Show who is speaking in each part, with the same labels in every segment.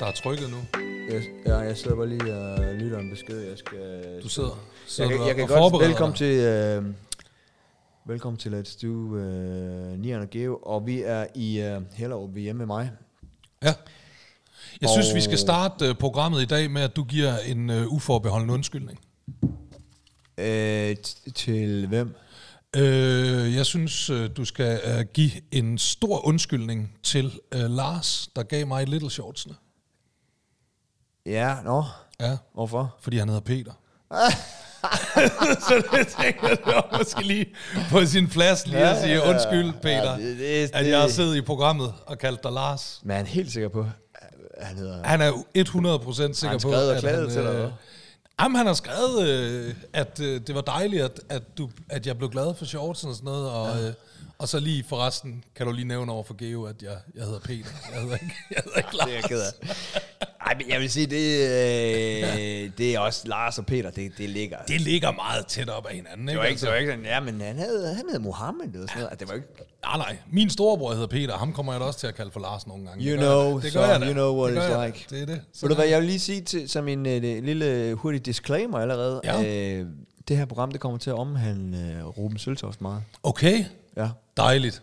Speaker 1: der er trykket nu.
Speaker 2: Jeg, jeg, jeg sidder bare lige og lytter en besked. Jeg skal...
Speaker 1: Du sidder,
Speaker 2: jeg
Speaker 1: sidder
Speaker 2: kan,
Speaker 1: du
Speaker 2: jeg kan
Speaker 1: og
Speaker 2: godt...
Speaker 1: forbereder
Speaker 2: Velkommen
Speaker 1: dig.
Speaker 2: til... Øh, velkommen til Let's Do øh, Nian og Geo. Og vi er i øh, Hellerup ved hjemme med mig.
Speaker 1: Jeg synes, vi skal
Speaker 2: Og-
Speaker 1: starte øh, programmet i dag med, at du giver en øh, uforbeholden undskyldning.
Speaker 2: Øh, t- til hvem?
Speaker 1: Øh, jeg synes, øh, du skal øh, give en stor undskyldning til øh, Lars, der gav mig Little Shortsene.
Speaker 2: Ja, nå.
Speaker 1: Ja,
Speaker 2: Hvorfor?
Speaker 1: fordi han hedder Peter. så det tænker jeg, det var måske lige på sin plads lige at sige undskyld, Peter,
Speaker 2: Ja, det- det-
Speaker 1: at jeg har siddet i programmet og kaldt dig Lars.
Speaker 2: Men jeg er helt sikker på, at han hedder...
Speaker 1: Han er jo 100% sikker
Speaker 2: han
Speaker 1: på,
Speaker 2: skrevet og
Speaker 1: at
Speaker 2: klaget til dig,
Speaker 1: øh,
Speaker 2: eller hvad?
Speaker 1: Jamen, han har skrevet, øh, at øh, det var dejligt, at, at, du, at jeg blev glad for shortsen og sådan noget, og, ja. øh, og så lige forresten kan du lige nævne over for Geo, at jeg, jeg hedder Peter. Jeg hedder ikke, jeg hedder ikke Lars.
Speaker 2: Det er jeg ked af. Ej, men jeg vil sige, det, øh, det er også Lars og Peter, det, det ligger.
Speaker 1: Det ligger meget tæt op ad hinanden, ikke?
Speaker 2: Det var ikke, det
Speaker 1: altså,
Speaker 2: var ikke sådan, ja, men han hed, han hed Mohammed eller sådan noget. Altså, Det var ikke...
Speaker 1: nej, nej. Min storebror hedder Peter, og ham kommer jeg da også til at kalde for Lars nogle gange.
Speaker 2: You
Speaker 1: Det gør
Speaker 2: know,
Speaker 1: jeg da. det
Speaker 2: so
Speaker 1: gør jeg da.
Speaker 2: you know what
Speaker 1: det gør
Speaker 2: it's
Speaker 1: jeg da.
Speaker 2: like.
Speaker 1: Det er det.
Speaker 2: Ved du hvad, jeg vil lige sige til, som en øh, lille hurtig disclaimer allerede.
Speaker 1: Ja.
Speaker 2: Øh, det her program, det kommer til at omhandle øh, Ruben Søltoft meget.
Speaker 1: Okay,
Speaker 2: Ja.
Speaker 1: dejligt.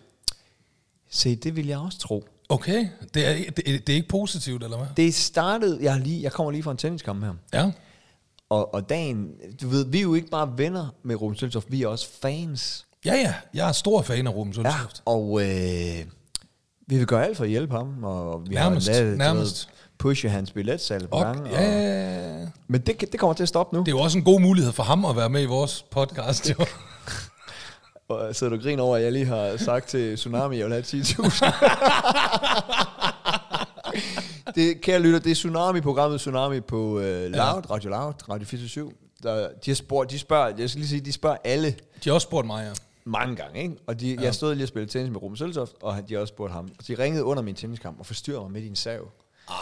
Speaker 2: Se, det vil jeg også tro.
Speaker 1: Okay, det er, det, det er ikke positivt, eller hvad?
Speaker 2: Det startede, jeg, har lige, jeg kommer lige fra en tenniskamp her.
Speaker 1: Ja.
Speaker 2: Og, og dagen, du ved, vi er jo ikke bare venner med Ruben Søltoft, vi er også fans.
Speaker 1: Ja, ja. Jeg er stor fan af Ruben
Speaker 2: Ja,
Speaker 1: Sundtoft.
Speaker 2: og øh, vi vil gøre alt for at hjælpe ham, og vi
Speaker 1: Nærmest,
Speaker 2: har lavet, du
Speaker 1: nærmest.
Speaker 2: ved, pushe hans billetsalg på
Speaker 1: Og,
Speaker 2: gang.
Speaker 1: ja, ja, ja.
Speaker 2: Men det, kan- det kommer til at stoppe nu.
Speaker 1: Det er jo også en god mulighed for ham at være med i vores podcast. Jo.
Speaker 2: Og sidder du og griner over, at jeg lige har sagt til Tsunami, at jeg vil have 10.000? det, kære lytter, det er Tsunami-programmet Tsunami på øh, Loud, Radio Loud, Radio 47. Der, de, har spurgt, de spørger, jeg skal lige sige, de spørger alle
Speaker 1: De har også spurgt mig, ja.
Speaker 2: mange gange, ikke? Og de, jeg stod lige og spillede tennis med Ruben Søltoft, og han- de har også spurgt ham. Og de ringede under min tenniskamp og forstyrrede mig midt i en sav.
Speaker 1: Ej.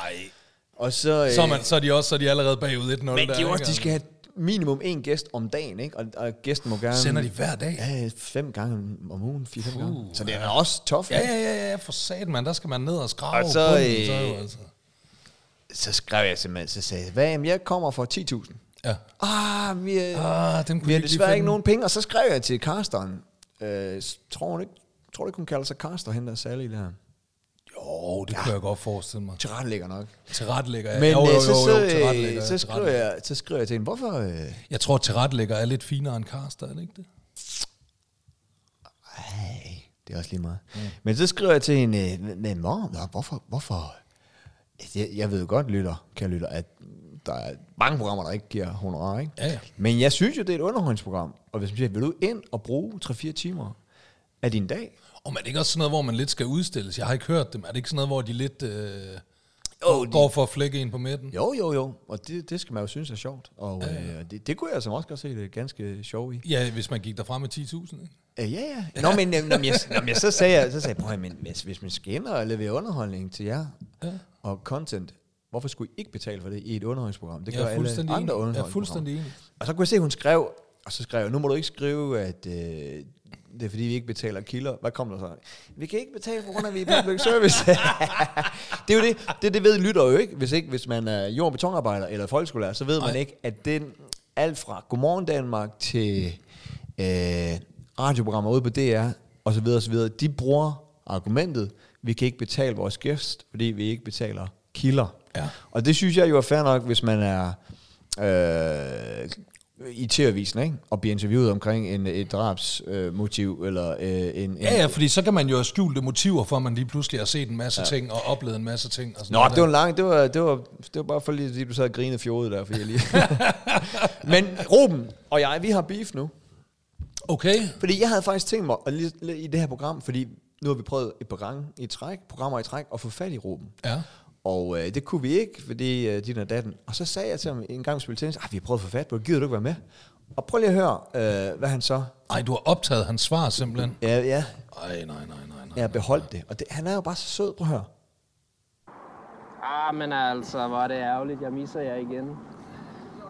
Speaker 2: Og så, øh,
Speaker 1: Så er, man, så er de også så er de allerede bagud 1-0.
Speaker 2: men
Speaker 1: der,
Speaker 2: det er jo også,
Speaker 1: ikke?
Speaker 2: de skal have minimum én gæst om dagen, ikke? Og, og gæsten må gerne...
Speaker 1: Sender de hver dag?
Speaker 2: Ja, fem gange om ugen, fire-fem gange. Så det er også tof.
Speaker 1: Ja, ja, ja, ja, for sat, man. Der skal man ned og skrave.
Speaker 2: Og så,
Speaker 1: bunden,
Speaker 2: øh,
Speaker 1: så er jo altså.
Speaker 2: Så skrev jeg simpelthen, så sagde jeg, hvad, jamen, jeg kommer for 10.000.
Speaker 1: Ja.
Speaker 2: Ah, vi, øh,
Speaker 1: Ah, dem kunne
Speaker 2: vi
Speaker 1: de
Speaker 2: har
Speaker 1: lige
Speaker 2: desværre ikke
Speaker 1: finde.
Speaker 2: nogen penge. Og så skrev jeg til Karsten, øh, s- tror hun ikke, tror du ikke, hun kalder sig Karsten, hende der særlig der?
Speaker 1: Jo, det ja. kunne jeg godt forestille mig.
Speaker 2: Tilrettelægger nok.
Speaker 1: Tilrettelægger.
Speaker 2: Men
Speaker 1: jo, jo, jo,
Speaker 2: øh, så,
Speaker 1: jo,
Speaker 2: så,
Speaker 1: tilrettelægger,
Speaker 2: øh, så, skrev
Speaker 1: tilrettelægger.
Speaker 2: jeg, så skrev jeg til hende, hvorfor... Øh,
Speaker 1: Jeg tror, tilrettelægger er lidt finere end Karster, er det ikke det?
Speaker 2: Ej, det er også lige meget. Mm. Men så skriver jeg til en, øh, men mor, nå, hvorfor, hvorfor? Altså, Jeg, jeg ved jo godt, lytter, kan lytter, at der er mange programmer, der ikke giver honorar, ikke?
Speaker 1: Ja, ja.
Speaker 2: Men jeg synes jo, det er et underholdningsprogram. Og hvis man siger, vil du ind og bruge 3-4 timer af din dag?
Speaker 1: Og man er det ikke også sådan noget, hvor man lidt skal udstilles? Jeg har ikke hørt dem. Er det ikke sådan noget, hvor de lidt øh,
Speaker 2: Jo,
Speaker 1: oh,
Speaker 2: de-
Speaker 1: går for at flække en på midten?
Speaker 2: Jo, jo, jo. Og det, det skal man jo synes er sjovt. Og øh, det, det kunne jeg som også godt se det er ganske sjovt i.
Speaker 1: Ja, hvis man gik derfra med 10.000. ikke?
Speaker 2: Øh, ja, ja. Nå, men, øh, når, jeg, når jeg så sagde, jeg, så sagde jeg, prøv at høre, men hvis, hvis man skal ind og levere underholdning til jer ja. og content, hvorfor skulle I ikke betale for det i et underholdningsprogram? Det
Speaker 1: Jeg er
Speaker 2: gør alle andre
Speaker 1: fuldstændig enig. Jeg er
Speaker 2: underholdningsprogrammer.
Speaker 1: fuldstændig enig.
Speaker 2: Og så kunne jeg se, at hun skrev, og så skrev jeg, nu må du ikke skrive, at øh, det er fordi, vi ikke betaler kilder. Hvad kom der så? Vi kan ikke betale for grund af, at vi er public service. det er jo det, det, det ved lytter jo ikke. Hvis, ikke, hvis man er jord- og betonarbejder eller folkeskolelærer, så ved man
Speaker 1: Nej.
Speaker 2: ikke, at den alt fra Godmorgen Danmark til øh, radioprogrammer ude på DR og så videre, og så videre, de bruger argumentet, vi kan ikke betale vores gæst, fordi vi ikke betaler kilder.
Speaker 1: Ja.
Speaker 2: Og det synes jeg jo er fair nok, hvis man er øh, i TV-avisen, ikke? Og bliver interviewet omkring en, et drabsmotiv, øh, motiv, eller øh, en...
Speaker 1: Ja,
Speaker 2: en
Speaker 1: ja, fordi så kan man jo have skjulte motiver for, at man lige pludselig har set en masse ja. ting og oplevet en masse ting. Og sådan
Speaker 2: Nå,
Speaker 1: noget
Speaker 2: det var
Speaker 1: der.
Speaker 2: en lang, det var, det var, det var bare for lige at sige, at du sad og grinede fjodet der, fordi jeg lige... Men Ruben og jeg, vi har beef nu.
Speaker 1: Okay,
Speaker 2: Fordi jeg havde faktisk tænkt mig, at lige, lige i det her program, fordi nu har vi prøvet et par gange i træk, programmer i træk, at få fat i Ruben.
Speaker 1: ja.
Speaker 2: Og øh, det kunne vi ikke, fordi øh, din og datten. Og så sagde jeg til ham en gang, vi spillede tennis, at vi har prøvet at få fat på det, gider du ikke være med? Og prøv lige at høre, øh, hvad han så...
Speaker 1: Ej, du har optaget hans svar simpelthen.
Speaker 2: Ja, ja,
Speaker 1: Ej, nej, nej, nej, nej.
Speaker 2: jeg har beholdt det. Og det, han er jo bare så sød, prøv at høre.
Speaker 3: Ah, men altså, hvor er det ærgerligt. Jeg misser jer igen.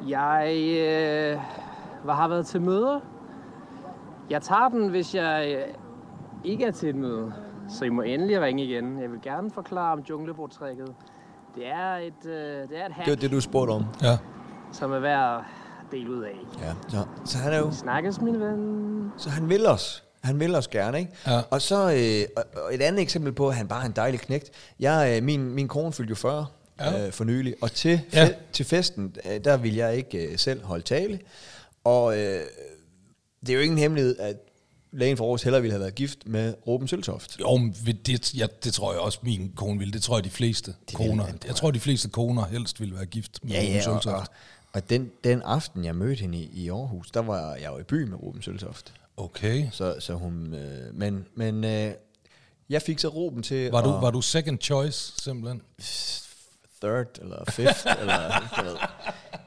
Speaker 3: Jeg øh, hvad har været til møder. Jeg tager den, hvis jeg øh, ikke er til et møde. Så I må endelig ringe igen. Jeg vil gerne forklare om junglebotrækket. Det er et, øh, det er et hack,
Speaker 2: Det var det, du spurgte om.
Speaker 1: Ja.
Speaker 3: som er værd at dele ud af.
Speaker 2: Ja. ja. Så han er jo...
Speaker 3: Snakkes, min ven.
Speaker 2: Så han vil os. Han vil os gerne, ikke?
Speaker 1: Ja.
Speaker 2: Og så øh, og- og et andet eksempel på, at han bare er en dejlig knægt. Jeg, øh, min, min kone fyldte jo 40
Speaker 1: Ja.
Speaker 2: ja. øh, for nylig, og til, fe-
Speaker 1: Ja.
Speaker 2: til festen, øh, der ville jeg ikke øh, selv holde tale. Og øh, det er jo ingen hemmelighed, at lægen for Aarhus hellere ville have været gift med Ruben Søltoft.
Speaker 1: Jo, men ved det, ja, det tror jeg også, min kone ville. Det tror jeg, de fleste det
Speaker 2: ville
Speaker 1: koner.
Speaker 2: han,
Speaker 1: jeg tror, de fleste koner helst ville være gift med Ruben
Speaker 2: og,
Speaker 1: Søltoft.
Speaker 2: og, og den, den aften, jeg mødte hende i, i Aarhus, der var jeg jo i by med Ruben Søltoft.
Speaker 1: Okay.
Speaker 2: Så, så hun... Øh, men men øh, jeg fik så Ruben til
Speaker 1: Var du,
Speaker 2: at-
Speaker 1: var du second choice, simpelthen?
Speaker 2: third eller fifth eller jeg ved.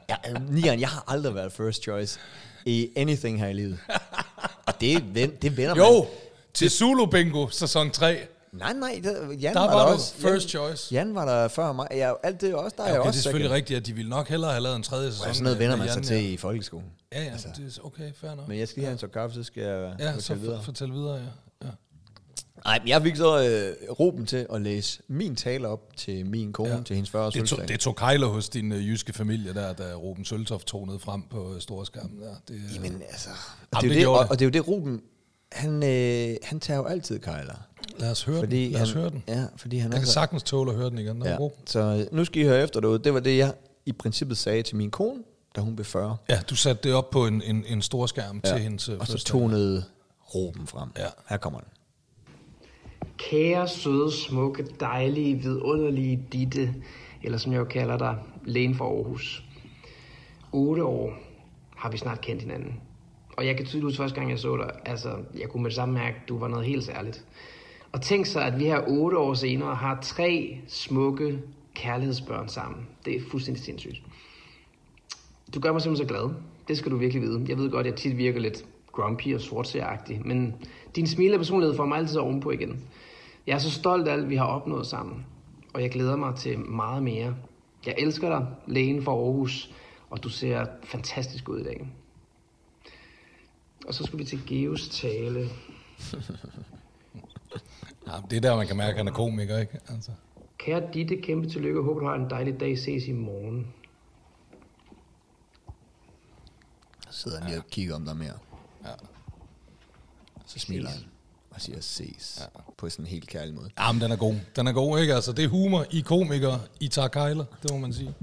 Speaker 2: Ja, øh, nieren, jeg har aldrig været first choice i anything her i livet. Og det, ven- det vender
Speaker 1: Jo, til Zulu Bingo, sæson 3.
Speaker 2: man. Nej, nej, det, Jan
Speaker 1: Der
Speaker 2: var,
Speaker 1: var
Speaker 2: der
Speaker 1: du
Speaker 2: også.
Speaker 1: first
Speaker 2: Jan,
Speaker 1: choice.
Speaker 2: Jan var der før mig. Ja, alt det er også, der er
Speaker 1: Ja,
Speaker 2: jeg
Speaker 1: okay, det er
Speaker 2: også.
Speaker 1: selvfølgelig
Speaker 2: second.
Speaker 1: rigtigt, at de ville nok hellere have lavet en tredje sæson.
Speaker 2: Ja, sådan noget vender
Speaker 1: med
Speaker 2: man sig
Speaker 1: Jan,
Speaker 2: til i altså, folkeskolen.
Speaker 1: Ja, ja, ja det er okay, fair nok.
Speaker 2: Men jeg skal lige have en så kaffe, så skal jeg
Speaker 1: Ja,
Speaker 2: ja,
Speaker 1: så
Speaker 2: så videre.
Speaker 1: f- fortæl videre, ja. ja.
Speaker 2: Nej, men jeg fik så øh, Ruben til at læse min tale op til min kone,
Speaker 1: Ja.
Speaker 2: ja. til hendes 40 års
Speaker 1: Det, tog,
Speaker 2: fødselsdag.
Speaker 1: det tog kejler hos din øh, jyske familie der, da Ruben Søltoft tog ned frem på øh, storskærmen der. Det, øh,
Speaker 2: Jamen altså,
Speaker 1: Jamen,
Speaker 2: og
Speaker 1: det
Speaker 2: det, er jo det,
Speaker 1: gjorde
Speaker 2: og,
Speaker 1: det.
Speaker 2: og det er jo det, Ruben, han, øh, han tager jo altid kejler.
Speaker 1: lad os høre
Speaker 2: Fordi
Speaker 1: den. Lad os
Speaker 2: han,
Speaker 1: høre den.
Speaker 2: Ja, fordi han
Speaker 1: Jeg kan
Speaker 2: altså-
Speaker 1: sagtens tåle at høre den igen. Den er
Speaker 2: ja.
Speaker 1: god.
Speaker 2: Så øh, nu skal I høre efter derude. Det var det, jeg i princippet sagde til min kone, da hun blev 40.
Speaker 1: Ja, du satte det op på en, en, en storskærm ja. til hendes øh,
Speaker 2: Og så
Speaker 1: fødselsdag.
Speaker 2: tonede Ruben frem.
Speaker 1: Ja.
Speaker 2: Her kommer den.
Speaker 4: Kære, søde, smukke, dejlige, vidunderlige Ditte, eller som jeg jo kalder dig, lægen fra Aarhus. 8 år har vi snart kendt hinanden. Og jeg kan tydeligt huske første gang, jeg så dig, altså, jeg kunne med det samme mærke, du var noget helt særligt. Og tænk så, at vi her 8 år senere har tre smukke kærlighedsbørn sammen. Det er fuldstændig sindssygt. Du gør mig simpelthen så glad. Det skal du virkelig vide. Jeg ved godt, at jeg tit virker lidt grumpy og sortseagtig, men din smil og personlighed får mig altid ovenpå igen. Jeg er så stolt af alt, vi har opnået sammen, og jeg glæder mig til meget mere. Jeg elsker dig, lægen fra Aarhus, og du ser fantastisk ud i dag. Og så skal vi til Geos tale.
Speaker 1: Ja, det er der, man kan mærke, at han er komiker, ikke? Altså.
Speaker 4: Kære Ditte, kæmpe tillykke. Håber, du har en dejlig dag. Ses i morgen.
Speaker 2: Så sidder han lige og kigger om der mere.
Speaker 1: Ja.
Speaker 2: Så smiler han og siger ses. Ja. På sådan en helt kærlig måde.
Speaker 1: Ja, men den er god. Den er god, ikke? Altså, det er humor i komiker, i tager kejler, det må man sige.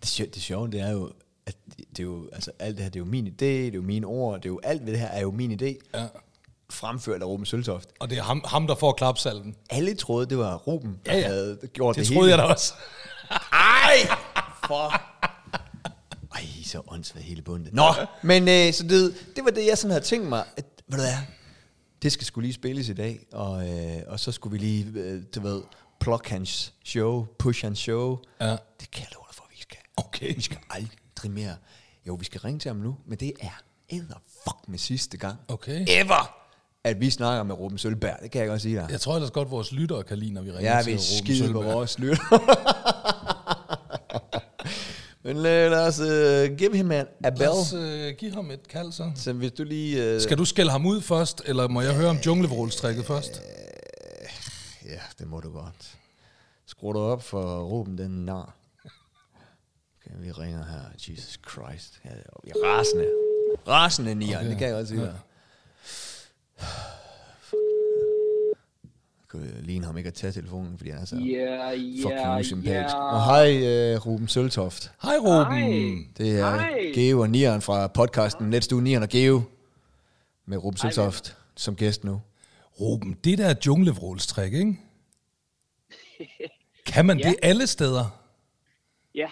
Speaker 2: Det, sjove, det sjove, det er jo, at det er jo, altså, alt det her, det er jo min idé, det er jo mine ord, det er jo alt ved det her er jo min idé.
Speaker 1: Ja.
Speaker 2: Fremført af Ruben Søltoft.
Speaker 1: Og det er ham, ham der får klapsalven.
Speaker 2: Alle troede, det var Ruben, der
Speaker 1: Ja, ja.
Speaker 2: havde gjort det,
Speaker 1: Det
Speaker 2: hele.
Speaker 1: troede jeg da også.
Speaker 2: Ej! For... Ej, så åndssvagt hele bundet. Nå, men øh, så det, det var det, jeg sådan havde tænkt mig, at, ved du hvad, det skal skulle lige spilles i dag, og, øh, og så skulle vi lige, øh, du ved, plukke hans show, push hans show.
Speaker 1: Ja.
Speaker 2: Det kan jeg love dig for, at vi skal.
Speaker 1: Okay.
Speaker 2: Vi skal aldrig mere. Jo, vi skal ringe til ham nu, men det er edder fuck med sidste gang.
Speaker 1: Okay.
Speaker 2: Ever! At vi snakker med Ruben Sølberg, det kan jeg godt sige dig.
Speaker 1: Jeg tror ellers godt, vores lyttere kan lide, når vi ringer
Speaker 2: Jeg
Speaker 1: til
Speaker 2: vil
Speaker 1: Ruben
Speaker 2: skide på
Speaker 1: Sølberg.
Speaker 2: vores lytter. Men øh, lad os uh, give him an, a
Speaker 1: Lad
Speaker 2: bell. Øh.
Speaker 1: os øh, give ham et kald, så.
Speaker 2: Så hvis du lige... Uh,
Speaker 1: Skal du skælde ham ud først, eller må jeg høre om junglevrålstrækket først?
Speaker 2: ja, det må du godt. Skru dig op for Ruben, den nar. Okay, vi ringer her. Jesus Christ. Ja, vi er rasende. Rasende, Nian. Okay. Det kan jeg godt sige. Ja. Jeg kunne ligne ham ikke at tage telefonen, fordi han er så
Speaker 3: Ja,
Speaker 2: fucking
Speaker 3: ja,
Speaker 2: usympatisk. Og
Speaker 3: ja.
Speaker 2: hej, øh, Ruben Søltoft.
Speaker 1: Hej, Ruben.
Speaker 3: Hej.
Speaker 2: Det er
Speaker 3: Hej.
Speaker 2: Geo og Nieren fra podcasten Netstue Nieren og Geo med Ruben Søltoft som gæst nu.
Speaker 1: Ruben, det der junglevrålstræk, ikke? Kan man ja. det alle steder?
Speaker 5: Ja,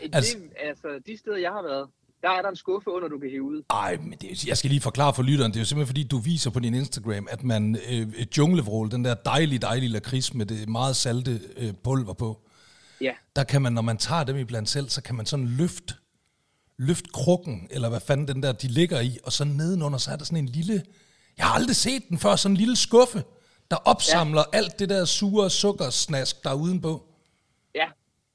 Speaker 5: altså,
Speaker 1: Altså-
Speaker 5: det, altså de steder, jeg har været, der er der en skuffe under, du kan hive ud.
Speaker 1: Ej, men det, er- jeg skal lige forklare for lytteren, det er jo simpelthen fordi, du viser på din Instagram, at man øh, junglevrål, den der dejlige, dejlige lakrids med det meget salte øh, pulver på,
Speaker 5: Ja,
Speaker 1: der kan man, når man tager dem i blandt selv, så kan man sådan løfte løft krukken, eller hvad fanden den der, de ligger i, og så nedenunder, så er der sådan en lille, jeg har aldrig set den før, sådan en lille skuffe, der opsamler ja. alt det der sure sukkersnask, der er udenpå.
Speaker 5: ja.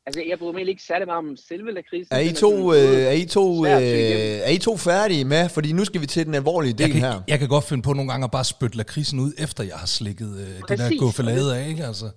Speaker 5: Altså, jeg bryder mig egentlig ikke særlig meget om selve lakrisen.
Speaker 2: Er I
Speaker 5: Den
Speaker 2: to, øh,
Speaker 5: sådan
Speaker 2: er I to, øh,
Speaker 5: svær at tygge igennem.
Speaker 2: er I to færdige med? Fordi nu skal vi til den alvorlige
Speaker 1: Jeg
Speaker 2: del her.
Speaker 1: kan, jeg kan godt finde på nogle gange at bare spytte lakridsen ud, efter jeg har slikket øh, det der
Speaker 5: Præcis.
Speaker 1: guffelade af, ikke? Altså.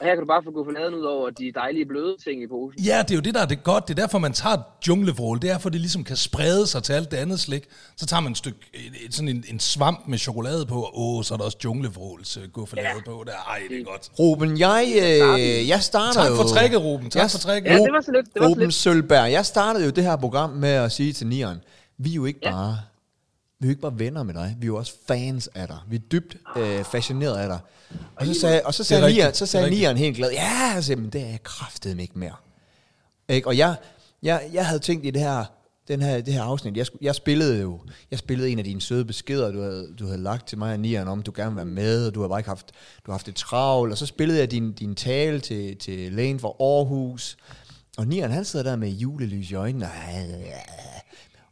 Speaker 5: Og her kan du bare få guffaden ud over de dejlige bløde ting i posen.
Speaker 1: Ja, det er jo det, der er det godt. Det er derfor, man tager junglevrål. Det er, for det ligesom kan sprede sig til alt det andet slik. Så tager man et stykke, et, et, sådan en, en svamp med chokolade på, og åh, så er der også junglevråls øh, guffelade ja. på. Der. Ej, det er godt.
Speaker 2: Ruben, jeg, øh, jeg starter
Speaker 1: Tak for
Speaker 2: jo-
Speaker 1: tricket, Ruben. Tak
Speaker 2: Jeg-
Speaker 1: for tricket.
Speaker 5: Ja, det var så lidt. Det var så
Speaker 2: Ruben
Speaker 5: lidt.
Speaker 2: Sølberg, jeg startede jo det her program med at sige til Nieren, vi er jo ikke bare, vi er jo ikke bare venner med dig, vi er jo også fans af dig. Vi er dybt øh, fascineret af dig. Og så sagde, og så sagde,
Speaker 1: rigtigt,
Speaker 2: Nieren, så
Speaker 1: det er
Speaker 2: sagde
Speaker 1: rigtigt.
Speaker 2: Nieren helt glad, ja, altså, men det er jeg kraftedeme ikke mere. Ikke? Og jeg, jeg, jeg havde tænkt i det her, den her, det her afsnit, jeg, skulle- jeg spillede jo, jeg spillede en af dine søde beskeder, du havde, du havde lagt til mig og Nian om, du gerne vil være med, og du har bare ikke haft, du har haft det travlt, og så spillede jeg din, din tale til, til lægen fra Aarhus, og Nian han sidder der med julelys i øjnene, og,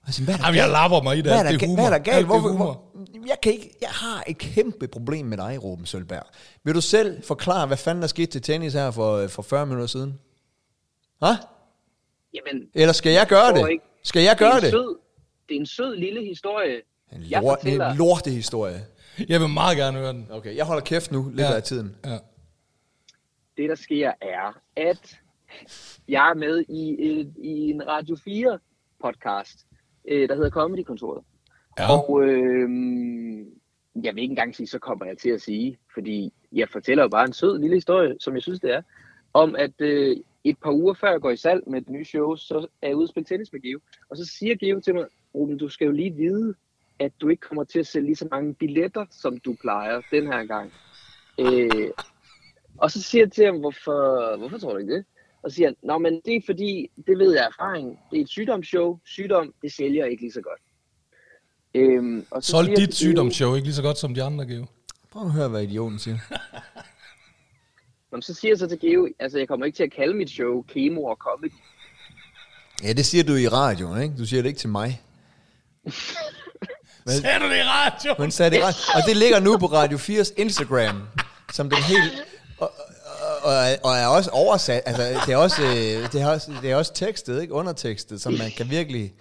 Speaker 2: og sådan, hvad er der
Speaker 1: Jamen, jeg lapper mig i det.
Speaker 2: hvad er
Speaker 1: Alt det
Speaker 2: der, ga-
Speaker 1: er humor.
Speaker 2: hvad er der galt?
Speaker 1: Alt det er
Speaker 2: Hvorfor,
Speaker 1: humor.
Speaker 2: hvor, jeg, kan ikke, jeg har et kæmpe problem med dig, Ruben Sølberg. Vil du selv forklare, hvad fanden der skete til tennis her for, for 40 minutter siden? Hva?
Speaker 5: Jamen,
Speaker 2: Eller skal jeg gøre
Speaker 5: Jeg tror
Speaker 2: det?
Speaker 5: ikke.
Speaker 2: Skal jeg gøre
Speaker 5: det, er en
Speaker 2: det?
Speaker 5: sød, det er en sød lille historie.
Speaker 2: En
Speaker 5: Jeg
Speaker 2: lort, det er
Speaker 5: fortæller-
Speaker 2: en lorte historie.
Speaker 1: Jeg vil meget gerne høre den.
Speaker 2: Okay, jeg holder kæft nu, lidt
Speaker 1: Ja.
Speaker 2: af tiden.
Speaker 1: Ja.
Speaker 5: det, der sker, er, at jeg er med i, et, i en Radio 4 podcast, øh, der hedder Comedy-kontoret.
Speaker 1: Ja.
Speaker 5: Og øh, jeg vil ikke engang sige, så kommer jeg til at sige, fordi jeg fortæller jo bare en sød lille historie, som jeg synes, det er, om at øh, et par uger før jeg går i salg med et nye show, så er jeg ude og spille tennis med Geo. Og så siger Geo til mig, Ruben, du skal jo lige vide, at du ikke kommer til at sælge lige så mange billetter, som du plejer den her gang. Øh, og så siger jeg til ham, hvorfor, hvorfor tror du ikke det? Og så siger han, Nå, men det er fordi, det ved jeg af erfaring, det er et sygdomsshow, sygdom, det sælger ikke lige så godt. Øhm, og så
Speaker 1: Solgte dit
Speaker 5: siger jeg til Geo-
Speaker 1: sygdomsshow ikke lige så godt som de andre, Geo?
Speaker 2: Prøv at høre, hvad idioten siger.
Speaker 5: Nå, men så siger jeg så til Geo, altså jeg kommer ikke til at kalde mit show Kemo og Comedy.
Speaker 2: Ja, det siger du i radioen, ikke? Du siger det ikke til mig. Hvad?
Speaker 1: Sagde du det i radio?
Speaker 2: Men sagde det ret. Og det ligger nu på Radio 4's Instagram, som den helt... Og, og, og er også oversat, altså det er også, øh, det er også, det er også tekstet, ikke undertekstet, som man kan virkelig...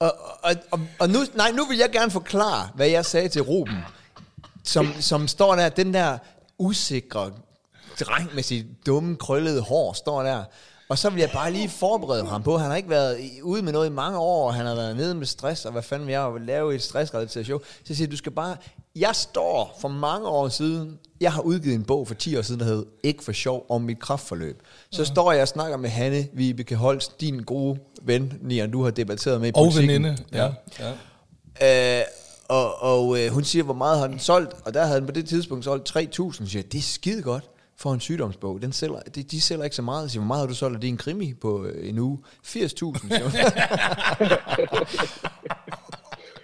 Speaker 2: Og, og, og, og nu, nej, nu vil jeg gerne forklare, hvad jeg sagde til Ruben, som, som står der, den der usikre dreng med sit dumme, krøllede hår, står der. Og så vil jeg bare lige forberede ham på, han har ikke været i- ude med noget i mange år, og han har været nede med stress, og hvad fanden vil jeg og lave i et stressrelateret show. Så jeg siger jeg, du skal bare, jeg står for mange år siden, jeg har udgivet en bog for 10 år siden, der hed Ikke for sjov om mit kraftforløb.
Speaker 1: Mm.
Speaker 2: Så står jeg og snakker med Hanne Vibeke Holst, din gode ven, Nian, du har debatteret med i
Speaker 1: Og
Speaker 2: Politiken.
Speaker 1: veninde. Ja. ja.
Speaker 2: Øh, og og øh, hun siger, hvor meget har den solgt? Og der havde den på det tidspunkt solgt 3.000. Hun siger, det er skide godt for en sygdomsbog. Den sælger, de, de sælger ikke så meget. Jeg siger, hvor meget har du solgt af din krimi på øh, en uge? 80.000. siger hun.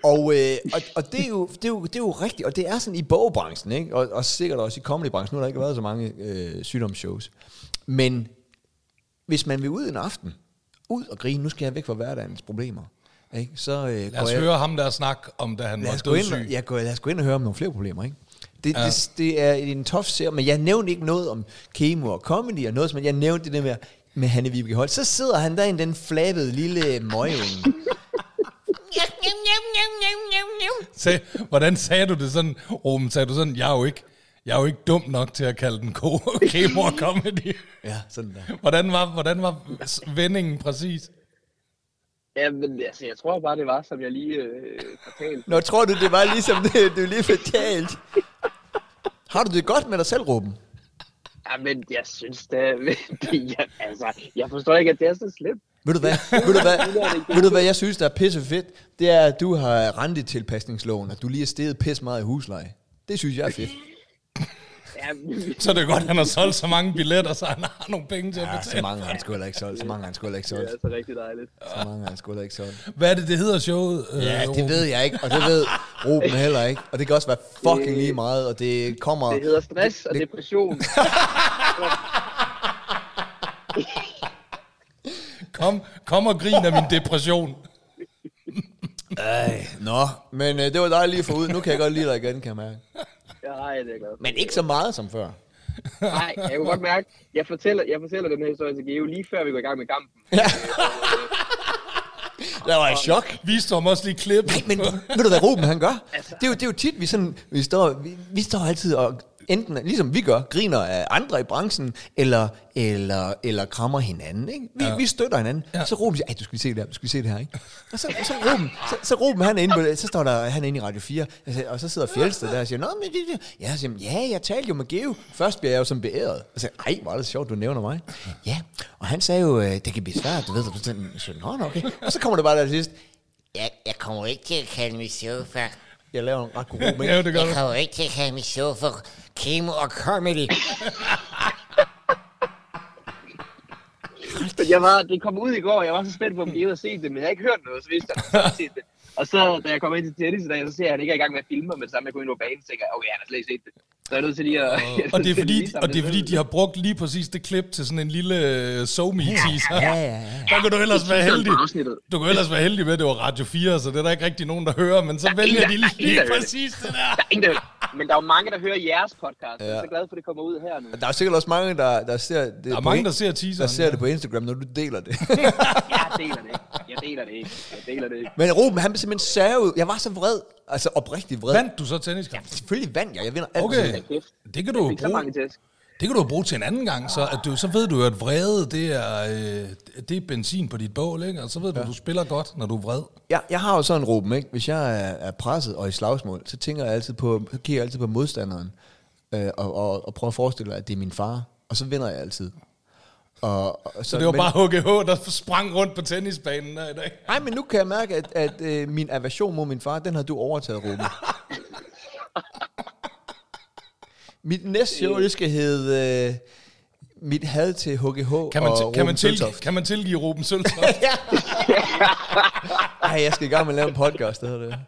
Speaker 2: og, øh, og, og det, er jo, det, er jo, det er jo rigtigt, og det er sådan i bogbranchen, ikke? Og, og sikkert også i comedybranchen. Nu har der ikke været så mange øh, sygdomsshows. Men hvis man vil ud en aften, ud og grine, nu skal jeg væk fra hverdagens problemer, ikke? så øh,
Speaker 1: Lad os høre ham der snakke om, da han
Speaker 2: Lad
Speaker 1: var
Speaker 2: os, gå ind, og-
Speaker 1: dødssyg.
Speaker 2: ja, gå, lad os gå ind og høre om nogle flere problemer, ikke? Det, ja. det, det er en tof serie, men jeg nævnte ikke noget om kemo og comedy og noget, men jeg nævnte det der med, med Hanne Vibeke Holt. Så sidder han derinde, den flabede lille møgung.
Speaker 1: Sag, hvordan sagde du det sådan, Ruben? Sagde du sådan, jeg er jo ikke, jeg er jo ikke dum nok til at kalde den ko- K-more comedy.
Speaker 2: ja, sådan der.
Speaker 1: Hvordan var, hvordan var s- vendingen præcis?
Speaker 5: Ja, men altså jeg tror bare, det var, som jeg lige øh, fortalte.
Speaker 2: Nå, tror du, det var ligesom det, du lige fortalte? Har du det godt med dig selv, Ruben?
Speaker 5: Ja, men jeg synes da, det, jeg, altså jeg forstår ikke, at det er så slemt.
Speaker 2: Ved du hvad, ved du hvad, ved du hvad jeg synes, der er pisse fedt? Det er, at du har rentetilpasningsloven, og du lige er steget pisse meget i husleje. Det synes jeg er fedt.
Speaker 5: Ja, men-
Speaker 1: Så det er godt, at han har solgt så mange billetter, så han har nogle penge til at
Speaker 2: Ja, så
Speaker 1: betale.
Speaker 2: mange har han sgu heller ikke solgt. Så mange har han sgu heller ikke
Speaker 5: det er
Speaker 2: solgt.
Speaker 5: altså rigtig dejligt.
Speaker 2: Så mange har han sgu heller ikke solgt.
Speaker 1: Hvad er det, det hedder showet? øh,
Speaker 2: Ja, det
Speaker 1: Ruben?
Speaker 2: ved jeg ikke, og det ved Ruben heller ikke. Og det kan også være fucking lige meget, og det kommer...
Speaker 5: Det hedder stress og depression.
Speaker 1: Kom, kom og grin af min depression.
Speaker 2: Ej, nå. Men øh, det var dejligt lige at få ud. Nu kan jeg godt lide dig igen, kan jeg mærke.
Speaker 5: Nej, det er godt.
Speaker 2: Men ikke så meget som før.
Speaker 5: Nej, jeg kan godt mærke, jeg fortæller, jeg fortæller den her historie til Geo lige før vi går i gang med kampen.
Speaker 2: Jeg var i chok.
Speaker 1: Vi står også lige klip.
Speaker 2: Altså- Nej, men ved du hvad Ruben han gør? Det er jo, det er jo tit, vi, sådan, vi, står, vi, vi står altid og enten, ligesom vi gør, griner af andre i branchen, eller, eller, eller krammer hinanden. Ikke? Vi, ja. vi støtter hinanden. Ja. Så råber de, "Ej, du skal lige se det her, du skal lige se det her. Ikke? Og så, så Ruben, så, så Ruben han er inde på, så står der, han er inde i Radio 4, og så- og så sidder Fjeldsted der og siger, Nå, men det, det. Ja, så siger, han, ja, jeg talte jo med Geo. Først bliver jeg jo som beæret. Og så ej, hvor er det sjovt, du nævner mig. Ja, og han sagde jo, "Øh, det kan blive svært, du ved, du sådan, så, Nå, nå, okay. Og så kommer det bare der til sidst,
Speaker 6: Jeg, jeg kommer jo ikke til at kalde mig sofa.
Speaker 2: jeg laver en ret god rum,
Speaker 1: Ja,
Speaker 2: ikke?
Speaker 1: det gør
Speaker 6: Jeg
Speaker 1: du.
Speaker 6: kommer jo ikke til at kalde mig sofa. Kemo og comedy.
Speaker 5: Men jeg var, det kom ud i går, og jeg var så spændt på, om de havde set det, men jeg havde ikke hørt noget, så vidste jeg, at jeg havde set det. Og så, da jeg kom ind til Dennis i dag, så ser jeg, at han ikke er i gang med at filme, men det samme jeg går ind på banen, så tænker jeg, okay, han har slet ikke set det. Så er jeg nødt til lige at...
Speaker 1: Og det, er fordi, og det er fordi, de har brugt lige præcis det klip til sådan en lille so me teaser
Speaker 2: Ja, ja, ja.
Speaker 1: Der kan du ellers være heldig.
Speaker 5: Afsnittet.
Speaker 1: Du kan ellers være heldig med, at det var Radio 4, så det er der ikke rigtig nogen, der hører, men så
Speaker 5: Der er
Speaker 1: vælger
Speaker 5: ingen,
Speaker 1: de
Speaker 5: der- der er
Speaker 1: lige
Speaker 5: ingen, der hører
Speaker 1: præcis det der.
Speaker 5: Der er ingen, der, men der er jo mange, der hører jeres podcast, ja. jeg er så glad for, at det kommer ud her nu.
Speaker 2: Og Der er sikkert også mange, der, der ser det
Speaker 1: Der er
Speaker 2: på
Speaker 1: mange,
Speaker 2: in-
Speaker 1: der ser
Speaker 2: der
Speaker 1: teaseren.
Speaker 2: ser det på Instagram, når du deler det.
Speaker 5: Jeg deler det ikke. Jeg deler det ikke. Jeg deler det ikke.
Speaker 2: Men Ruben, han blev simpelthen særud. Jeg var så vred. Altså oprigtigt vred.
Speaker 1: Vandt du så tenniskamp?
Speaker 2: Selvfølgelig vandt jeg. Jeg vinder altid.
Speaker 1: Okay.
Speaker 5: Hold kæft.
Speaker 1: Det kan du jo
Speaker 5: Ikke så
Speaker 1: bruge.
Speaker 5: mange tæsk.
Speaker 1: Det kan du jo bruge til en anden gang, så, at du, så ved du jo, at vrede, det er, øh, det er benzin på dit bål, ikke? Og så ved du, at du spiller godt, når du er vred.
Speaker 2: Jeg, jeg har jo sådan, Ruben, ikke? hvis jeg er, er presset og i slagsmål, så tænker jeg altid på, så kigger jeg altid på modstanderen, øh, og, og, og prøver at forestille mig, at det er min far, og så vinder jeg altid. Og, og,
Speaker 1: Så det var bare HGH, der sprang rundt på tennisbanen der i dag.
Speaker 2: Nej, men nu kan jeg mærke, at, at øh, min aversion mod min far, den har du overtaget, Ruben. mit næste show, det skal hedde øh, Mit had til HGH
Speaker 1: Kan man,
Speaker 2: og
Speaker 1: til, kan,
Speaker 2: Ruben
Speaker 1: man tilgive,
Speaker 2: Søltoft.
Speaker 1: kan man tilgive Ruben Søltoft?
Speaker 2: Ej, jeg skal i gang med at lave en podcast, det hedder det.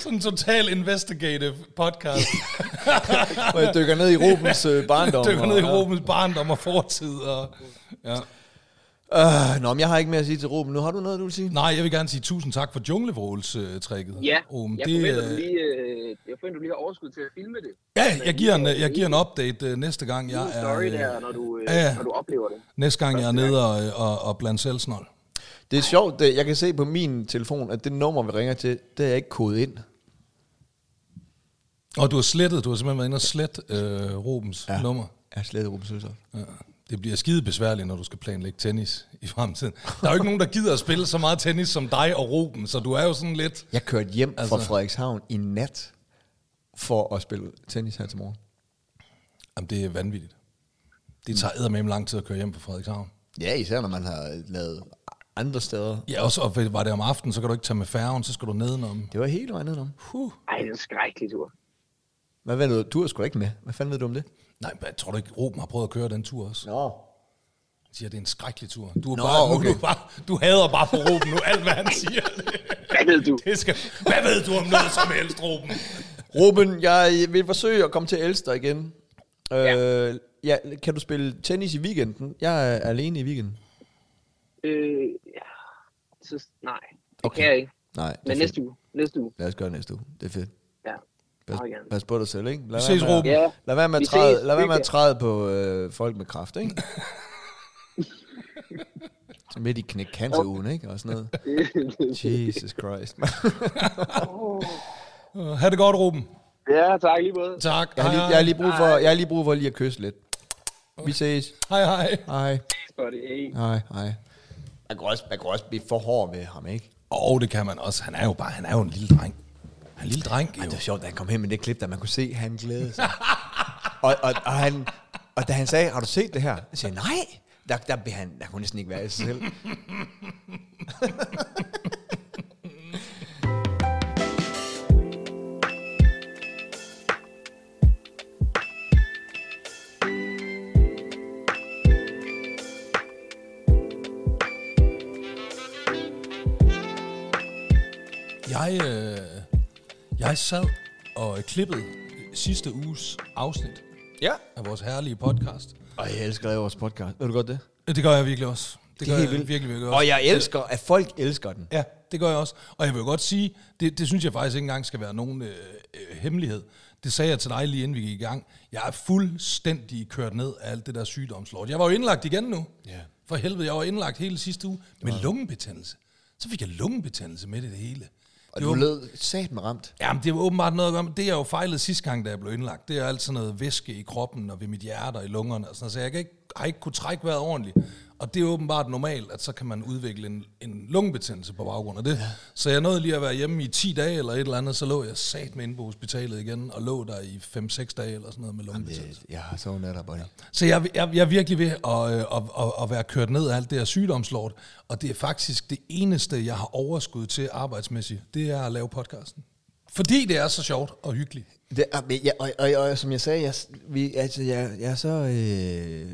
Speaker 1: Sådan en total investigative podcast.
Speaker 2: Hvor jeg dykker ned i Rubens øh, barndom.
Speaker 1: Dykker
Speaker 2: og-
Speaker 1: ned i
Speaker 2: ja.
Speaker 1: Rubens barndom og fortid. Og, ja.
Speaker 2: Øh, nå, men jeg har ikke mere at sige til Ruben. Nu har du noget, du vil sige?
Speaker 1: Nej, jeg vil gerne sige tusind tak for junglevråls-trækket.
Speaker 5: Ja,
Speaker 1: Ruben.
Speaker 5: jeg
Speaker 1: Det,
Speaker 5: forventer, du
Speaker 1: øh,
Speaker 5: lige, øh, jeg forventer, du lige har overskud til at filme det.
Speaker 1: Ja, jeg giver en, jeg giver en update øh, næste gang, jeg
Speaker 5: Ja,
Speaker 1: er,
Speaker 5: story
Speaker 1: øh,
Speaker 5: der, når du, øh,
Speaker 1: ja, ja.
Speaker 5: når du oplever det.
Speaker 1: næste gang jeg er nede og, øh, og, og blandt selv snold.
Speaker 2: Det er sjovt, det, jeg kan se på min telefon, at det nummer, vi ringer til, det er jeg ikke kodet ind.
Speaker 1: Og du har slettet, du har simpelthen været inde og slet øh, Rubens ja. nummer.
Speaker 2: Jeg har slettet Ruben Sølsoft.
Speaker 1: Ja. Det bliver skide besværligt, når du skal planlægge tennis i fremtiden. Der er jo ikke nogen, der gider at spille så meget tennis som dig og Ruben, så du er jo sådan lidt...
Speaker 2: Jeg kørte hjem altså. fra
Speaker 1: Altså.
Speaker 2: Frederikshavn i nat for at spille tennis her til morgen.
Speaker 1: Jamen, det er vanvittigt. Det tager eddermame lang tid at køre hjem på Frederikshavn.
Speaker 2: Ja, især når man har lavet andre steder.
Speaker 1: Ja, også, og var det om aftenen, så kan du ikke tage med færgen, så skal du nedenom.
Speaker 2: Det var helt noget andet om.
Speaker 1: Huh.
Speaker 5: Ej, det er en skrækkelig tur.
Speaker 2: Hvad ved du? Du er sgu da ikke med. Hvad fanden ved du om det?
Speaker 1: Nej, men jeg tror du ikke, Ruben har prøvet at køre den tur også?
Speaker 2: Nå.
Speaker 1: Han siger, det er en skrækkelig tur. Du, er
Speaker 2: Nå,
Speaker 1: bare, nu,
Speaker 2: okay.
Speaker 1: du, er bare, du hader bare på Ruben nu, alt hvad han siger.
Speaker 5: Hvad ved du?
Speaker 1: Det skal, hvad ved du om noget som helst, Ruben?
Speaker 2: Ruben, jeg vil forsøge at komme til Elster igen. Ja. Øh, ja, kan du spille tennis i weekenden? Jeg er alene i weekenden.
Speaker 5: Øh, ja. Så, nej, det
Speaker 2: Okay.
Speaker 5: okay. kan jeg ikke.
Speaker 2: Nej, det er
Speaker 5: Men
Speaker 2: fedt.
Speaker 5: næste uge. Næste uge,
Speaker 2: Lad os gøre det næste uge. Det er fedt.
Speaker 5: ja.
Speaker 2: Pas,
Speaker 5: Meget gerne.
Speaker 2: pas på dig selv, ikke? Lad
Speaker 1: Vi
Speaker 2: være
Speaker 1: ses,
Speaker 2: med at-
Speaker 1: Ruben.
Speaker 5: Ja.
Speaker 2: Lad være med
Speaker 5: Vi
Speaker 2: at træde,
Speaker 5: ses.
Speaker 2: lad være med at
Speaker 5: Hygge.
Speaker 2: træde på øh, folk med kraft, ikke? Så midt i knæk cancer-ugen, ikke? Og sådan noget. Jesus Christ. man.
Speaker 1: Uh, ha' det godt, Ruben.
Speaker 5: ja, tak lige måde.
Speaker 1: Tak.
Speaker 2: Jeg har lige, jeg har lige, brug, for, jeg har lige brug for lige at kysse lidt. Vi ses.
Speaker 1: hej, hej.
Speaker 2: Hej,
Speaker 5: For det er en.
Speaker 2: hej, hej. Man kan også, man kan også blive for hård ved ham, ikke?
Speaker 1: Og det kan man også. Han er jo bare, han er jo en lille dreng. Han er en lille dreng,
Speaker 2: Ej,
Speaker 1: jo.
Speaker 2: det var sjovt, da han kom hen med det klip, der man kunne se, han glædede sig. og, og, og, han, og da han sagde, har du set det her? Jeg sagde, nej. Der, der, blev han, der kunne næsten ikke være i sig selv.
Speaker 1: Jeg, øh, jeg sad og klippede sidste uges afsnit
Speaker 2: ja.
Speaker 1: af vores herlige podcast.
Speaker 2: Og jeg elsker at lave vores podcast. Ved du godt det?
Speaker 1: Det gør jeg virkelig også. Det, det gør jeg
Speaker 2: helt
Speaker 1: virkelig, virkelig også.
Speaker 2: Og jeg elsker, at folk elsker den.
Speaker 1: Ja, det gør jeg også. Og jeg vil jo godt sige, det, det synes jeg faktisk ikke engang skal være nogen øh, øh, hemmelighed. Det sagde jeg til dig lige inden vi gik i gang. Jeg er fuldstændig kørt ned af alt det der sygdomslort. Jeg var jo indlagt igen nu.
Speaker 2: Ja.
Speaker 1: For helvede, jeg var indlagt hele sidste uge med lungebetændelse. Så fik jeg lungebetændelse med i det hele.
Speaker 2: Og
Speaker 1: Jo.
Speaker 2: du lød sat med ramt.
Speaker 1: Jamen, det er jo åbenbart noget at gøre med. Det, jeg jo fejlede sidste gang, da jeg blev indlagt, det er altid noget væske i kroppen og ved mit hjerte og i lungerne. Og sådan, noget. så jeg kan ikke, har ikke kunne trække vejret ordentligt. Og det er åbenbart normalt, at så kan man udvikle en, en lungebetændelse på baggrund af det. Ja. Så jeg nåede lige at være hjemme i 10 dage eller et eller andet, så lå jeg sat med inde på hospitalet igen, og lå der i 5-6 dage eller sådan noget med lungebetændelse.
Speaker 2: Det, jeg har sovet der, buddy.
Speaker 1: Så jeg, jeg, jeg er virkelig ved at, øh, at, at, at være kørt ned af alt det her sygdomslort, og det er faktisk det eneste, jeg har overskud til arbejdsmæssigt, det er at lave podcasten. Fordi det er så sjovt og hyggeligt.
Speaker 2: Det, og, men jeg, og, og, og, som jeg sagde, jeg, vi, altså, jeg, jeg er så øh,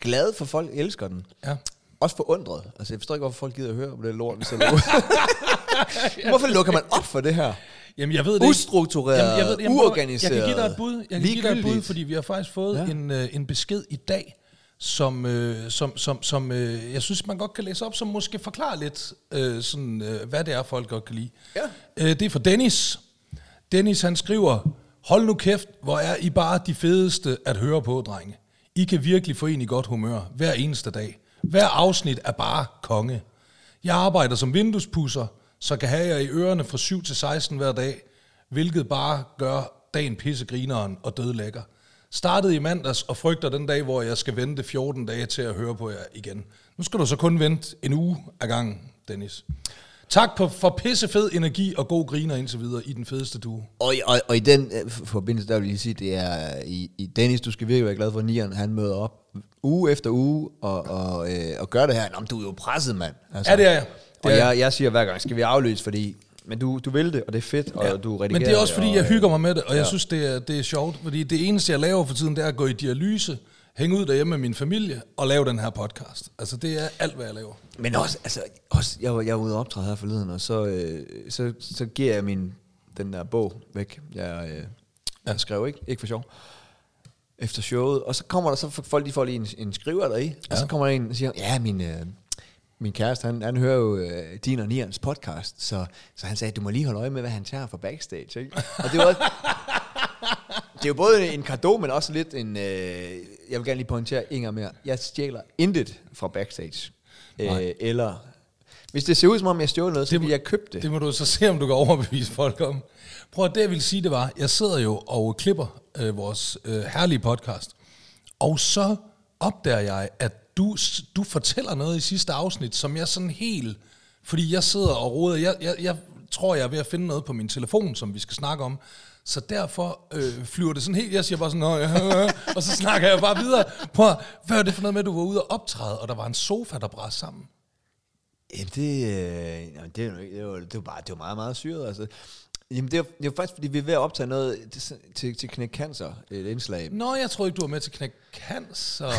Speaker 2: glad for, at folk elsker den.
Speaker 1: Ja.
Speaker 2: Også forundret. Altså, jeg forstår ikke, hvorfor folk gider at høre om det lort, vi selv Hvorfor lukker man op for det her?
Speaker 1: Jamen, jeg ved det
Speaker 2: Ustruktureret,
Speaker 1: ikke. ved det. prøv at-
Speaker 2: uorganiseret,
Speaker 1: Jeg kan give dig et bud, jeg kan give dig et bud
Speaker 2: ligegyldigt.
Speaker 1: fordi vi har faktisk fået ja.
Speaker 2: Ja.
Speaker 1: en, øh, en besked i dag, som, øh, som, som, som øh, jeg synes, man godt kan læse op, som måske forklarer lidt, øh, sådan, øh, hvad det er, folk godt kan lide.
Speaker 2: Ja.
Speaker 1: Øh, det er fra Dennis. Dennis, han skriver, hold nu kæft, hvor er I bare de fedeste at høre på, drenge. I kan virkelig få en i godt humør hver eneste dag. Hver afsnit er bare konge. Jeg arbejder som vinduespusser, så kan have jer i ørerne fra 7 til 16 hver dag, hvilket bare gør dagen pissegrineren og dødlækker. Startede i mandags og frygter den dag, hvor jeg skal vente 14 dage til at høre på jer igen. Nu skal du så kun vente en uge ad gangen, Dennis. Tak på, for pissefed energi og god griner indtil videre i den fedeste duo.
Speaker 2: Og, i- og, og i den øh, f- forbindelse, der vil jeg lige sige, det er øh, i, i Dennis, du skal virkelig være glad for, at Nieren, han møder op uge efter uge og, og, øh, og gør det her. Nå, men du er jo presset, mand. Altså,
Speaker 1: Ja, det er jeg. Det
Speaker 2: og
Speaker 1: er
Speaker 2: jeg, jeg siger hver gang, skal vi aflyse, fordi... Men du, du vil det, og det er fedt, og ja. du redigerer
Speaker 1: Men det er også fordi,
Speaker 2: og,
Speaker 1: jeg
Speaker 2: øh,
Speaker 1: hygger mig med det, og jeg synes, det er, det er sjovt. Fordi det eneste, jeg laver for tiden, det er at gå i dialyse, hænge ud derhjemme med min familie og lave den her podcast. Altså, det er alt, hvad jeg laver.
Speaker 2: Men også, altså, også jeg, var, jeg var ude og optræde her forleden, og så, øh, så, så giver jeg min, den der bog væk, jeg, øh, jeg skrev, ikke? Ikke for sjov. Efter showet. Og så kommer der så folk, de får lige en, en skriver deri, ja. og så kommer der en og siger, ja, min, øh, min kæreste, han, han hører jo øh, din og Nierens podcast, så, så han sagde, du må lige holde øje med, hvad han tager fra backstage, ikke? Og det var også, det er jo både en kado, men også lidt en... Øh, jeg vil gerne lige pointere en gang mere. Jeg stjæler intet fra backstage. Øh, eller... Hvis det ser ud som om, jeg stjåler noget, så vil jeg købe det.
Speaker 1: Det må du så se, om du kan overbevise folk om. Prøv at det, jeg ville sige, det var, jeg sidder jo og klipper øh, vores øh, herlige podcast, og så opdager jeg, at du, s- du fortæller noget i sidste afsnit, som jeg sådan helt... Fordi jeg sidder og roder, jeg, jeg, jeg tror, jeg er ved at finde noget på min telefon, som vi skal snakke om, så derfor øh, flyver det sådan helt, jeg siger bare sådan, "Nå, ja, ja," og så snakker jeg bare videre. Prøv at, hvad er det for noget med, at du var ude og optræde, og der var en sofa, der brændte sammen?
Speaker 2: Jamen, det, øh, jamen, det, er jo ikke- det, var, det, var bare, det var meget, meget syret, altså. Jamen, det er, det er faktisk, fordi vi er ved at optage noget til, til, til Knæk Cancer, et indslag.
Speaker 1: Nå, jeg troede ikke, du var med til Knæk Cancer,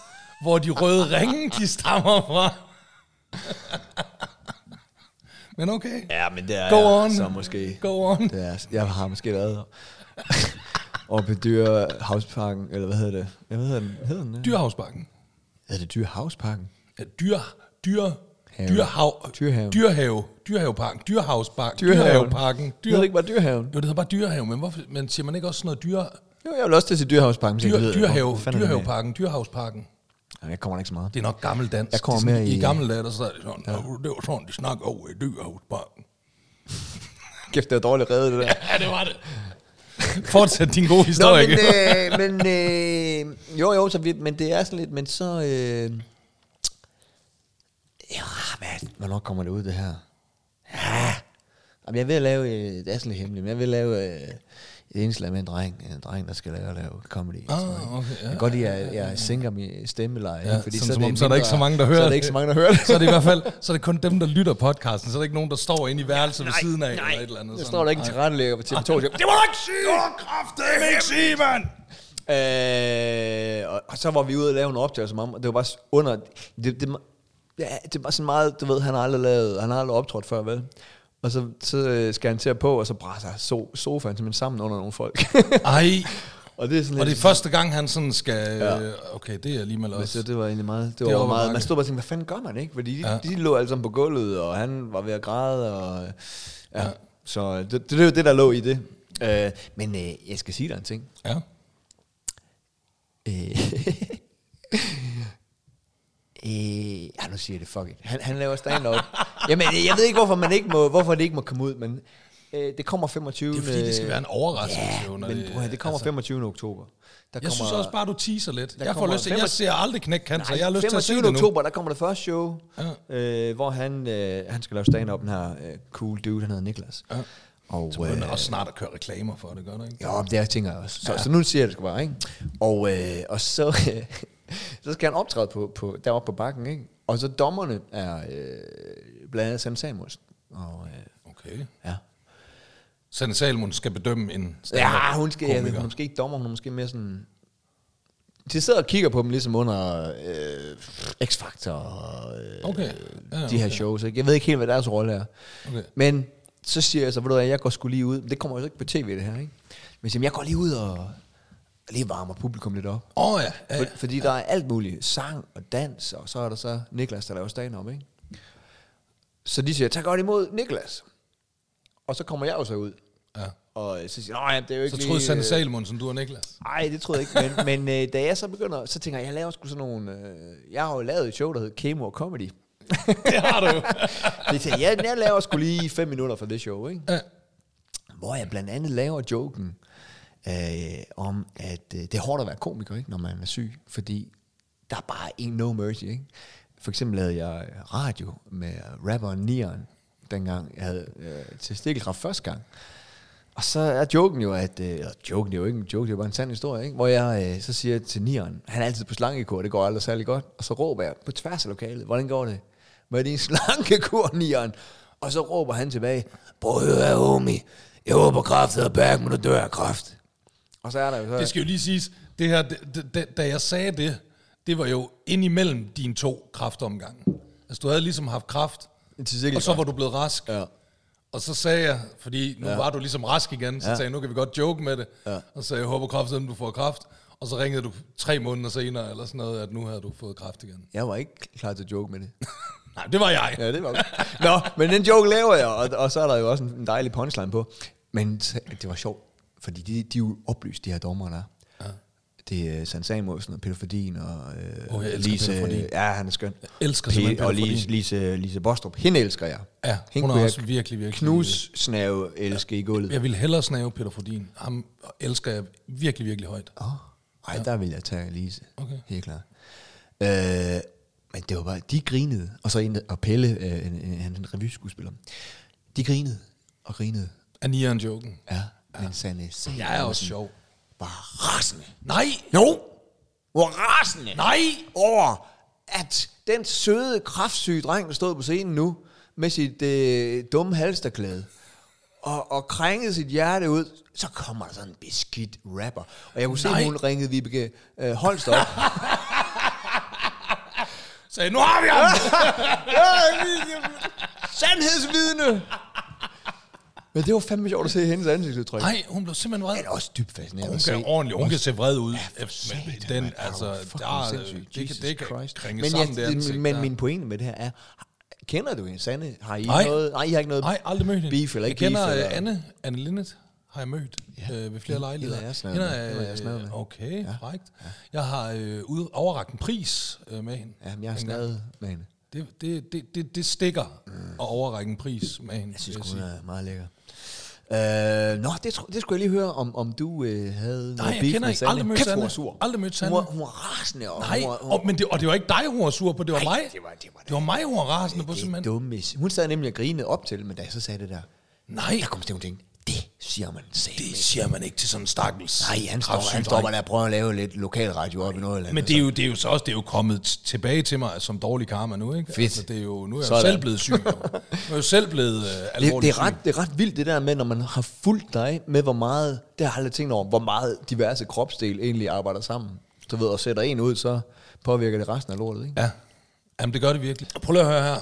Speaker 1: hvor de røde ringe, de stammer fra. Men okay.
Speaker 2: Ja, men det er
Speaker 1: Go
Speaker 2: jeg,
Speaker 1: on.
Speaker 2: så måske.
Speaker 1: Go on.
Speaker 2: Det er, jeg har måske været og på Dyrehavsparken, eller hvad hedder det? Hvad hedder den? Hedder den ja?
Speaker 1: Dyrhavsbakken.
Speaker 2: Er det Dyrehavsparken?
Speaker 1: Ja, dyr, dyr,
Speaker 2: Have.
Speaker 1: dyrhav,
Speaker 2: Dyrhave.
Speaker 1: dyrhave, dyrhaveparken, dyrhavsparken,
Speaker 2: Dyrehaven.
Speaker 1: dyrhaveparken,
Speaker 2: Det hedder ikke bare Dyrehaven.
Speaker 1: Jo, det hedder bare dyrhave, men, hvorfor, men siger man ikke også sådan noget dyr,
Speaker 2: Jo, jeg vil også til at sige Dyrehavsparken. men jeg
Speaker 1: dyr,
Speaker 2: ved-
Speaker 1: dyrhave,
Speaker 2: hvor fanden er det med?
Speaker 1: dyrhaveparken, dyrhavsparken?
Speaker 2: Jamen, Jeg kommer da ikke så meget.
Speaker 1: Det er nok gammel dansk.
Speaker 2: Jeg kommer
Speaker 1: det er sådan,
Speaker 2: mere
Speaker 1: I
Speaker 2: i-
Speaker 1: gamle dage, der sad det sådan, ja. det var sådan, de snakker over i dyrhavsparken.
Speaker 2: Kæft, det var dårligt reddet, det der.
Speaker 1: Ja, det var det. Fortsæt din gode
Speaker 2: Nå,
Speaker 1: historie.
Speaker 2: men, øh, men øh, jo, jo, så vi, men det er sådan lidt, men så... Øh, ja, hvad, hvornår kommer det ud, det her? Ja. Jamen, jeg vil lave, øh, det er sådan lidt hemmeligt, men jeg vil lave øh, et indslag med en dreng, en dreng, der skal lave, lave comedy. Ah,
Speaker 1: okay, ja,
Speaker 2: jeg kan godt lide, at jeg, jeg sænker min stemmeleje,
Speaker 1: Ja,
Speaker 2: ja,
Speaker 1: fordi
Speaker 2: fordi
Speaker 1: sådan,
Speaker 2: så,
Speaker 1: så, som
Speaker 2: er
Speaker 1: om,
Speaker 2: det
Speaker 1: så er der
Speaker 2: mindre-
Speaker 1: ikke så mange, der hører
Speaker 2: Så er der ikke så mange, der hører det.
Speaker 1: så er det i hvert fald så er det kun dem, der lytter podcasten. Så er der ikke nogen, der står inde i værelset ved siden af. eller et eller andet,
Speaker 2: Der står der ikke en tilrettelægger på TV2. Det
Speaker 1: må du ikke sige! Du kraftedeme ikke sige, mand!
Speaker 2: Øh, og, og så var vi ude og lave en optagelse med ham, og det var bare s- under... Det, det, ja, det var sådan meget, du ved, han har aldrig, lavet, han har aldrig optrådt før, vel? Og så, så øh, skal han til at på, og så brænder so, sofaen simpelthen sammen under nogle folk.
Speaker 1: Ej,
Speaker 2: og det er sådan
Speaker 1: og det
Speaker 2: lidt...
Speaker 1: er første gang, han sådan skal... Ja. Okay, det er alligevel
Speaker 2: Men så
Speaker 1: også...
Speaker 2: Altså, det var egentlig meget... Det
Speaker 1: Det
Speaker 2: var,
Speaker 1: var
Speaker 2: det meget
Speaker 1: mørke.
Speaker 2: man stod bare og tænkte, hvad fanden gør man, ikke? Fordi de, ja. de lå alle sammen på gulvet, og han var ved at græde, og... øh, Ja. ja. Så øh, det, det, det er jo det, der lå i det. Øh, men øh, jeg skal sige dig en ting.
Speaker 1: Ja.
Speaker 2: Øh. øh, ja, nu siger jeg det, fuck it. Han, han laver stand-up. Jamen, jeg ved ikke, hvorfor, man ikke må, hvorfor det ikke må komme ud, men øh, det kommer 25.
Speaker 1: Det er fordi, det skal være en overraskelse.
Speaker 2: Ja,
Speaker 1: jo, når
Speaker 2: men prøv, at høre, det kommer altså, 25. oktober. Der
Speaker 1: Jeg synes også bare, du teaser lidt. Jeg får
Speaker 2: kommer
Speaker 1: lyst til, jeg
Speaker 2: 25
Speaker 1: ser aldrig knæk cancer. Jeg har lyst til at se
Speaker 2: 25.
Speaker 1: det nu.
Speaker 2: oktober, der kommer det første show, ja. øh, hvor han, øh, han skal lave stand-up, den her øh, cool dude, han hedder Niklas. Ja. Og, øh,
Speaker 1: Men der er også snart at køre reklamer for det, gør du ikke?
Speaker 2: Jo, men det er- tænker jeg også. Så, ja. så nu siger jeg det sgu bare, ikke? Og, øh, og så, øh, så skal han optræde på, på, deroppe på bakken, ikke? Og så dommerne er øh, blandt andet Sam Samuelsen. Og, øh,
Speaker 1: Okay.
Speaker 2: ja.
Speaker 1: Sanne Salmon skal bedømme en
Speaker 2: ja, hun skal, jeg, ved,
Speaker 1: komiker.
Speaker 2: hun er måske ikke dommer, hun er måske mere sådan... De sidder og kigger på dem ligesom under øh, X-Factor og øh,
Speaker 1: Okay. Ja,
Speaker 2: de her
Speaker 1: okay.
Speaker 2: shows. Ikke? Jeg ved ikke helt, hvad deres rolle er.
Speaker 1: Okay.
Speaker 2: Men så siger jeg så, ved du hvad, jeg går sgu lige ud. Det kommer jo ikke på tv, det her, ikke? Men jeg, siger, jeg går lige ud og lige varmer publikum lidt op.
Speaker 1: Åh oh, ja. ja,
Speaker 2: For,
Speaker 1: ja.
Speaker 2: fordi der er alt muligt. Sang og dans, og så er der så Niklas, der laver stand om, ikke? Så de siger, tag godt imod Niklas. Og så kommer jeg jo så ud.
Speaker 1: Ja.
Speaker 2: Og øh, så siger jeg, nej, det er jo ikke
Speaker 1: Så troede
Speaker 2: lige,
Speaker 1: Sanne
Speaker 2: øh,
Speaker 1: Salmon, som du og Niklas.
Speaker 2: Nej, det troede jeg ikke. Men, men øh, da jeg så begynder, så tænker jeg, jeg laver sgu sådan nogle... Øh, jeg har jo lavet et show, der hedder Kemo og Comedy.
Speaker 1: Det har du.
Speaker 2: Så jeg, tænker, jeg, jeg laver sgu lige fem minutter for det show, ikke?
Speaker 1: Ja.
Speaker 2: Hvor jeg blandt andet laver joken øh, om, at øh, det er hårdt at være komiker, ikke, når man er syg, fordi der er bare en no mercy. Ikke? For eksempel lavede jeg radio med rapperen Neon, dengang jeg havde øh, testikkelkræft første gang. Og så er joken jo, at... Øh, eller joken det er jo ikke en joke, det er jo bare en sand historie, ikke? Hvor jeg øh, så siger til Nieren, han er altid på slankekur, det går aldrig særlig godt. Og så råber jeg på tværs af lokalet, hvordan går det? Med din slankekur, Nieren? Og så råber han tilbage, prøv at høre, her, homie, jeg håber kraftet er back, men du dør af kræft. Og så er der jo så...
Speaker 1: Det skal jo lige siges, det her, det, det, det, da jeg sagde det, det var jo indimellem dine to kraftomgange. Altså, du havde ligesom haft kraft,
Speaker 2: skal,
Speaker 1: og så var du blevet rask.
Speaker 2: Ja.
Speaker 1: Og så sagde jeg, fordi nu ja. var du ligesom rask igen, så ja. sagde jeg, nu kan vi godt joke med det. Ja. Og så sagde jeg, jeg håber kraften, du får kraft. Og så ringede du tre måneder senere, eller sådan noget, at nu havde du fået kraft igen.
Speaker 2: Jeg var ikke klar til at joke med det.
Speaker 1: Nej, det var jeg.
Speaker 2: Ja, det var Nå, men den joke laver jeg, og, og så er der jo også en en dejlig punchline på. Men t- det var sjovt, fordi de, de er jo oplyst, de her dommer, der ja. Det er San Samuelsen og Peter Fordin og øh,
Speaker 1: Åh, jeg elsker Peter Fordin.
Speaker 2: Ja, han er skøn.
Speaker 1: Jeg elsker simpelthen Peter
Speaker 2: Og Lise,
Speaker 1: Fordin.
Speaker 2: Lise, Lise Bostrup, hende elsker jeg.
Speaker 1: Ja, hun er
Speaker 2: kunne jeg
Speaker 1: også virkelig, virkelig-
Speaker 2: Knussnave elsker i gulvet.
Speaker 1: Jeg ville hellere snave Peter Frodin. Ham elsker jeg virkelig, virkelig højt.
Speaker 2: Åh, ej, der vil jeg tage Lise.
Speaker 1: Okay.
Speaker 2: Helt klart. Øh, men det var bare, de grinede, og så en, og Pelle, øh, en, en, han er en revyskuespiller, de grinede og grinede.
Speaker 1: Er nieren joken?
Speaker 2: Ja, men Sanne
Speaker 1: Jeg er også sjov.
Speaker 2: var rasende.
Speaker 1: Nej!
Speaker 2: Jo, var rasende
Speaker 1: Nej!
Speaker 2: over, at den søde, kraftsyge dreng, der stod på scenen nu, med sit øh, dumme halsterklæde, og, og krængede sit hjerte ud, så kommer der sådan en beskidt rapper. Og jeg kunne se,
Speaker 1: Nej.
Speaker 2: at hun ringede Vibeke øh, Holst op.
Speaker 1: Sagde, nu har vi ham!
Speaker 2: Sandhedsvidne! Men det var fandme sjovt at se hendes ansigtsudtryk.
Speaker 1: Nej, hun blev simpelthen vred.
Speaker 2: Det er også dybt fascinerende
Speaker 1: Hun
Speaker 2: at
Speaker 1: kan
Speaker 2: se.
Speaker 1: ordentligt, hun kan se vred ud.
Speaker 2: for
Speaker 1: Ja,
Speaker 2: satan,
Speaker 1: men den,
Speaker 2: mand. Er du
Speaker 1: altså,
Speaker 2: fucking
Speaker 1: der, er-
Speaker 2: sindssyg?
Speaker 1: det, kan,
Speaker 2: Jesus
Speaker 1: det kan
Speaker 2: Christ.
Speaker 1: krænge
Speaker 2: men
Speaker 1: sammen, det
Speaker 2: jeg,
Speaker 1: ansigt.
Speaker 2: Men
Speaker 1: der.
Speaker 2: min pointe med det her er, kender du hende, Sande? Har I
Speaker 1: Nej.
Speaker 2: noget? Nej, I har ikke noget
Speaker 1: Nej, aldrig mødt hende.
Speaker 2: beef eller ikke
Speaker 1: Jeg kender
Speaker 2: beef?
Speaker 1: øh,
Speaker 2: eller?
Speaker 1: Anne, Anne Linnet har jeg mødt ja. øh, ved flere lejligheder.
Speaker 2: hende er jeg snadder med.
Speaker 1: øh,
Speaker 2: Hende er jeg snadder med.
Speaker 1: Okay, ja. frækt. Jeg har øh, ud, overrakt en pris øh, med hende.
Speaker 2: Jamen, jeg har
Speaker 1: en gang.
Speaker 2: snadet med hende.
Speaker 1: Det, det, det, det, det stikker at overrække en pris med hende.
Speaker 2: Jeg synes,
Speaker 1: vil
Speaker 2: hun er meget lækker. Øh, nå, det, tro- det skulle jeg lige høre, om, om du øh, havde
Speaker 1: Nej, jeg kender ikke. Aldrig mødt
Speaker 2: Kæft, hun
Speaker 1: Sanne.
Speaker 2: var sur.
Speaker 1: Aldrig mødt
Speaker 2: Hun
Speaker 1: Sanne.
Speaker 2: var, hun var rasende. Og
Speaker 1: Nej,
Speaker 2: hun var, hun,
Speaker 1: og, men det, og det var ikke dig, hun var sur på, det var
Speaker 2: Nej,
Speaker 1: mig.
Speaker 2: det var- det var da-
Speaker 1: det var mig, hun var rasende på,
Speaker 2: det er
Speaker 1: simpelthen.
Speaker 2: dumme. Hun sad nemlig og grinede op til, men da jeg så sagde det der,
Speaker 1: Nej,
Speaker 2: der kom til, hun tænkte, det siger man selv.
Speaker 1: det siger man ikke til sådan en stakkels
Speaker 2: Nej, han står, han
Speaker 1: kræftsyg
Speaker 2: står
Speaker 1: dreng.
Speaker 2: bare der og prøver at lave lidt lokalradio op i Nordjylland.
Speaker 1: Men det er, jo, det er jo så også det er jo kommet t- tilbage til mig som dårlig karma nu, ikke? Altså,
Speaker 2: Fedt.
Speaker 1: det er jo, nu er jeg jo
Speaker 2: Sådan.
Speaker 1: selv blevet syg. Jo. Nu er jeg jo selv blevet øh,
Speaker 2: det, det,
Speaker 1: alvorligt
Speaker 2: er ret, det er ret vildt det der med, når man har fulgt dig med, hvor meget, det har jeg aldrig tænkt over, hvor meget diverse kropsdel egentlig arbejder sammen. Du ved, og sætter en ud, så påvirker det resten af lortet, ikke?
Speaker 1: syg. Ja, Jamen, det gør det virkelig. Prøv lige at høre her.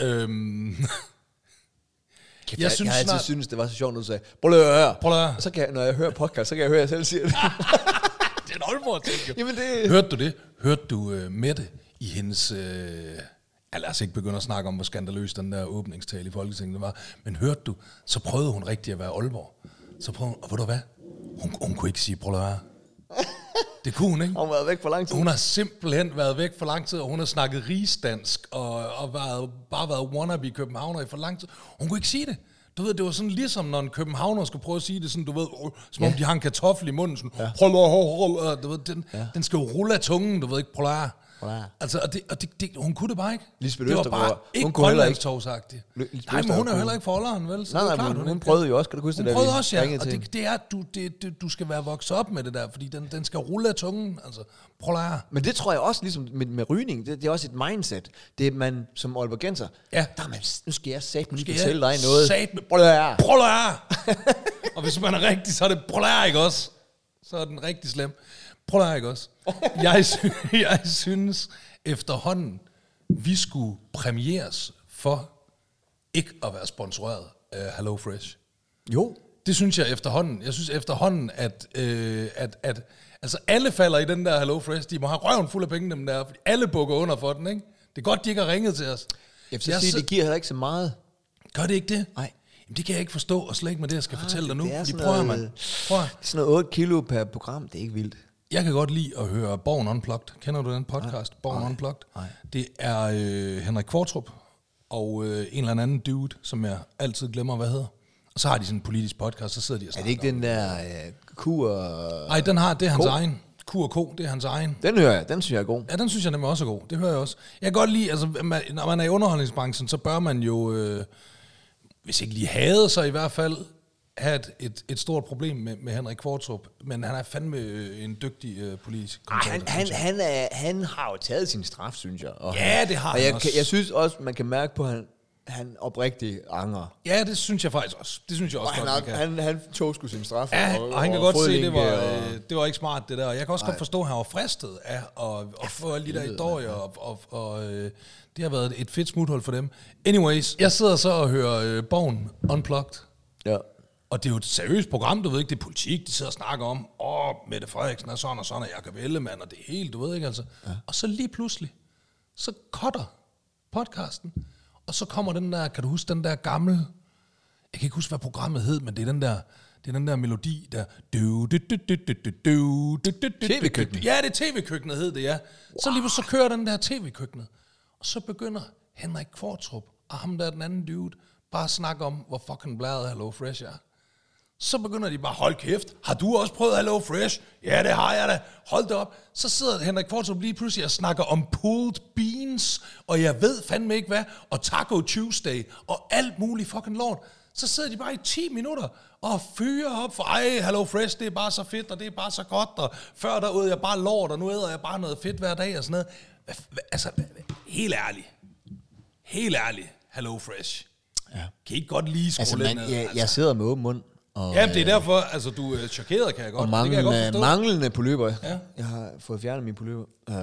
Speaker 1: Øhm,
Speaker 2: Kæft,
Speaker 1: Jeg
Speaker 2: jeg,
Speaker 1: synes
Speaker 2: jeg har altid
Speaker 1: snart-
Speaker 2: synes, det var så sjovt, når du sagde, prøv lige at høre.
Speaker 1: Prøv lige at høre.
Speaker 2: Og Så kan jeg, når jeg hører podcast, så kan jeg høre, at jeg selv siger det.
Speaker 1: det er en Aalborg ting, jo.
Speaker 2: Jamen det...
Speaker 1: Hørte du det? Hørte du øh, Mette i hendes... Øh, ja, lad os ikke begynde at snakke om, hvor skandaløs den der åbningstale i Folketinget var. Men hørte du, så prøvede hun rigtig at være Aalborg. Så prøvede hun, og ved du hvad? Hun, hun kunne ikke sige, prøv lige at høre. Det kunne hun, ikke?
Speaker 2: Har hun været væk for lang tid?
Speaker 1: Hun har simpelthen været væk for lang tid, og hun har snakket rigsdansk, og, og været, bare været wannabe københavner i for lang tid. Hun kunne ikke sige det. Du ved, det var sådan ligesom, når en københavner skulle prøve at sige det, sådan, du ved, åh, som om de har en kartoffel i munden, sådan, ja. hold, hold, hold, du ved, den, ja. den skal jo rulle af tungen, du ved ikke, prøv Altså, og, det, og det, det, hun kunne det bare ikke.
Speaker 2: Lisbeth
Speaker 1: det var
Speaker 2: Østergaard,
Speaker 1: bare
Speaker 2: hun
Speaker 1: ikke
Speaker 2: kunne heller ikke.
Speaker 1: grønlandstovsagtigt.
Speaker 2: Lisbeth
Speaker 1: Nej, men hun er
Speaker 2: Østergaard
Speaker 1: jo heller ikke forholderen, vel? Så
Speaker 2: Nej,
Speaker 1: det er
Speaker 2: nej, men
Speaker 1: klart,
Speaker 2: hun, hun
Speaker 1: ikke
Speaker 2: prøvede jo også, kan du huske
Speaker 1: hun
Speaker 2: det, da
Speaker 1: prøvede
Speaker 2: vi
Speaker 1: også, ja.
Speaker 2: ringede
Speaker 1: Og
Speaker 2: til hende?
Speaker 1: det, det er, du, det, det, du skal være vokset op med det der, fordi den, den skal rulle af tungen. Altså, prøv at lære.
Speaker 2: Men det tror jeg også, ligesom med, med rygning, det, det er også et mindset. Det er, at man som Aalborgenser,
Speaker 1: Ja.
Speaker 2: der er man, nu skal jeg satme lige
Speaker 1: skal
Speaker 2: fortælle dig
Speaker 1: jeg
Speaker 2: noget.
Speaker 1: satme-
Speaker 2: Prøv at høre.
Speaker 1: Prøv at lære. Og hvis man er rigtig, så er det prøv at lære, ikke også? Så er den rigtig slem. Prøv at lære, ikke også? Jeg, sy- jeg synes efterhånden, vi skulle præmieres for ikke at være sponsoreret af Hello Fresh.
Speaker 2: Jo,
Speaker 1: Det synes jeg efterhånden. Jeg synes efterhånden, at, øh, at, at altså alle falder i den der Hello Fresh. De må have røven fuld af penge, dem der, fordi alle bukker under for den, ikke? Det er godt, de ikke har ringet til os.
Speaker 2: jeg vil så sige,
Speaker 1: så-
Speaker 2: det giver heller ikke så meget.
Speaker 1: Gør det ikke det?
Speaker 2: Nej.
Speaker 1: Jamen, det kan jeg ikke forstå, og slet ikke med det, jeg skal fortælle dig nu.
Speaker 2: det er
Speaker 1: Fordi
Speaker 2: sådan
Speaker 1: prøv at,
Speaker 2: noget-
Speaker 1: man. Prøv at,
Speaker 2: Sådan noget 8 kilo per program, det er ikke vildt.
Speaker 1: jeg kan godt lide at høre Born Unplugged. Kender du den podcast, Born Unplugged?
Speaker 2: Nej.
Speaker 1: Det er øh, Henrik Kvartrup og øh, en eller anden dude, som jeg altid glemmer, hvad hedder. Og så har de sådan en politisk podcast, så sidder de og
Speaker 2: Er
Speaker 1: snakker.
Speaker 2: det ikke den der øh, kur...
Speaker 1: Nej, den har, det er hans egen. Q og K, det er hans egen.
Speaker 2: Den hører jeg, den synes jeg er god.
Speaker 1: Ja, den synes jeg nemlig også er god. Det hører jeg også. Jeg kan godt lide, altså, man, når man er i underholdningsbranchen, så bør man jo, øh, hvis ikke lige havde, så i hvert fald have et, et, et stort problem med, med Henrik Kvartrup. Men han er fandme øh, en dygtig øh, politisk
Speaker 2: Ej,
Speaker 1: kommentator,
Speaker 2: han,
Speaker 1: synes
Speaker 2: han,
Speaker 1: jeg.
Speaker 2: han, er, han har jo taget sin straf, synes jeg. Og
Speaker 1: Ja,
Speaker 2: han-
Speaker 1: det har
Speaker 2: og
Speaker 1: han
Speaker 2: jeg,
Speaker 1: også.
Speaker 2: Kan, jeg synes også, man kan mærke på, at han, han oprigtigt angrer.
Speaker 1: Ja, det synes jeg faktisk også. Det synes jeg også
Speaker 2: Og han,
Speaker 1: godt, man
Speaker 2: har-
Speaker 1: kan.
Speaker 2: han, han tog sgu sin straf.
Speaker 1: Ja, og han kan godt se, det var,
Speaker 2: fodlænke og-
Speaker 1: øh, det var ikke smart, det der. Og Jeg kan også godt forstå, at han var fristet af at, at få alle de der historier, og, og, og øh, det har været et fedt smuthul for dem. Anyways, jeg sidder så og hører øh, Born Unplugged,
Speaker 2: Ja.
Speaker 1: og det er jo et seriøst program, du ved ikke, det er politik, de sidder og snakker om, åh, Mette Frederiksen er sådan og sådan, og Jacob Ellemann, og det hele, du ved ikke altså. Ja. Og så lige pludselig, så cutter podcasten, og så kommer den der, kan du huske den der gamle, jeg kan ikke huske, hvad programmet hed, men det er den der, det er den der melodi, der...
Speaker 2: TV-køkkenet.
Speaker 1: Ja, det er tv-køkkenet hed det, ja. Så lige pludselig så kører den der tv-køkkenet. Og så begynder Henrik Kvartrup og ham der den anden dude bare at snakke om, hvor fucking bladet Hello Fresh er. Så begynder de bare, hold kæft, har du også prøvet Hello Fresh? Ja, det har jeg da. Hold da op. Så sidder Henrik Kvartrup lige pludselig og snakker om pulled beans, og jeg ved fandme ikke hvad, og Taco Tuesday, og alt muligt fucking lort. Så sidder de bare i 10 minutter og fyrer op for, ej, Hello Fresh, det er bare så fedt, og det er bare så godt, og før der åd jeg bare lort, og nu æder jeg bare noget fedt hver dag, og sådan noget. Hvad f- hvad- Altså, hvad- hvad- helt ærligt. Helt ærligt, Hello Fresh. Ja. Kan I ikke godt lige skrue
Speaker 2: Altså,
Speaker 1: lidt
Speaker 2: man,
Speaker 1: ned?
Speaker 2: jeg, jeg sidder med åben mund. Og,
Speaker 1: Ja, det er derfor, altså du er chokeret, kan jeg godt.
Speaker 2: og øh,
Speaker 1: det kan jeg godt
Speaker 2: manglende,
Speaker 1: forstå.
Speaker 2: manglende polyper. Ja. Jeg har fået fjernet min polyper. Uh,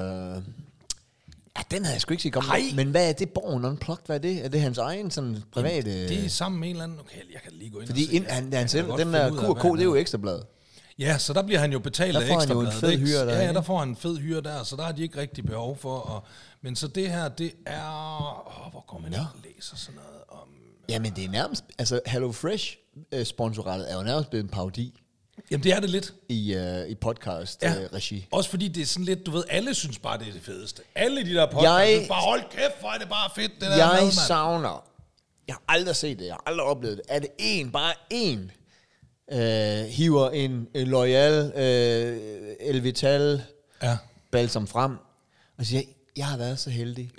Speaker 2: ja, den havde jeg sgu ikke set komme.
Speaker 1: Nej.
Speaker 2: Men hvad er det, Borgen Unplugged? Hvad er det? Er det hans egen sådan private...
Speaker 1: det er sammen med en eller anden, okay, jeg kan lige gå ind
Speaker 2: fordi
Speaker 1: og se.
Speaker 2: ind, han,
Speaker 1: Jeg
Speaker 2: han
Speaker 1: kan
Speaker 2: selv,
Speaker 1: godt
Speaker 2: den
Speaker 1: finde
Speaker 2: der
Speaker 1: ud af,
Speaker 2: Q&K,
Speaker 1: hvad
Speaker 2: det er jo ekstrablad.
Speaker 1: Ja, så der bliver han jo betalt
Speaker 2: Der
Speaker 1: af
Speaker 2: får han
Speaker 1: ekstra
Speaker 2: jo en
Speaker 1: bladet,
Speaker 2: fed
Speaker 1: ikke?
Speaker 2: hyre der,
Speaker 1: Ja, ja,
Speaker 2: ikke?
Speaker 1: der får han en fed hyre der, så der har de ikke rigtig behov for. Og, men så det her, det er... Åh, hvor går man ja. ind og læser sådan noget om...
Speaker 2: Jamen, det er nærmest... Altså, Hello Fresh øh, sponsoratet er jo nærmest blevet en parodi
Speaker 1: Jamen, det er det lidt.
Speaker 2: i, øh, i øh, podcast-regi.
Speaker 1: Også fordi det er sådan lidt, du ved, alle synes bare, det er det fedeste. Alle de der podcasts,
Speaker 2: Jeg-
Speaker 1: jeg... bare hold kæft, hvor er det bare fedt, det der
Speaker 2: jeg
Speaker 1: mad, mand.
Speaker 2: savner, jeg har aldrig set det, jeg har aldrig oplevet det, at en, bare en, øh, hiver en, en L'Oreal øh, Elvital
Speaker 1: Ja.
Speaker 2: balsam frem, og siger, jeg har været så heldig.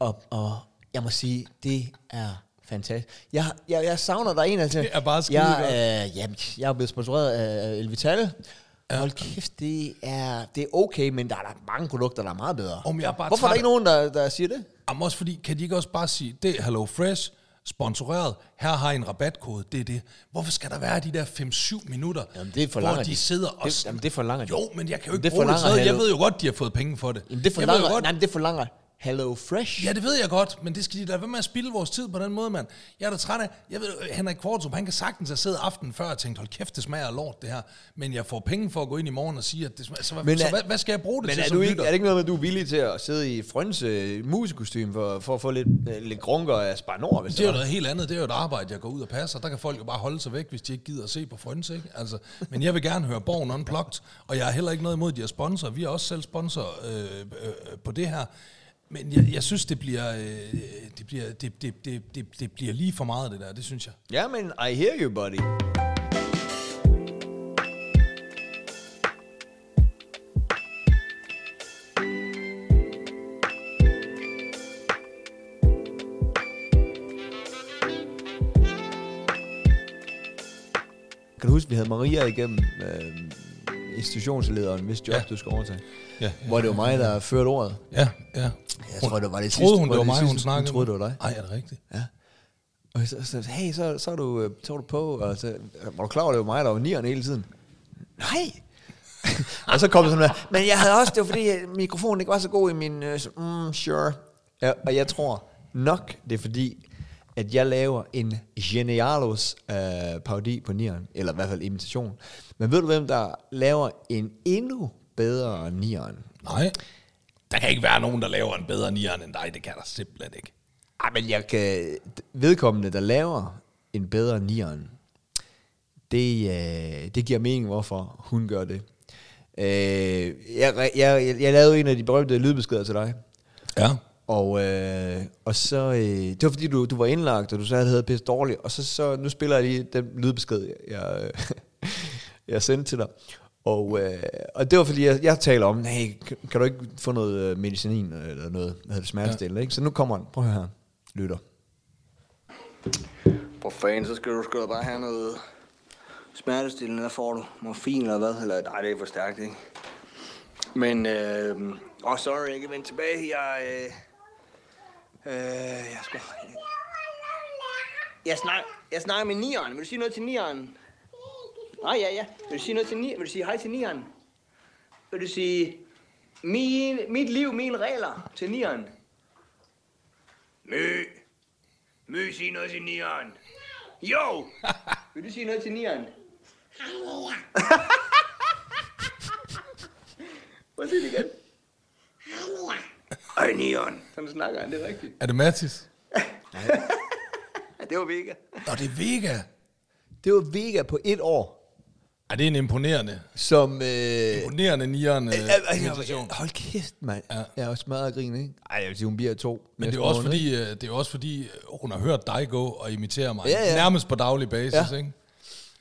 Speaker 2: og, og jeg må sige, det er fantastisk. Jeg, jeg, jeg savner, der er en, der siger,
Speaker 1: Det er bare skide
Speaker 2: jeg, øh, jamen, jeg er blevet sponsoreret af Elvital. Ja. Hold kæft, det er, det er okay, men der er der mange produkter, der er meget bedre.
Speaker 1: Om jeg er bare
Speaker 2: Hvorfor er der
Speaker 1: træt-
Speaker 2: ikke nogen, der, der siger det?
Speaker 1: Jamen også fordi, kan de ikke også bare sige, det er Hello Fresh, sponsoreret, her har I en rabatkode, det er det. Hvorfor skal der være de der 5-7 minutter,
Speaker 2: Jamen, det forlanger
Speaker 1: hvor de
Speaker 2: de.
Speaker 1: sidder og...
Speaker 2: Det- jamen, det forlanger de.
Speaker 1: Jo, men jeg kan jo
Speaker 2: Jamen,
Speaker 1: ikke bruge
Speaker 2: det
Speaker 1: det
Speaker 2: forlanger
Speaker 1: sådan noget. Jeg
Speaker 2: Hello-
Speaker 1: ved jo godt, de har fået penge for det.
Speaker 2: Jamen, det
Speaker 1: jeg ved
Speaker 2: forlanger,
Speaker 1: jo godt,
Speaker 2: nej, men det forlanger Hello Fresh.
Speaker 1: Ja, det ved jeg godt, men det skal de lade være med at spille vores tid på den måde, mand. Jeg er da træt af, jeg ved, øh, Henrik Kvartrup, han kan sagtens have siddet aftenen før og tænkt, hold kæft, det smager af lort det her, men jeg får penge for at gå ind i morgen og sige, at det smager, så, hvad,
Speaker 2: Men
Speaker 1: så
Speaker 2: er-
Speaker 1: hvad, hvad, skal jeg bruge det
Speaker 2: Men
Speaker 1: til
Speaker 2: er,
Speaker 1: som
Speaker 2: du ikke,
Speaker 1: lytter?
Speaker 2: er det ikke noget med, at du er villig til at sidde i Frønse musikostyme for, for at få lidt, øh, lidt grunker af Spar Nord, hvis
Speaker 1: Det er jo
Speaker 2: var?
Speaker 1: noget helt andet. Det er jo et arbejde, jeg går ud og passer. Der kan folk jo bare holde sig væk, hvis de ikke gider at se på Frøns, ikke? Altså, men jeg vil gerne høre Borgen Unplugged, og jeg har heller ikke noget imod, at de er sponsor. Vi er også selv sponsor øh, øh, på det her. Men jeg, jeg synes, det bliver, øh, det, bliver det, det, det, det, det bliver lige for meget, det der. Det synes jeg.
Speaker 2: Ja, men I hear you, buddy. Kan du huske, vi havde Maria igennem øh, institutionslederen, hvis job ja.
Speaker 1: Ja.
Speaker 2: du skal overtage?
Speaker 1: Ja.
Speaker 2: Hvor det var mig, der førte ordet.
Speaker 1: Ja, ja.
Speaker 2: Jeg tror, det var det sidste.
Speaker 1: Troede hun, det var mig, hun snakkede
Speaker 2: troede, det var dig.
Speaker 1: Nej, er det rigtigt?
Speaker 2: Og så, så hey, så, så, er du, øh, så er du på, og så øh, var du klar over, det var mig, der var nieren hele tiden? Nej! og så kom det sådan der, men jeg havde også, det var fordi øh, mikrofonen ikke var så god i min, øh, så, mm, sure. Ja, og jeg tror nok, det er fordi, at jeg laver en Genialos øh, parodi på nieren, eller i hvert fald imitation. Men ved du, hvem der laver en endnu bedre nieren?
Speaker 1: Nej. Der kan ikke være nogen, der laver en bedre nieren end dig. Det kan der simpelthen ikke.
Speaker 2: Ej, men jeg kan... Vedkommende, der laver en bedre nieren, det, øh, det giver mening, hvorfor hun gør det. Øh, jeg, jeg, jeg lavede en af de berømte lydbeskeder til dig,
Speaker 1: Ja.
Speaker 2: og, øh, og så... Øh, det var fordi, du, du var indlagt, og du sagde, at det havde pisse dårligt, og så, så nu spiller jeg lige den lydbesked, jeg, øh, jeg sendte til dig. Og, øh, og det var fordi, jeg, jeg taler om, hey, kan- kan du ikke få noget øh, medicin eller noget, hvad hedder det, smertestillende, ja. ikke? Så nu kommer den. Prøv at høre her, lytter.
Speaker 7: For fanden, så skal du sgu da bare have noget smertestillende, der får du morfin eller hvad, eller nej, det er for stærkt, ikke? Men, øh, oh, sorry, jeg kan vende tilbage, jeg, øh, øh, jeg skal... Jeg snakker, jeg snakker med Nieren. Vil du sige noget til Nieren? Nej, ja, ja. Vil du sige noget til Nieren? Vil du sige hej til Nieren? Vil du sige, min, mit liv, mine regler til Nieren? Mø. Mø, sig noget til Nieren. Jo! Vil du sige noget til Nieren? Prøv at sige det igen. Ej, Nieren. Sådan snakker han, det er rigtigt.
Speaker 1: Er det Mathis?
Speaker 7: Ja, det var Vega.
Speaker 1: Nå, det er Vega.
Speaker 2: Det var Vega på et år,
Speaker 1: Ej, det er en imponerende,
Speaker 2: som... Øh,
Speaker 1: imponerende nieren. Øh, imitation.
Speaker 2: hold kæft, mand. Ja. Jeg er jo smadret af grin, ikke? Ej, jeg vil sige, hun bliver to.
Speaker 1: Men det er, jo også fordi, øh, det er jo også fordi, øh, hun har hørt dig gå og imitere mig.
Speaker 2: Ja, ja.
Speaker 1: Nærmest på daglig basis,
Speaker 2: Ja.
Speaker 1: ja. ikke?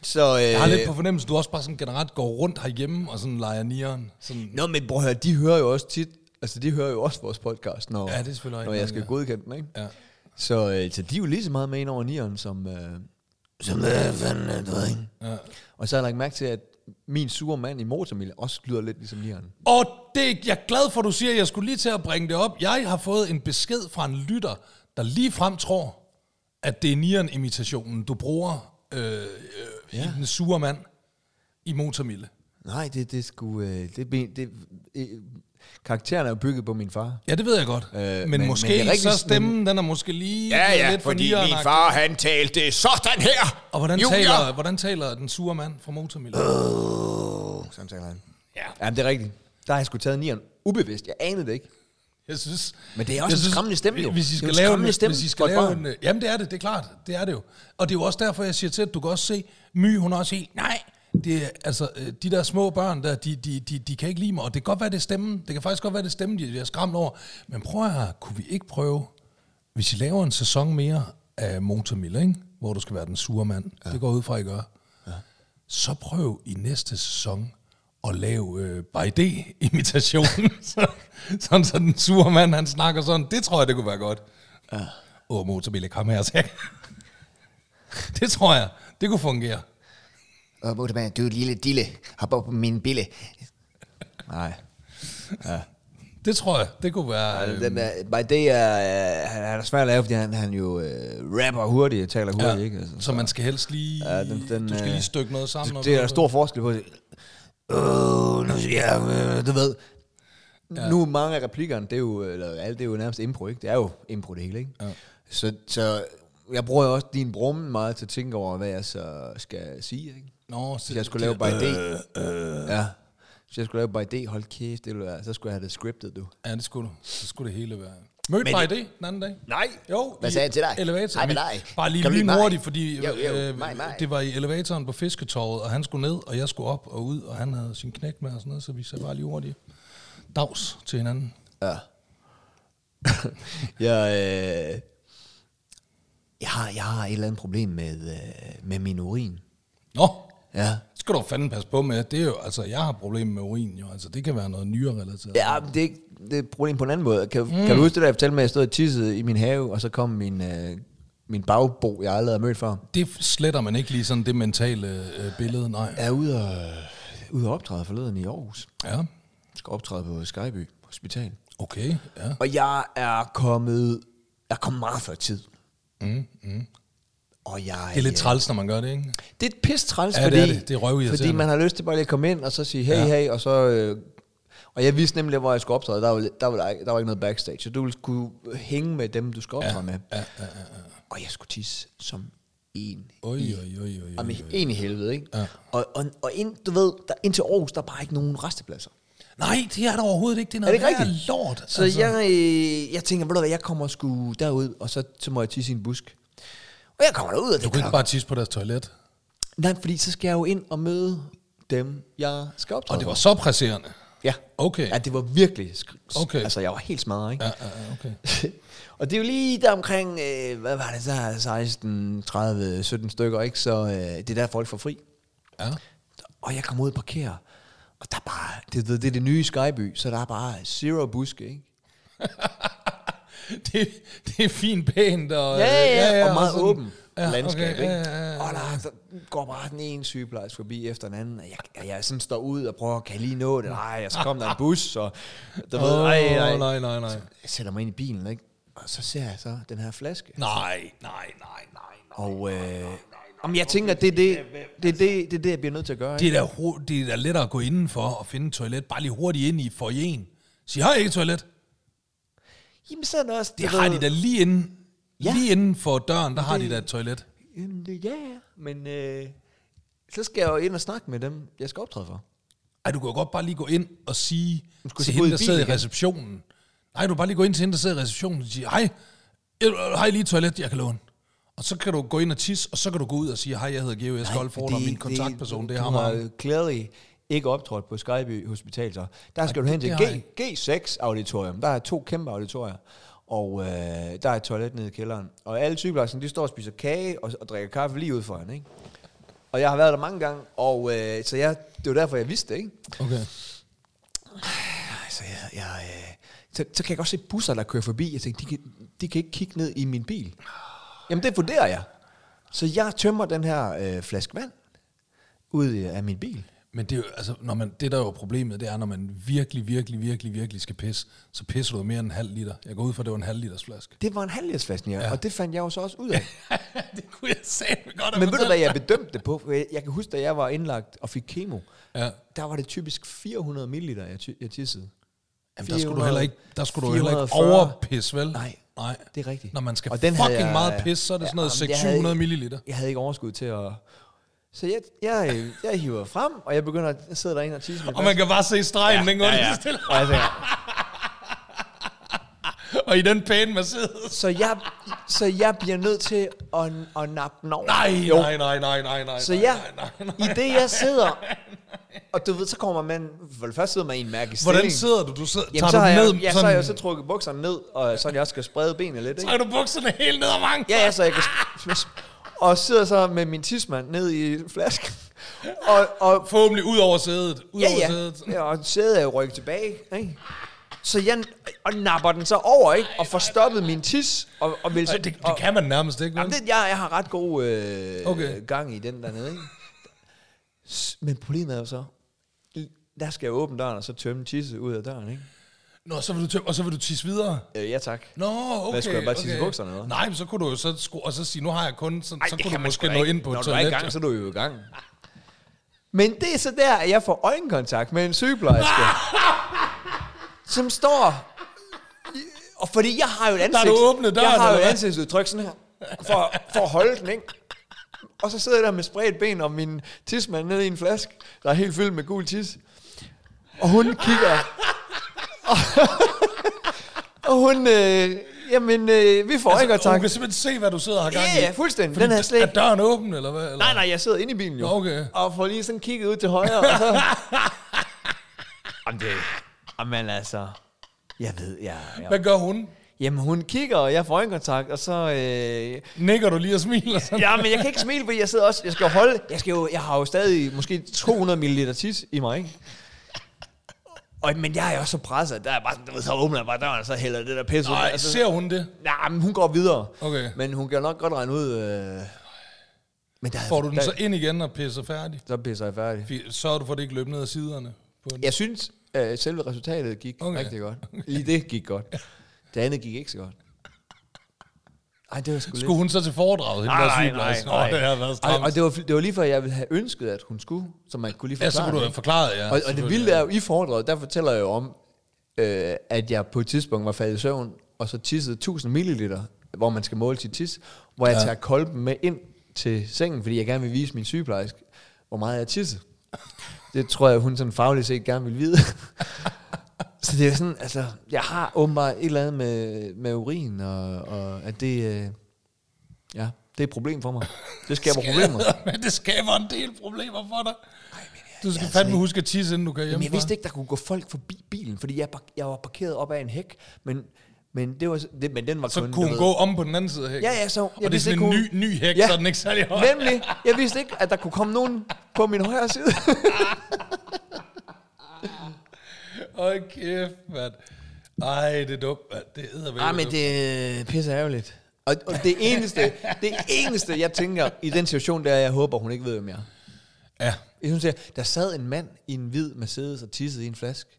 Speaker 2: Så, øh,
Speaker 1: Jeg har lidt på fornemmelse, du også bare sådan generelt går rundt herhjemme og sådan leger nieren. Sådan,
Speaker 2: Nå, men bror, hør, de hører jo også tit... Altså, de hører jo også vores podcast, når,
Speaker 1: Ja, det er selvfølgelig
Speaker 2: når
Speaker 1: rigtigt,
Speaker 2: jeg skal
Speaker 1: ja.
Speaker 2: godkende den, ikke?
Speaker 1: Ja.
Speaker 2: Så, øh, så de er jo lige så meget med ind over nieren, som... Øh, som øh, fanden er det, ikke? Ja. Og så har jeg lagt mærke til, at min sure mand i motormille også lyder lidt ligesom nieren.
Speaker 1: Og det er jeg er glad for, du siger, jeg skulle lige til at bringe det op. Jeg har fået en besked fra en lytter, der lige frem tror, at det er nieren-imitationen, du bruger øh, øh, ja. i den sure mand i Motormille.
Speaker 2: Nej, det, det skulle... Øh, det, det, det, øh, karakteren er jo bygget på min far.
Speaker 1: Ja, det ved jeg godt. Øh, men, men måske
Speaker 2: men det er
Speaker 1: men
Speaker 2: rigtig-
Speaker 1: rigtig, så stemmen, den er måske lige
Speaker 8: Ja, ja,
Speaker 1: lidt for
Speaker 8: fordi
Speaker 1: nieren
Speaker 8: min far, han talte sådan her.
Speaker 1: Og hvordan
Speaker 8: Junior.
Speaker 1: taler, hvordan taler den sure mand fra Motormille?
Speaker 2: Sådan taler han. Ja. Jamen, det er rigtigt. Der har jeg sgu taget nieren ubevidst. Jeg anede det ikke.
Speaker 1: Jeg synes,
Speaker 2: Men det er også
Speaker 1: jeg
Speaker 2: en skræmmende stemme, jo.
Speaker 1: Hvis I
Speaker 2: Det er
Speaker 1: skal
Speaker 2: jo en
Speaker 1: lave
Speaker 2: skræmmende
Speaker 1: en,
Speaker 2: stemme
Speaker 1: hvis I
Speaker 2: for
Speaker 1: skal
Speaker 2: et
Speaker 1: lave
Speaker 2: barn.
Speaker 1: en, øh, jamen det er det, det er klart, det er det jo. Og det er jo også derfor, jeg siger til, at du kan også se, My, hun er også helt, nej, det er, altså, øh, de der små børn der, de, de, de, de kan ikke lide mig, og det kan godt være, det er stemmen, det kan faktisk godt være, det er stemmen, de er skræmt over. Men prøv her, kunne vi ikke prøve, hvis I laver en sæson mere af Motormille, ikke? hvor du skal være den sure mand, ja. det går jeg ud fra, I gør, ja. så prøv i næste sæson at lave øh, Bajde-imitationen, så, sådan så den sure mand, han snakker sådan, det tror jeg, det kunne være godt. Ja. Åh, Motormille, kom her, sagde Det tror jeg, det kunne fungere.
Speaker 6: Åh, Motormand, du lille dille. Hop op på min bille.
Speaker 2: Nej.
Speaker 1: Det tror jeg, det kunne være...
Speaker 2: Altså,
Speaker 1: Øh,
Speaker 2: den er, by day er, øh, han, han er svær at lave, fordi han, han jo øh, rapper hurtigt, taler hurtigt, ja. ikke? Altså,
Speaker 1: så man skal helst lige... Ja, den, den, du skal
Speaker 2: øh,
Speaker 1: lige stykke noget sammen.
Speaker 2: det,
Speaker 1: og
Speaker 2: det er
Speaker 1: noget-
Speaker 2: der stor forskel på. Øh, nu siger jeg, øh, du ved. Ja. Nu er mange af replikkerne, det er jo, eller alt det er jo nærmest impro, ikke? Det er jo impro det hele, ikke? Ja. Så, så jeg bruger jo også din brummen meget til at tænke over, hvad jeg så skal sige, ikke?
Speaker 1: Nå,
Speaker 2: Hvis jeg skulle lave by D.
Speaker 1: øh,
Speaker 2: Ja. Hvis jeg skulle lave by D, hold kæft, det ville være, så skulle jeg have det scripted, du.
Speaker 1: Ja, det skulle, du. så skulle det hele være. Mødte mig det den anden dag.
Speaker 2: Nej.
Speaker 1: Jo,
Speaker 6: Hvad
Speaker 1: i
Speaker 6: sagde han til dig?
Speaker 1: Elevator.
Speaker 6: Hej med dig.
Speaker 1: Bare lige
Speaker 6: Kan du lide mig?
Speaker 1: lynhurtigt, fordi
Speaker 6: Jo, jo,
Speaker 1: øh,
Speaker 6: mig, mig.
Speaker 1: det var i elevatoren på Fisketorvet, og han skulle ned, og jeg skulle op og ud, og han havde sin knæk med og sådan noget, så vi sagde bare lige hurtigt dags til hinanden.
Speaker 2: Ja. jeg, øh, jeg, har, jeg har et eller andet problem med, øh, med min urin.
Speaker 1: Nå,
Speaker 2: Ja.
Speaker 1: skal du fanden passe på med. Det er jo, altså, jeg har problemer med urin, jo. Altså, det kan være noget nyrerelateret.
Speaker 2: Ja, men det er, ikke, det er et problem på en anden måde. Kan, mm. kan du huske det, der jeg fortalte mig, at jeg stod og tissede i min have, og så kom min, øh, min bagbo, jeg aldrig havde mødt før.
Speaker 1: Det sletter man ikke lige sådan det mentale øh, billede, nej.
Speaker 2: Jeg er ude og, ude og optræde forleden i Aarhus.
Speaker 1: Ja,
Speaker 2: Jeg skal optræde på Skyby Hospital.
Speaker 1: okay, ja.
Speaker 2: Og jeg er kommet, jeg er kommet meget før tid. Mm, mm. Og jeg,
Speaker 1: Det er lidt træls, når man gør det, ikke?
Speaker 2: Det er et pis træls,
Speaker 1: Ja, det
Speaker 2: fordi,
Speaker 1: er det. Det er røvirriterende.
Speaker 2: fordi man har lyst til bare lige at komme ind og så sige hey, ja. hey, og så... Øh, og jeg vidste nemlig, hvor jeg skulle optræde. Der var, der var, der var ikke noget backstage, så du ville kunne hænge med dem, du skulle optræde ja. med. Ja, ja, ja, ja. Og jeg skulle tisse som en
Speaker 1: Oj,
Speaker 2: i-
Speaker 1: oj, oj, oj,
Speaker 2: Jamen,
Speaker 1: oj.
Speaker 2: en i helvede, ikke? øh, Ja. Og, og, og ind, du ved, der, ind til Aarhus, der er bare ikke nogen restepladser.
Speaker 1: Nej, det er der overhovedet ikke. Det er
Speaker 2: Er det
Speaker 1: noget
Speaker 2: ikke
Speaker 1: værre
Speaker 2: rigtigt?
Speaker 1: lort.
Speaker 2: Så altså. jeg, øh, jeg tænker, ved du hvad, jeg kommer sgu derud, og så, så må jeg tisse i en busk. Og jeg kommer derud, og det
Speaker 1: Du
Speaker 2: er
Speaker 1: kan ikke
Speaker 2: klokken-
Speaker 1: bare tisse på deres toilet.
Speaker 2: Nej, fordi så skal jeg jo ind og møde dem, jeg skal optræde
Speaker 1: Og det var
Speaker 2: for.
Speaker 1: så presserende.
Speaker 2: Ja.
Speaker 1: Okay.
Speaker 2: Ja, det var virkelig... Sk-
Speaker 1: Okay.
Speaker 2: okay. Altså, jeg var helt smadret, ikke?
Speaker 1: Ja, ja, ja, okay.
Speaker 2: og det er jo lige der omkring, øh, hvad var det så, 16, 30, 17 stykker, ikke? Så øh, det er der, folk får fri.
Speaker 1: Ja.
Speaker 2: Og jeg kommer ud og parkerer, og der er bare, det, det, det er det nye Skyby, så der er bare zero buske, ikke?
Speaker 1: Det, det er fint pænt. Og,
Speaker 2: Ja, ja,
Speaker 1: øh,
Speaker 2: Altså, ja, og meget
Speaker 1: sådan-
Speaker 2: åben ja, landskab,
Speaker 1: okay,
Speaker 2: okay, ikke?
Speaker 1: Ja, ja, ja.
Speaker 2: Og der, der går bare den ene sygeplejerske forbi efter den anden, og jeg, jeg, jeg sådan står ud og prøver, kan jeg lige nå det? Nej, jeg så kom der en bus, og der ved,
Speaker 1: Åh,
Speaker 2: ej, ej.
Speaker 1: nej, nej, nej.
Speaker 2: Jeg sætter mig ind i bilen, ikke? Og så ser jeg så den her flaske.
Speaker 1: Nej, nej, nej, nej. nej.
Speaker 2: Og øh, om jeg tænker, det er det, det, er det, det, er det, jeg bliver nødt til at gøre.
Speaker 1: Det
Speaker 2: Ikke?
Speaker 1: er, da, ho- det er da lettere at gå indenfor og finde et toilet. Bare lige hurtigt ind i foyeren. Sig, har I ikke et toilet?
Speaker 2: Jamen, så er det også...
Speaker 1: Det har de da lige inden. Ja.
Speaker 2: Ja.
Speaker 1: Lige inden for døren, der har de da et toilet.
Speaker 2: Jamen, det, ja, men øh, så skal jeg jo ind og snakke med dem, jeg skal optræde for.
Speaker 1: Ej, du kan jo godt bare lige gå ind og sige til
Speaker 2: skulle så
Speaker 1: hende,
Speaker 2: gå ud i
Speaker 1: der
Speaker 2: bil
Speaker 1: sidder i
Speaker 2: igen.
Speaker 1: receptionen. Nej, du kan bare lige gå ind til hende, der sidder i receptionen og sige, hej, jeg- har I lige et toilet, jeg kan låne? Og så kan du gå ind og tisse, og så kan du gå ud og sige, hej, jeg hedder Geo Eskold Ford, og min kontaktperson, det er ham.
Speaker 2: Du
Speaker 1: og ham."
Speaker 2: har clearly ikke optrådt på Skyby Hospital, så der skal du hen til
Speaker 1: det har jeg
Speaker 2: G, G6-auditorium. Der er to kæmpe auditorier, og øh, der er et toilet nede i kælderen. Og alle sygeplejerskerne, de står og spiser kage og, og drikker kaffe lige ud foran, ikke? Og jeg har været der mange gange, og øh, så jeg, det var derfor, jeg vidste det, ikke?
Speaker 1: Okay.
Speaker 2: Altså, jeg, jeg, øh, så, så kan jeg godt se busser, der kører forbi. Jeg tænker, de kan, de kan ikke kigge ned i min bil. Jamen, det vurderer jeg. Så jeg tømmer den her øh, flaske vand ud øh, af min bil.
Speaker 1: Men det, er jo, altså, når man, det der er jo problemet, det er, når man virkelig, virkelig, virkelig, virkelig skal pisse, så pisser du mere end en halv liter. Jeg går ud fra, at det var en halv liters flaske.
Speaker 2: Det var en halvlitersflaske, ja. Og det fandt jeg jo så også ud af.
Speaker 1: det kunne jeg sætte godt
Speaker 2: Men ved du, hvad jeg bedømte det på? For Jeg jeg kan huske, da jeg var indlagt og fik kemo,
Speaker 1: Ja.
Speaker 2: der var det typisk 400 ml, jeg, ty- jeg tissede.
Speaker 1: Jamen, der skulle du heller ikke, der skulle du heller ikke
Speaker 2: 440.
Speaker 1: overpisse, vel?
Speaker 2: Nej,
Speaker 1: Nej.
Speaker 2: det er rigtigt.
Speaker 1: Når man skal
Speaker 2: Og den havde
Speaker 1: fucking
Speaker 2: jeg-
Speaker 1: meget pisse, så er det sådan noget
Speaker 2: Ja, men jeg havde
Speaker 1: 600
Speaker 2: ikke-
Speaker 1: milliliter.
Speaker 2: Jeg havde ikke overskud til at... Så jeg, jeg, øh, jeg hiver frem, og jeg begynder at sidde derinde og tisse. med
Speaker 1: Og man kan bare se stregen, ja, den går ja, ja. stille.
Speaker 2: Og jeg tænker,
Speaker 1: Og i den pæne Mercedes.
Speaker 2: Så jeg, så jeg bliver nødt til at, at nappe den over.
Speaker 1: Nej,
Speaker 2: Jo.
Speaker 1: nej, nej, nej, nej, nej.
Speaker 2: Så
Speaker 1: nej,
Speaker 2: jeg,
Speaker 1: nej, nej, nej.
Speaker 2: i det jeg sidder, og du ved, så kommer man, for det første sidder man i en mærkelig stilling.
Speaker 1: Hvordan sidder du? Du sidder,
Speaker 2: Jamen, så
Speaker 1: tager
Speaker 2: har
Speaker 1: du
Speaker 2: jeg,
Speaker 1: ned,
Speaker 2: ja, så har jeg jo så trukket bukserne ned, og sådan jeg også skal sprede benene lidt, ikke?
Speaker 1: trækker du bukserne helt ned om anken.
Speaker 2: Ja, ja, så jeg kan... Og sidder så med min tidsmand ned i flasken. Og, og
Speaker 1: Forhåbentlig ud over sædet. Ud
Speaker 2: Ja,
Speaker 1: over
Speaker 2: ja.
Speaker 1: sædet.
Speaker 2: ja og sædet er jo rykket tilbage, ikke? Så jeg og napper den så over, ikke? Og får stoppet min tis, og, og vil så...
Speaker 1: Ej, det, det kan man nærmest ikke, vel?
Speaker 2: Jamen, det, jeg, jeg har ret god øh,
Speaker 1: Okay.
Speaker 2: okay. gang i den dernede, ikke? S- Men problemet er jo så, der skal jeg åbne døren, og så tømme tisse ud af døren, ikke?
Speaker 1: Nå, så vil du tø- og så vil du tisse videre.
Speaker 2: Øh, ja, tak.
Speaker 1: Nå, okay.
Speaker 2: skulle jeg bare tisse i
Speaker 1: okay.
Speaker 2: bukserne, eller hvad?
Speaker 1: Nej, men så kunne du jo så, sku- og så sige, nu har jeg kun, så, Ej, så
Speaker 2: det
Speaker 1: kunne
Speaker 2: kan
Speaker 1: du
Speaker 2: man sgu
Speaker 1: måske
Speaker 2: da
Speaker 1: nå
Speaker 2: ikke.
Speaker 1: ind på et
Speaker 2: Når du er i
Speaker 1: toilet. Altså,
Speaker 2: gang, så er du jo i gang. Men det er så der, at jeg får øjenkontakt med en sygeplejerske. som står... Og fordi jeg har jo et
Speaker 1: Der
Speaker 2: ansigt...
Speaker 1: har du åbnet døren,
Speaker 2: Jeg har jo et
Speaker 1: eller hvad?
Speaker 2: ansigtsudtryk sådan her, for, for at holde den, ikke? Og så sidder jeg der med spredt ben og min tismand nede i en flaske, der er helt fyldt med gul tis. Og hun kigger... Og, og hun... Øh, jamen, øh, vi får altså, ikke
Speaker 1: hun
Speaker 2: tak.
Speaker 1: kan simpelthen se, hvad du sidder og har gang i.
Speaker 2: Ja, ja, fuldstændig.
Speaker 1: Fordi
Speaker 2: Den er slet
Speaker 1: Er
Speaker 2: ikke-
Speaker 1: døren åben, eller hvad? Eller?
Speaker 2: Nej, nej, jeg sidder inde i bilen jo.
Speaker 1: Nå, okay.
Speaker 2: Og får lige sådan kigget ud til højre, og så... Jamen, det... Jamen, altså... Jeg ved, jeg... jeg.
Speaker 1: Hvad gør hun?
Speaker 2: Jamen, hun kigger, og jeg får øjenkontakt, og så... Øh,
Speaker 1: Nikker du lige og smiler sådan?
Speaker 2: ja, men jeg kan ikke smile, fordi jeg sidder også... Jeg skal jo holde... Jeg, skal jo, jeg har jo stadig måske 200 ml tis i mig, ikke? Og, men jeg er også så presset, der er bare sådan, du ved, så åbner jeg bare døren, og så hælder det der pisse ud.
Speaker 1: Nej,
Speaker 2: og så-
Speaker 1: ser hun det?
Speaker 2: Nej, men hun går videre.
Speaker 1: Okay.
Speaker 2: Men hun kan jo nok godt regne ud... Øh, men der,
Speaker 1: Får du den
Speaker 2: Altså, der,
Speaker 1: så ind igen og pisser færdig?
Speaker 2: Så pisser jeg færdig.
Speaker 1: Fy- Sørger du for, at det ikke løb ned ad siderne? På den?
Speaker 2: Jeg synes, at selve resultatet gik
Speaker 1: Okay.
Speaker 2: okay. rigtig godt. Lige det gik godt. Det andet gik ikke så godt. Ej, det var sgu
Speaker 1: Skulle hun så til foredraget? hende
Speaker 2: Nej,
Speaker 1: der
Speaker 2: nej,
Speaker 1: sygeplejerske?
Speaker 2: nej, nej.
Speaker 1: Åh, det har været
Speaker 2: lidt... Ej,
Speaker 1: stramt.
Speaker 2: og det var, det var lige før, jeg ville have ønsket, at hun skulle, så man kunne lige
Speaker 1: Ja,
Speaker 2: forklare
Speaker 1: så kunne du
Speaker 2: det,
Speaker 1: have
Speaker 2: ikke?
Speaker 1: forklaret, ja.
Speaker 2: Og, og det
Speaker 1: selvfølgelig,
Speaker 2: vilde er
Speaker 1: ja.
Speaker 2: jo, i foredraget, der fortæller jeg jo om, øh, at jeg på et tidspunkt var faldet i søvn, og så tissede 1000 milliliter, hvor man skal måle sit tis, hvor jeg
Speaker 1: Ja.
Speaker 2: tager kolben med ind til sengen, fordi jeg gerne vil vise min sygeplejerske, hvor meget jeg tissede. Det tror jeg, hun sådan fagligt set gerne vil vide. Så det er sådan, altså, jeg har åbenbart et eller andet med, med urin, og, og at det, øh, ja, det er et problem for mig. Det skaber problemer.
Speaker 1: Men det skaber en del problemer for dig. Du skal fandme huske at tisse, inden du kan
Speaker 2: Jamen,
Speaker 1: hjemme.
Speaker 2: jeg vidste ikke, der kunne gå folk forbi bilen, fordi jeg, park- jeg var parkeret op ad en hæk, men, men, det var, så- det, men den var
Speaker 1: Så
Speaker 2: kun...
Speaker 1: kunne
Speaker 2: du
Speaker 1: hun
Speaker 2: ved-
Speaker 1: gå om på den anden side af hækken.
Speaker 2: Ja, ja, så...
Speaker 1: Og det er
Speaker 2: vidste
Speaker 1: sådan
Speaker 2: ikke,
Speaker 1: en ny,
Speaker 2: hun-
Speaker 1: ny hæk,
Speaker 2: Ja.
Speaker 1: så den ikke særlig høj.
Speaker 2: Nemlig, jeg vidste ikke, at der kunne komme nogen på min højre side.
Speaker 1: Åh, kæft, mand. Ej, det er dumt, mand. Det er
Speaker 2: Nej, men det er pisse ærgerligt. Og, og det, eneste, det eneste, jeg tænker i den situation, der er, jeg håber, hun ikke ved, hvem jeg er.
Speaker 1: Ja,
Speaker 2: Jeg synes, jeg, der sad en mand i en hvid Mercedes og tissede i en flaske.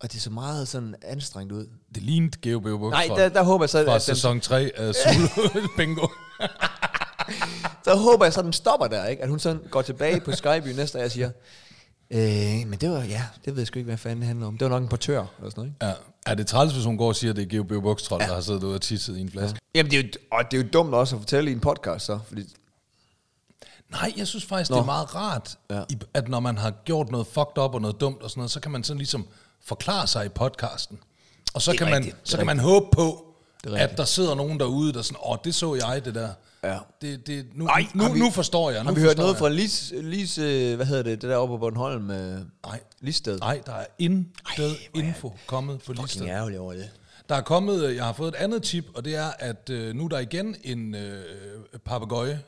Speaker 2: Og det så meget sådan anstrengt ud.
Speaker 1: det lignede Geo Bebo
Speaker 2: Nej,
Speaker 1: fra,
Speaker 2: der, der håber jeg så,
Speaker 1: fra
Speaker 2: at den,
Speaker 1: sæson 3 af Zulu Bingo.
Speaker 2: så håber jeg så, at den stopper der, ikke? At hun sådan går tilbage på Skyby næste dag og siger, øh, men det var, ja, det ved jeg sgu ikke, hvad fanden det handler om. Det var nok en portør, eller sådan noget, ikke?
Speaker 1: Ja. Er det træls, hvis hun går og siger, at det er Geo Bebo Bukstrøm, der har siddet ude og tisset i en flaske?
Speaker 2: Jamen, det er jo, og det er jo dumt også at fortælle i en podcast, så. Fordi,
Speaker 1: Nej, jeg synes faktisk, Nå. det er meget rart, ja.
Speaker 2: Ja.
Speaker 1: at når man har gjort noget fucked up og noget dumt og sådan noget, så kan man sådan ligesom forklare sig i podcasten. Og så, kan man,
Speaker 2: rigtigt, det er
Speaker 1: så kan man håbe på, at
Speaker 2: rigtigt.
Speaker 1: der sidder nogen derude, der sådan, åh, det så jeg, det der.
Speaker 2: Ja.
Speaker 1: Det, det, nu,
Speaker 2: Ej,
Speaker 1: nu,
Speaker 2: har vi-
Speaker 1: nu forstår jeg. Nu
Speaker 2: har vi hørt
Speaker 1: forstår
Speaker 2: noget
Speaker 1: jeg.
Speaker 2: fra Lis, Lis, øh, hvad hedder det, det der oppe på Bornholm? Øh,
Speaker 1: Nej.
Speaker 2: Listed.
Speaker 1: Nej, der er intet info kommet på listen.
Speaker 2: Fucking ærgerlig over det.
Speaker 1: Der er kommet, øh, jeg har fået et andet tip, og det er, at øh, nu er der igen en øh, papegøje,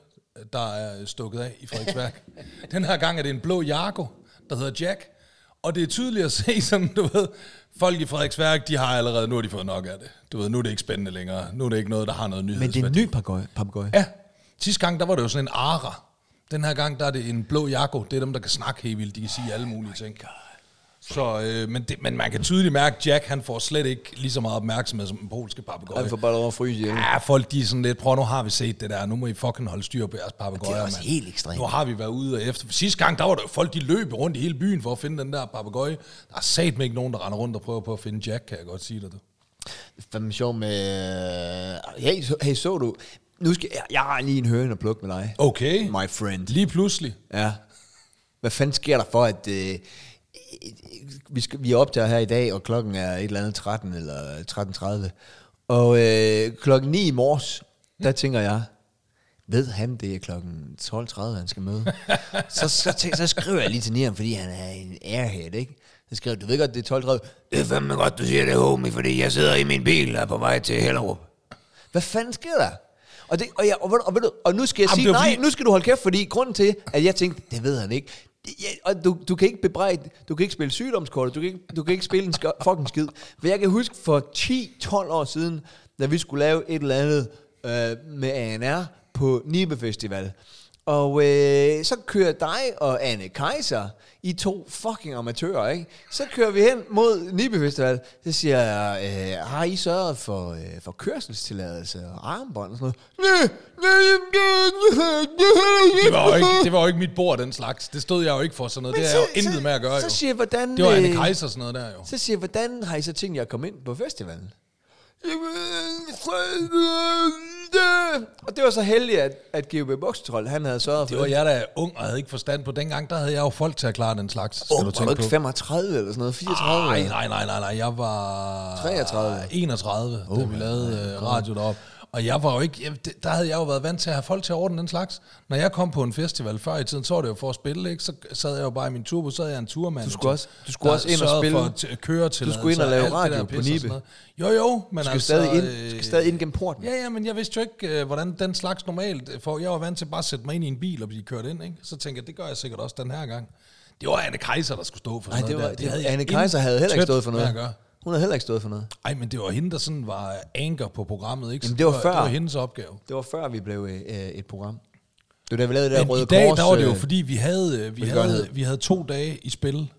Speaker 1: der er stukket af i Frederiksværk. Den her gang er det en blå Jago, der hedder Jack. Og det er tydeligt at se, som du ved, folk i Frederiksværk, de har allerede, nu har de fået nok af det. Du ved, nu er det ikke spændende længere. Nu er det ikke noget, der har noget nyhedsværdi.
Speaker 2: Men det er en ny papegøje. papegøje.
Speaker 1: Ja. Sidste gang, der var det jo sådan en ara. Den her gang, der er det en blå jakko. Det er dem, der kan snakke helt vildt. De kan sige alle
Speaker 6: Oh
Speaker 1: mulige ting. Så, øh, men, det, men man kan tydeligt mærke, at Jack han får slet ikke lige så meget opmærksomhed som den polske papegøje.
Speaker 2: Han får bare lov at fryse ihjel.
Speaker 1: Ja, folk de er sådan lidt, prøv nu har vi set det der, nu må I fucking holde styr på jeres papegøjer.
Speaker 6: Det er også
Speaker 1: mand."
Speaker 6: helt ekstremt.
Speaker 1: Nu har vi været ude og efter. Sidste gang, der var der jo folk, de løb rundt i hele byen for at finde den der papegøje. Der er satme ikke nogen, der render rundt og prøver på at finde Jack, kan jeg godt sige dig det.
Speaker 2: Fandme sjov med... øh, Hey, så, hey, så du... Nu skal jeg, jeg har lige en høne at plukke med dig.
Speaker 1: Okay.
Speaker 2: My friend.
Speaker 1: Lige pludselig.
Speaker 2: Ja. Hvad fanden sker der for, at... Øh, vi, skal, vi optager her i dag, og klokken er et eller andet 13 eller 13.30. Og øh, klokken 9 i morges, der tænker jeg, ved han, det er klokken 12.30, han skal møde. så, så, tæ- så skriver jeg lige til Nian, fordi han er en airhead, ikke? Så skriver jeg, du ved godt, det er 12.30.
Speaker 8: Det er fandme godt, du siger det, homie, fordi jeg sidder i min bil og er på vej til Hellerup.
Speaker 2: Hvad fanden sker der? Og, det, og, jeg, og, ved du- og, ved du, og nu skal jeg
Speaker 1: Jamen,
Speaker 2: Jamen, sige,
Speaker 1: det er jo
Speaker 2: nej,
Speaker 1: fordi-
Speaker 2: fordi... nu skal du holde kæft, fordi grunden til, at jeg tænkte, det ved han ikke. Det- Ja, og du, du kan ikke bebrejde, du kan ikke spille sygdomskortet, du kan ikke, du kan ikke spille en sk- fucking skid. For jeg kan huske for 10-12 år siden, da vi skulle lave et eller andet øh, med ANR på Nibe Festival. Og øh, så kører dig og Anne Kaiser, I to fucking amatører, ikke? Så kører vi hen mod Nibe Festival. Så siger jeg, øh, har I sørget for, øh, for kørselstilladelse og armbånd og sådan noget?
Speaker 1: Det var, jo ikke, det var jo ikke mit bord, den slags. Det stod jeg jo ikke for sådan noget.
Speaker 2: Men
Speaker 1: det er
Speaker 2: så-
Speaker 1: jo intet
Speaker 2: så-
Speaker 1: med at gøre,
Speaker 2: så
Speaker 1: jo.
Speaker 2: siger, hvordan,
Speaker 1: det var Anne
Speaker 2: øh,
Speaker 1: Kaiser og sådan noget der, jo.
Speaker 2: Så siger jeg, hvordan har I så tænkt jer at komme ind på festivalen?
Speaker 1: øh,
Speaker 2: Og det var så heldigt, at, at G.O.B. Buxtroll, han havde sørget for
Speaker 1: Det var jeg, der er ung og havde ikke forstand på. Dengang, der havde jeg jo folk til at klare den slags. Skal
Speaker 2: Ung, var du ikke 35 eller sådan noget? 34?
Speaker 1: Nej,
Speaker 2: eller?
Speaker 1: nej, nej, nej, nej. Jeg var...
Speaker 2: 33.
Speaker 1: 31, oh, da vi lavede øh, radio deroppe. Og jeg var jo ikke... Jeg, det- der havde jeg jo været vant til at have folk til at ordne den slags. Når jeg kom på en festival før i tiden, så var det jo for at spille, ikke? Så sad jeg jo bare i min turbo, så havde jeg en turmand.
Speaker 2: Du skulle også- du skulle også ind og spille.
Speaker 1: For t- køre til
Speaker 2: Du skulle ind og lave radio på Nibe.
Speaker 1: Jo, jo, men
Speaker 2: Du skal,
Speaker 1: altså...
Speaker 2: stadig ind, du
Speaker 1: øh,
Speaker 2: skal stadig ind gennem porten.
Speaker 1: Ja, ja, men jeg vidste jo ikke, øh, hvordan den slags normalt... øh, For jeg var vant til bare at sætte mig ind i en bil og blive kørt ind, ikke? Så tænkte jeg, det gør jeg sikkert også den her gang. Det var Anne Kaiser, der skulle stå for
Speaker 2: Nej,
Speaker 1: sådan
Speaker 2: det var,
Speaker 1: noget der.
Speaker 2: det,
Speaker 1: havde
Speaker 2: det,
Speaker 1: jeg
Speaker 2: Anne Kaiser havde heller ikke
Speaker 1: intet
Speaker 2: stået for
Speaker 1: med at gøre.
Speaker 2: noget. Hun havde heller ikke stået for noget.
Speaker 1: Ej, men det var hende, der sådan var anker på programmet, ikke? Så
Speaker 2: Jamen, det var før.
Speaker 1: Det var hendes opgave.
Speaker 2: Det var før, vi blev øh, øh, et program. Det var da, vi lavede det der
Speaker 1: Men
Speaker 2: Røde
Speaker 1: i dag,
Speaker 2: Kors.
Speaker 1: der var det jo,
Speaker 2: øh,
Speaker 1: fordi vi havde, øh, vi, havde,
Speaker 2: velgørenhed.
Speaker 1: vi havde to dage i spil,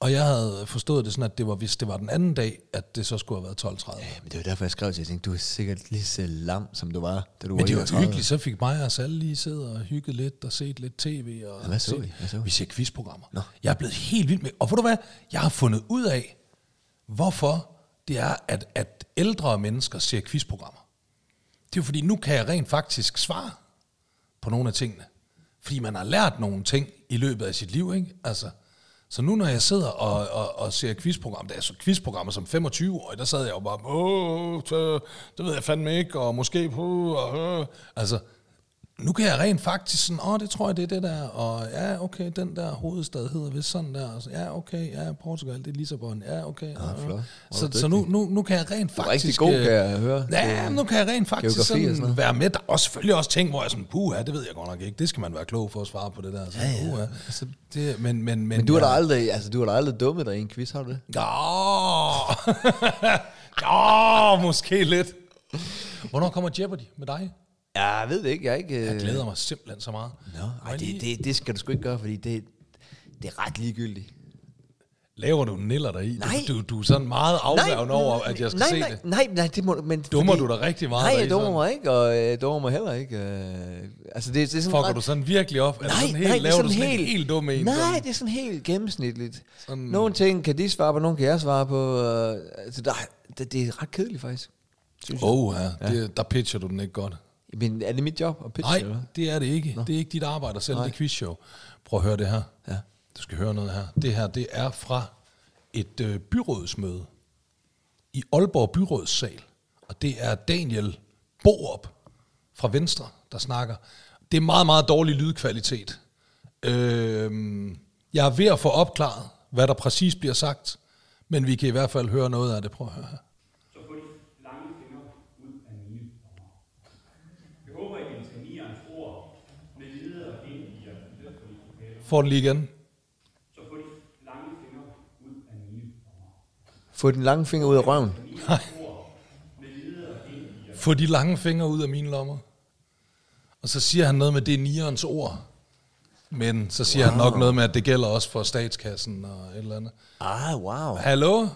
Speaker 1: og jeg havde forstået det sådan, at det var, hvis det var den anden dag, at det så skulle have været 12.30.
Speaker 2: Men det var derfor, jeg skrev til jer, jeg tænkte, du er sikkert lige så lam, som du var, da du
Speaker 1: Men det var
Speaker 2: 31.
Speaker 1: hyggeligt, så fik mig og os alle lige siddet og hygget lidt og set lidt tv. Og
Speaker 2: Ja, hvad så vi? Hvad så vi?
Speaker 1: vi ser quizprogrammer.
Speaker 2: Nå.
Speaker 1: Jeg er blevet helt vild med, og ved du hvad, jeg har fundet ud af, hvorfor det er, at, at ældre mennesker ser quizprogrammer. Det er jo fordi, nu kan jeg rent faktisk svare på nogle af tingene. Fordi man har lært nogle ting i løbet af sit liv, ikke? Altså, så nu når jeg sidder og, og, og ser quizprogrammer, der er så quizprogrammer som 25-årig, der sad jeg jo bare, åh, tø, det ved jeg fandme ikke, og måske, puh, og, øh. altså, nu kan jeg rent faktisk sådan, åh, det tror jeg, det er det der, og ja, okay, den der hovedstad hedder vist sådan der, og så, ja, okay, ja, Portugal, det er Lissabon, ja, okay. Ja,
Speaker 2: flot. Hvor er
Speaker 1: Så,
Speaker 2: du
Speaker 1: så nu, nu, nu kan jeg rent
Speaker 2: er
Speaker 1: faktisk...
Speaker 2: rigtig god,
Speaker 1: øh,
Speaker 2: kan jeg høre.
Speaker 1: Ja,
Speaker 2: Det-
Speaker 1: nu kan jeg rent faktisk
Speaker 2: Geografi
Speaker 1: sådan,
Speaker 2: og sådan noget.
Speaker 1: være med. Der er også, selvfølgelig også ting, hvor jeg er sådan, puha, det ved jeg godt nok ikke. Det skal man være klog for at svare på det der. Så, ja, ja. Puha. Så det, men, men, men,
Speaker 2: Altså, Men du har da aldrig, altså, du har da aldrig dummet dig i en quiz, har du det?
Speaker 1: Ja, måske lidt. Hvornår kommer Jeopardy med dig?
Speaker 2: Ja, jeg ved det ikke, jeg er ikke... øh,
Speaker 1: Jeg glæder mig simpelthen så meget.
Speaker 2: Nå,
Speaker 1: Må
Speaker 2: ej,
Speaker 1: jeg lige-
Speaker 2: det, det, det skal du sgu ikke gøre, fordi det, det er ret ligegyldigt.
Speaker 1: Laver du niller dig i?
Speaker 2: Nej.
Speaker 1: Du, du er sådan meget afværende over, at jeg skal
Speaker 2: nej,
Speaker 1: se
Speaker 2: nej,
Speaker 1: det.
Speaker 2: Nej, nej, det må du... Men
Speaker 1: Dummer du dig rigtig meget
Speaker 2: Nej,
Speaker 1: deri,
Speaker 2: jeg dummer
Speaker 1: sådan?
Speaker 2: mig ikke, og øh, jeg dummer mig heller ikke. Øh, altså, det, det er sådan...
Speaker 1: Fucker
Speaker 2: ret-
Speaker 1: du sådan virkelig op?
Speaker 2: Nej,
Speaker 1: sådan helt,
Speaker 2: nej, det er
Speaker 1: laver
Speaker 2: sådan
Speaker 1: du sådan
Speaker 2: helt,
Speaker 1: en helt dum en?
Speaker 2: Nej,
Speaker 1: sådan?
Speaker 2: det er sådan helt gennemsnitligt. Sådan. Nogle ting kan de svare på, nogle kan jeg svare på. Øh, altså, der, det, det er ret kedeligt, faktisk.
Speaker 1: Oh, ja. Det, der pitcher du den ikke godt.
Speaker 2: Men er det mit job at pitche?
Speaker 1: Nej,
Speaker 2: eller hvad?
Speaker 1: det er det ikke. Nå. Det er ikke dit arbejde at sælge det quizshow. Prøv at høre det her.
Speaker 2: Ja.
Speaker 1: Du skal høre noget her. Det her, det er fra et øh, byrådsmøde i Aalborg Byrådssal. Og det er Daniel Borup fra Venstre, der snakker. Det er meget, meget dårlig lydkvalitet. Øhm, jeg er ved at få opklaret, hvad der præcis bliver sagt, men vi kan i hvert fald høre noget af det. Prøv at høre her.
Speaker 9: så få de lange fingre ud af mine lommer. Jeg håber, at din tanier ord med videre og ind i jer lidt for de lokaler.
Speaker 1: Får den lige igen.
Speaker 9: Så få de lange fingre ud af mine lommer.
Speaker 2: Få den lange finger ud af røven.
Speaker 1: Få de lange fingre ud af mine lommer. Og så siger han noget med, det er nierens ord. Men så siger wow. han nok noget med, at det gælder også for statskassen og et eller andet.
Speaker 2: Ah, wow.
Speaker 1: Hallo?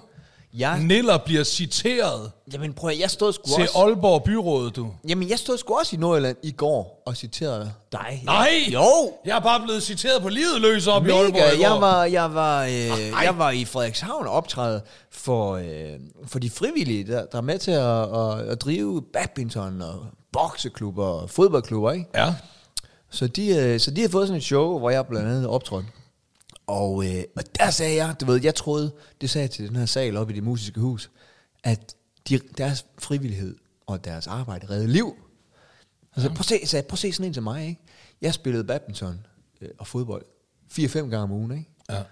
Speaker 2: Jeg,
Speaker 1: Niller bliver citeret
Speaker 2: jamen prøv at, jeg stod sgu
Speaker 1: til
Speaker 2: også...
Speaker 1: Aalborg Byråd, du.
Speaker 2: Jamen, jeg stod sgu også i Nordjylland i går og citerede dig.
Speaker 1: Nej!
Speaker 2: Jo!
Speaker 1: Jeg er bare blevet citeret på livet løs op i Aalborg i
Speaker 2: Mega.
Speaker 1: går. Ah,
Speaker 2: Jeg var, jeg, var, øh, jeg var i Frederikshavn og optræde for, øh, for de frivillige, der, der er med til at, at, at drive badminton og bokseklubber og fodboldklubber. Ikke?
Speaker 1: Ja.
Speaker 2: Så, de, øh, så de har fået sådan et show, hvor jeg blandt andet optrådte. Og, øh, og der sagde jeg, du ved, jeg troede, det sagde jeg til den her sal oppe i det musiske hus, at de, deres frivillighed og deres arbejde redde liv. Og så Altså, prøv at se, sagde, jeg, prøv at se sådan en til mig, ikke? Jeg spillede badminton øh, og fodbold 4-5 gange om ugen, ikke?
Speaker 1: Ja.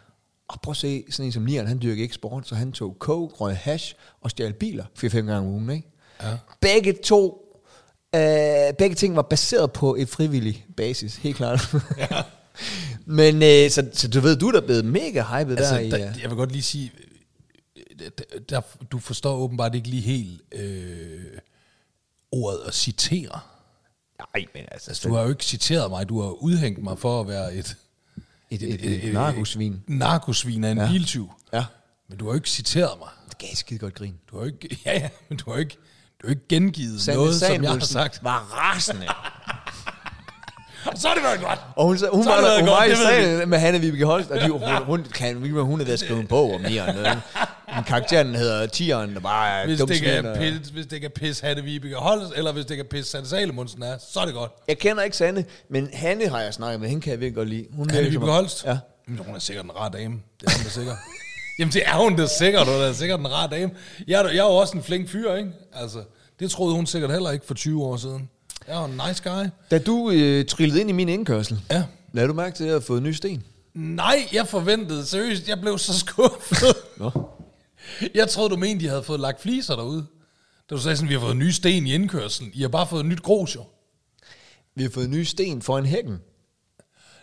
Speaker 2: Og prøv at se, sådan en som Nieren, han dyrkede ikke sport, så han tog coke, røg hash og stjal biler 4-5 gange om ugen, ikke?
Speaker 1: Ja.
Speaker 2: Begge to, øh, begge ting var baseret på et frivillig basis, helt klart. Ja. Men øh, så, så du ved, du er da blevet mega hyped
Speaker 1: Altså,
Speaker 2: altså, der, i,
Speaker 1: der,
Speaker 2: der
Speaker 1: jeg vil godt lige sige, øh, der, der, du forstår åbenbart ikke lige helt øh, ordet at citere.
Speaker 2: Nej, men altså...
Speaker 1: Altså, du har jo ikke citeret mig, du har udhængt mig for at være et,
Speaker 2: Et, et, et, et narkosvin.
Speaker 1: narkosvin af en ja. biltyv.
Speaker 2: Ja.
Speaker 1: Men du har jo ikke citeret mig.
Speaker 2: Det gav skide godt grin.
Speaker 1: Du har jo ikke, ja, ja, men du har jo ikke, du har ikke gengivet Sande noget, som jeg har sagt.
Speaker 2: var rasende.
Speaker 1: Og så er det været godt.
Speaker 2: Og hun, sa- hun,
Speaker 1: Så har
Speaker 2: var,
Speaker 1: det været
Speaker 2: der, hun
Speaker 1: godt,
Speaker 2: var i
Speaker 1: det ved
Speaker 2: salen med Hanne Vibeke Holst, og de, hun, hun, kan, hun, hun er ved at skrive en bog om Nieren. øh. Men karakteren hedder Tieren, der bare er
Speaker 1: Hvis
Speaker 2: dum
Speaker 1: det, ikke
Speaker 2: svin,
Speaker 1: er
Speaker 2: og-
Speaker 1: pis, hvis det ikke er pis Hatte Vibeke Holst, eller hvis det ikke er pis Sande Salemonsen er, så er det godt.
Speaker 2: Jeg kender ikke Sande, men Hanne har jeg snakket med. Hende kan jeg virkelig godt lide. Hun
Speaker 1: Hatte
Speaker 2: virker som-
Speaker 1: Vibeke Holst?
Speaker 2: Ja.
Speaker 1: Jamen, hun er sikkert en rar dame. Det er hun da sikkert. Jamen, det er hun da sikkert. Hun er da sikkert en rar dame. Jeg er, da- jeg er jo også en flink fyr, ikke? Altså, det troede hun sikkert heller ikke for 20 år siden. Jeg er jo en nice guy.
Speaker 2: Da du øh, trillede ind i min indkørsel,
Speaker 1: Ja.
Speaker 2: lagde du mærke til, at jeg havde fået en ny sten?
Speaker 1: Nej, jeg forventede. Seriøst, jeg blev så skuffet.
Speaker 2: Nå.
Speaker 1: Jeg troede, du mente, de havde fået lagt fliser derude. Da du sagde sådan, vi har fået nye sten i indkørslen. I har bare fået nyt grus, jo.
Speaker 2: Vi har fået en ny sten foran hækken.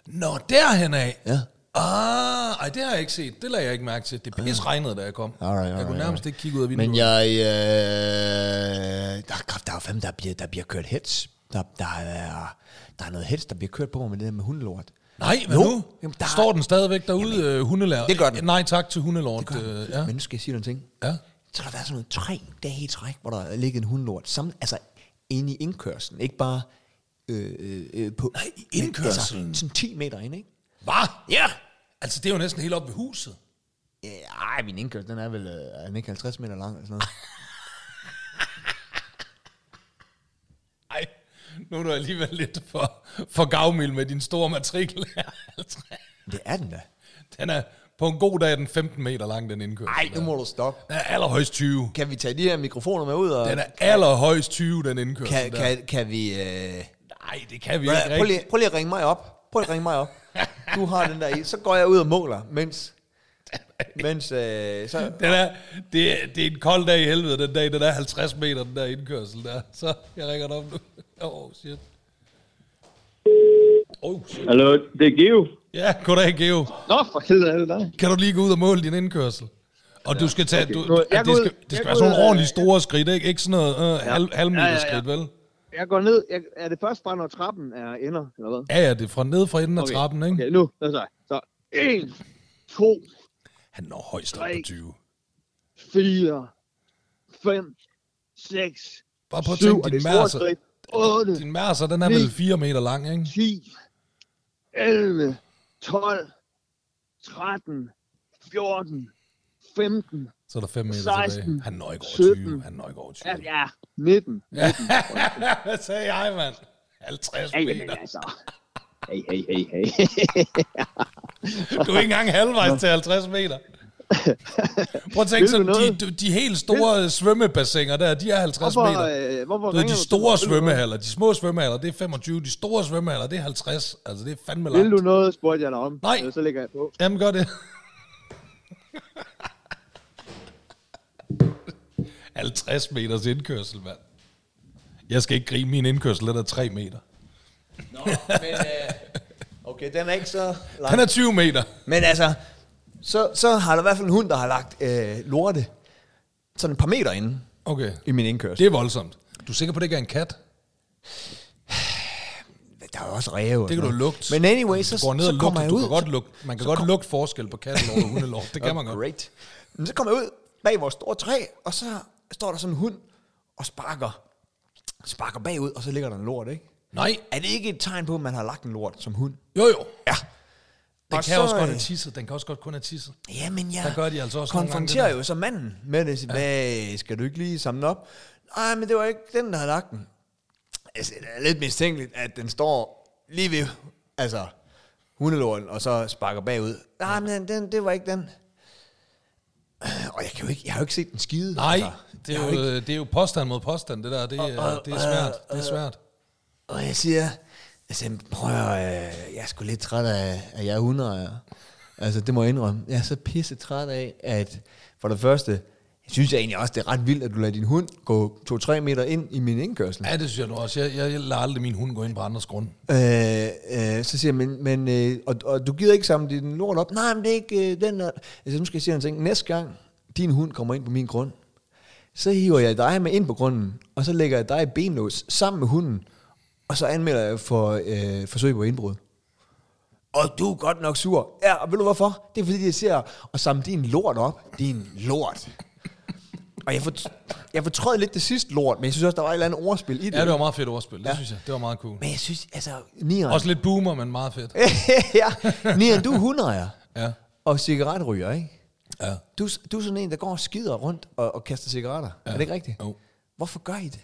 Speaker 1: Nå, derhen af.
Speaker 2: Ja.
Speaker 1: Ah, ej, det har jeg ikke set. Det lagde jeg ikke mærke til. Det pis regnede, da jeg kom.
Speaker 2: Alright, alright,
Speaker 1: jeg kunne nærmest
Speaker 2: alright.
Speaker 1: ikke kigge ud af vinduet.
Speaker 2: Men jeg... Øh, der, er kraft- der er jo fem, der bliver, der bliver kørt hets. Der, der, er, der er noget hets, der bliver kørt på mig med det der med hundelort.
Speaker 1: Nej, hvad
Speaker 2: Jo.
Speaker 1: nu?
Speaker 2: Jamen,
Speaker 1: Jamen,
Speaker 2: der-
Speaker 1: der... Står den stadigvæk derude, Jamen, øh, hundelærer?
Speaker 2: det gør den.
Speaker 1: Nej, tak til hundelort. Øh, ja.
Speaker 2: Men nu skal jeg sige dig en ting.
Speaker 1: ja.
Speaker 2: Så har der været sådan noget tre dage i træk, hvor der ligger en hundelort sammen, altså inde i indkørselen, ikke bare øh, øh, øh, på... Nej,
Speaker 1: i indkørslen?
Speaker 2: Altså, sådan 10 meter ind, ikke?
Speaker 1: Hvad? Ja! Altså, det er jo næsten helt op ved huset.
Speaker 2: Ja, Ej, min indkørsel, den er vel øh, er den ikke 50 meter lang eller sådan noget.
Speaker 1: Ej, nu er du alligevel lidt for, for gavmild med din store matrikel. Altså,
Speaker 2: Det er den da.
Speaker 1: den er på en god dag er den 15 meter lang, den indkørsel.
Speaker 2: Nej, nu må du stoppe.
Speaker 1: Den er allerhøjst 20.
Speaker 2: Kan vi tage de her mikrofoner med ud? Og
Speaker 1: Den er allerhøjst 20, den indkørsel
Speaker 2: kan,
Speaker 1: der.
Speaker 2: kan, kan vi... Øh,
Speaker 1: Nej, det kan vi ikke
Speaker 2: prøv,
Speaker 1: rigtigt.
Speaker 2: lige, prøv lige at ringe mig op. Prøv lige at ringe mig op. Du har den der i. Så går jeg ud og måler, mens... Mens... Øh, så,
Speaker 1: Den er, det, er, det er en kold dag i helvede, den dag, den er 50 meter, den der indkørsel der. Så jeg ringer dig op nu. Åh, oh, shit. Oh, shit.
Speaker 10: Hallo, det er Geo.
Speaker 1: Ja, goddag, Geo.
Speaker 10: Nå, for helvede er det dig.
Speaker 1: Kan du lige gå ud og måle din indkørsel? Og du skal tage, du,
Speaker 10: Nu, jeg
Speaker 1: ja,
Speaker 10: går
Speaker 1: det skal,
Speaker 10: ud-
Speaker 1: det skal
Speaker 10: jeg
Speaker 1: være
Speaker 10: går
Speaker 1: sådan
Speaker 10: ud,
Speaker 1: nogle
Speaker 10: øh,
Speaker 1: ordentlige store skridt, ikke? Ikke sådan noget øh, halv, halvmeter
Speaker 10: Ja, ja, ja.
Speaker 1: skridt, vel?
Speaker 10: Jeg går ned. Jeg, er det først bare, når trappen er ender, eller hvad?
Speaker 1: Ja, ja, det er fra ned fra enden af
Speaker 10: Okay,
Speaker 1: trappen, ikke?
Speaker 10: Okay, nu. Lad os se. Så 1, 2,
Speaker 1: Han når højst op på
Speaker 10: Tre.
Speaker 1: 20.
Speaker 10: 4, 5, 6,
Speaker 1: Bare på at
Speaker 10: 7,
Speaker 1: tænke,
Speaker 10: og det
Speaker 1: din
Speaker 10: er et
Speaker 1: mærser,
Speaker 10: stort skridt. 8,
Speaker 1: din mærser, den er vel 4 meter lang, ikke?
Speaker 10: 10, 11, 12, 13, 14, 15,
Speaker 1: Så er der 5 meter
Speaker 10: 16,
Speaker 1: tilbage. Han når ikke over
Speaker 10: 17.
Speaker 1: 20. Han når ikke over 20.
Speaker 10: ja, ja 19. Ja,
Speaker 1: Hvad sagde jeg, mand? 50
Speaker 10: jamen
Speaker 1: meter.
Speaker 10: altså. Hey, hey, hey, hey.
Speaker 1: Du er ikke engang halvvejs til 50 meter. Prøv at tænke
Speaker 10: Vil du
Speaker 1: sådan, de,
Speaker 10: noget?
Speaker 1: de, de helt store svømmebassiner der, de er 50
Speaker 10: Hvorfor,
Speaker 1: meter.
Speaker 10: øh, hvorfor
Speaker 1: Du ved,
Speaker 10: ringer
Speaker 1: de
Speaker 10: du til mig?
Speaker 1: store
Speaker 10: Vil du noget?
Speaker 1: svømmehaller, de små svømmehaller, det er 25. De store svømmehaller, det er 50. Altså, det er fandme
Speaker 10: Vil du
Speaker 1: langt.
Speaker 10: noget, spurgte jeg dig om.
Speaker 1: Nej.
Speaker 10: Øh, Så lægger jeg på.
Speaker 1: Jamen, gør det. 50 meters indkørsel, mand. Jeg skal ikke grine min indkørsel, den er 3 meter.
Speaker 2: øh, okay, den er ikke så lang.
Speaker 1: Den er 20 meter.
Speaker 2: Men altså, så, så har der i hvert fald en hund, der har lagt øh, lorte sådan et par meter inde
Speaker 1: Okay,
Speaker 2: i min indkørsel.
Speaker 1: det er voldsomt. Du er sikker på, det ikke er en kat?
Speaker 2: Det, der er jo også ræve. og
Speaker 1: Det kan
Speaker 2: sådan
Speaker 1: du
Speaker 2: noget.
Speaker 1: lugte.
Speaker 2: Men anyway,
Speaker 1: Hvis
Speaker 2: så,
Speaker 1: du
Speaker 2: så
Speaker 1: går ned og
Speaker 2: kommer
Speaker 1: lugter.
Speaker 2: jeg
Speaker 1: Du
Speaker 2: ud.
Speaker 1: kan godt lugte, man kan godt
Speaker 2: kom- Oh,
Speaker 1: lugte forskel på kattelort og hundelort. Det kan man godt.
Speaker 2: Great. Men så kommer jeg ud bag vores store træ, og så står der sådan en hund og sparker, sparker bagud, og så ligger der en lort, ikke?
Speaker 1: Nej,
Speaker 2: Er det ikke et tegn på, at man har lagt en lort som hund?
Speaker 1: jo jo.
Speaker 2: Ja.
Speaker 1: Den
Speaker 2: Og
Speaker 1: kan
Speaker 2: så,
Speaker 1: også godt
Speaker 2: øh,
Speaker 1: have tisset. Den kan også godt kun have tisset.
Speaker 2: Jamen, jeg
Speaker 1: Der gør de altså også nogle gange
Speaker 2: konfronterer
Speaker 1: det
Speaker 2: jo så manden med det. Siger, Hvad, skal du ikke lige samle den op? Nej, men det var ikke den, der havde lagt den. Altså, det er lidt mistænkeligt, at den står lige ved, altså, hundelorten, og så sparker bagud. Nej, men den, det var ikke den. Øh, Og jeg, kan jo ikke, jeg har jo ikke set den skide.
Speaker 1: Nej,
Speaker 2: altså.
Speaker 1: det
Speaker 2: Jeg
Speaker 1: er,
Speaker 2: har
Speaker 1: jo, det er jo påstand mod påstand, det der. Det, er, det er svært. Det er svært.
Speaker 2: Og jeg siger, altså, prøv at, høre, øh, jeg er sgu lidt træt af, at jeg er 100. Ja. Altså, det må jeg indrømme. Jeg er så pisse træt af, at for det første, jeg synes jeg egentlig også, det er ret vildt, at du lader din hund gå 2-3 meter ind i min indkørsel.
Speaker 1: Ja, det synes jeg nu også. Jeg, jeg, jeg lader aldrig min hund gå ind på andres grund.
Speaker 2: Øh, øh, så siger jeg, men, men øh, og, og, du gider ikke samle din lort op? Nej, men det er ikke øh, den der. Altså, nu skal jeg sige en ting. Næste gang, din hund kommer ind på min grund, så hiver jeg dig med ind på grunden, og så lægger jeg dig i benlås sammen med hunden, Og så anmelder jeg for øh, forsøg på indbrud. Og du er godt nok sur. Ja, og ved du hvorfor? Det er fordi, jeg ser og samle din lort op. Din lort. Og jeg, for, jeg fortrød lidt det sidste lort, men jeg synes også, der var et eller andet ordspil i det.
Speaker 1: Ja, det var meget fedt ordspil, det synes jeg. Det var meget cool.
Speaker 2: Men jeg synes, altså, Nieren...
Speaker 1: Også lidt boomer, men meget fedt.
Speaker 2: ja, Nieren, du er hundejer.
Speaker 1: Ja.
Speaker 2: Og cigaretryger, ikke?
Speaker 1: Ja.
Speaker 2: Du, du er sådan en, der går og skider rundt og, og kaster cigaretter. Ja. Er det ikke rigtigt?
Speaker 1: Jo.
Speaker 2: Hvorfor gør I det?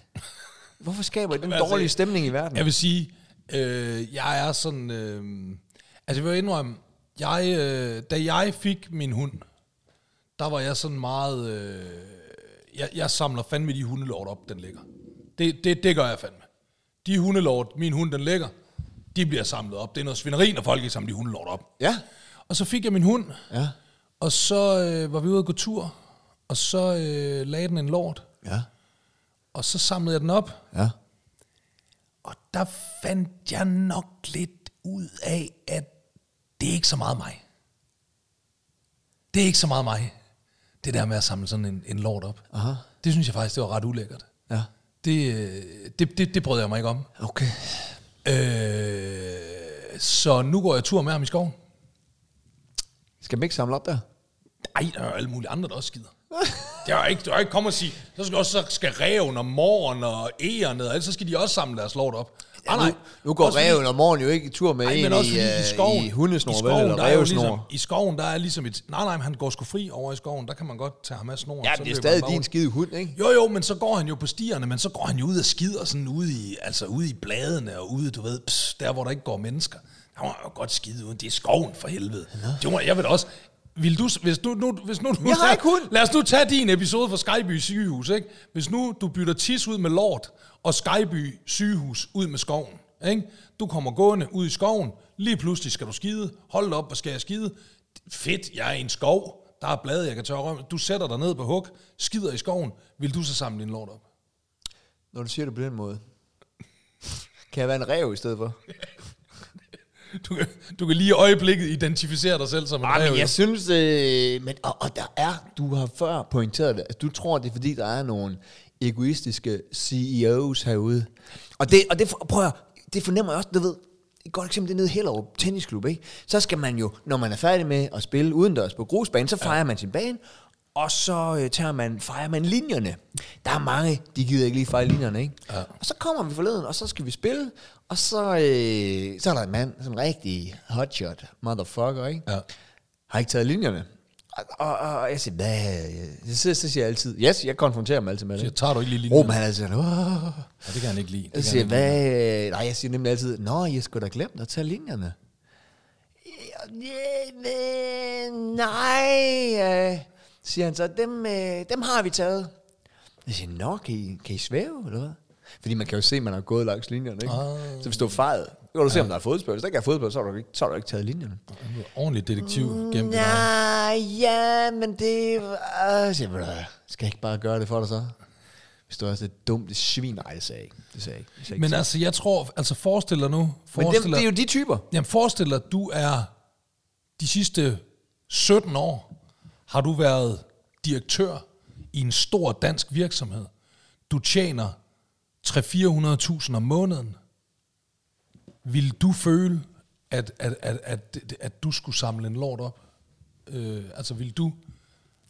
Speaker 2: Hvorfor skaber I den
Speaker 1: Altså,
Speaker 2: dårlige stemning i verden?
Speaker 1: Jeg vil sige, øh, jeg er sådan... Øh, altså, jeg vil indrømme, jeg, øh, da jeg fik min hund, der var jeg sådan meget... Øh, jeg, jeg samler fandme de hundelort op, den ligger. Det, det, det gør jeg fandme. De hundelort, min hund, den ligger, de bliver samlet op. Det er noget svineri, når folk ikke samler de hundelort op.
Speaker 2: Ja.
Speaker 1: Og så fik jeg min hund,
Speaker 2: Ja.
Speaker 1: og så øh, var vi ude at gå tur, og så øh, lagde den en lort,
Speaker 2: Ja.
Speaker 1: og så samlede jeg den op,
Speaker 2: Ja.
Speaker 1: og der fandt jeg nok lidt ud af, at det er ikke så meget mig. Det er ikke så meget mig, det der med at samle sådan en, en lort op.
Speaker 2: Aha.
Speaker 1: Det synes jeg faktisk, det var ret ulækkert.
Speaker 2: Ja.
Speaker 1: Det, øh, det, det, det brød jeg mig ikke om.
Speaker 2: Okay.
Speaker 1: Øh, så nu går jeg tur med ham i skoven.
Speaker 2: Skal man ikke samle op der?
Speaker 1: Ej, der er jo alle mulige andre, der også skider. Det er jo ikke, du er ikke komme og sige, så skal, også, så skal reven og morgen og æren, og alt, så skal de også samle deres lort op. Ja,
Speaker 2: nu, nu går
Speaker 1: Også fordi-
Speaker 2: reven om morgenen jo ikke i tur med
Speaker 1: Nej,
Speaker 2: en
Speaker 1: men også
Speaker 2: i,
Speaker 1: fordi i,
Speaker 2: øh,
Speaker 1: skoven,
Speaker 2: i hundesnor,
Speaker 1: i
Speaker 2: vel,
Speaker 1: skoven,
Speaker 2: eller
Speaker 1: der er jo
Speaker 2: revsnor.
Speaker 1: ligesom, i skoven, der er ligesom et, nej nej, men han går sgu fri over i skoven, der kan man godt tage ham af snoren.
Speaker 2: Ja,
Speaker 1: så
Speaker 2: det er
Speaker 1: løber
Speaker 2: stadig
Speaker 1: han bare
Speaker 2: din
Speaker 1: rundt.
Speaker 2: skide hund, ikke?
Speaker 1: Jo jo, men så går han jo på stierne, men så går han jo ud og skider sådan ude i, altså ude i bladene og ude, du ved, pss, der hvor der ikke går mennesker. Han må jo godt skide uden, det er skoven for helvede. Jo, jeg vil da også, vil du, hvis du nu... Hvis nu du
Speaker 2: Jeg har ikke hund.
Speaker 1: Lad os nu tage din episode fra Skyby sygehus, ikke? Hvis nu du bytter tis ud med lort, og Skyby sygehus ud med skoven, ikke? Du kommer gående ud i skoven, lige pludselig skal du skide, hold da op, hvor skal jeg skide? Fedt, jeg er i en skov, der er blade, jeg kan tørre røm. Du sætter dig ned på hug, skider i skoven, vil du så samle din lort op?
Speaker 2: Når du siger det på den måde. Kan jeg være en rev i stedet for?
Speaker 1: Du kan, du kan lige i øjeblikket identificere dig selv som en
Speaker 2: Ej,
Speaker 1: ræv.
Speaker 2: Ah, men jeg synes, øh, men, og, og der er, du har før pointeret det, at du tror, det er fordi, der er nogle egoistiske CEOs herude. Og det, og det for- prøv at, høre, det fornemmer jeg også, du ved, et godt eksempel, det er nede i Hellerup Tennisklub, ikke? Så skal man jo, når man er færdig med at spille udendørs på grusbanen, så fejrer ja. man sin bane, og så øh, tager man, fejrer man linjerne. Der er mange, de gider ikke lige fejre linjerne, ikke? Ja. Og så kommer vi forleden, og så skal vi spille, og så, øh, så er der en mand, sådan en rigtig hotshot motherfucker, ikke?
Speaker 1: Ja.
Speaker 2: har ikke taget linjerne. Og, og, og jeg siger, hvad? Så, så siger jeg altid, yes, jeg konfronterer ham altid med det.
Speaker 1: Siger, "Tager du ikke lige linjerne?"
Speaker 2: Ruben, han er altid sådan, "Åh."
Speaker 1: Ja, det kan han ikke lide. Det
Speaker 2: Jeg
Speaker 1: kan
Speaker 2: siger,
Speaker 1: han ikke
Speaker 2: hvad? Nej, jeg siger nemlig altid, nå, jeg skulle da glemt at tage linjerne. "Ja, men Nej, øh," siger han så, dem, øh, dem har vi taget. Jeg siger, nå, kan I, kan I svæve, eller hvad? Fordi man kan jo se, at man har gået langs linjerne, ikke?
Speaker 1: Ah.
Speaker 2: Oh. Så hvis du har fejret, kan du se, om der er fodspil. Hvis der ikke er fodspil, så har du ikke, så har du ikke taget linjerne.
Speaker 1: lide. Ordentlig detektiv gennem det her.
Speaker 2: Nej, Ah, ja, men det... Øh, siger, jeg, "Ved du hvad, skal jeg ikke bare gøre det for dig så? Hvis du er så dumt det svin. Nej, det sagde jeg ikke. Det sagde jeg ikke. Det sagde jeg
Speaker 1: Men
Speaker 2: ikke.
Speaker 1: altså, jeg tror, altså forestil dig nu,
Speaker 2: men det,
Speaker 1: forestil
Speaker 2: det, er
Speaker 1: dig,
Speaker 2: jo de typer.
Speaker 1: jamen forestil dig, at du er, de sidste 17 år, har du været direktør i en stor dansk virksomhed. Du tjener 300-400.000 om måneden. Vil du føle, at, at, at, at, at du skulle samle en lort op? Øh, altså, vil du...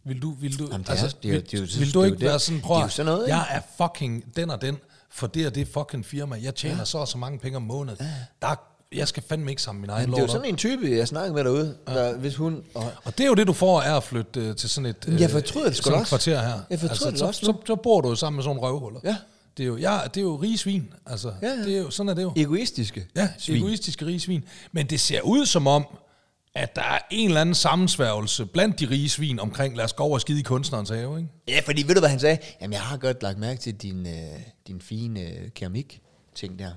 Speaker 1: Vil du, vil du,
Speaker 2: Jamen, det er-
Speaker 1: altså,
Speaker 2: det er jo- det er jo-
Speaker 1: vil,
Speaker 2: det
Speaker 1: vil
Speaker 2: er
Speaker 1: du
Speaker 2: jo
Speaker 1: ikke
Speaker 2: det.
Speaker 1: være sådan, prøv
Speaker 2: Det er jo
Speaker 1: at-
Speaker 2: sådan noget, ikke?
Speaker 1: jeg er fucking den og den, for det og det fucking firma, jeg tjener ja. så og så mange penge om måneden. Der, er- jeg skal fandme ikke samle min egen
Speaker 2: Men det er jo
Speaker 1: lort op.
Speaker 2: sådan en type, jeg snakker med derude. Der, hvis hun... Og,
Speaker 1: Og det er jo det, du får af at flytte øh, til sådan et,
Speaker 2: Jamen, jeg fortryder det sgu
Speaker 1: sådan
Speaker 2: da
Speaker 1: et
Speaker 2: også.
Speaker 1: kvarter her. Altså,
Speaker 2: Jeg fortryder det
Speaker 1: så,
Speaker 2: også
Speaker 1: så,
Speaker 2: nu.
Speaker 1: så, bor du jo sammen med sådan nogle røvhuller.
Speaker 2: Ja.
Speaker 1: Det er jo, ja, det er jo rige svin. Altså,
Speaker 2: Ja, ja.
Speaker 1: Det er jo, sådan er det jo.
Speaker 2: egoistiske
Speaker 1: Ja, svin.
Speaker 2: svin.
Speaker 1: egoistiske rige svin. Men det ser ud som om, at der er en eller anden sammensværgelse blandt de rige svin omkring, lad os gå over og skide i kunstnerens have, ikke?
Speaker 2: Ja, fordi ved du, hvad han sagde? Jamen, jeg har godt lagt mærke til din, øh, din fine øh, keramik ting der.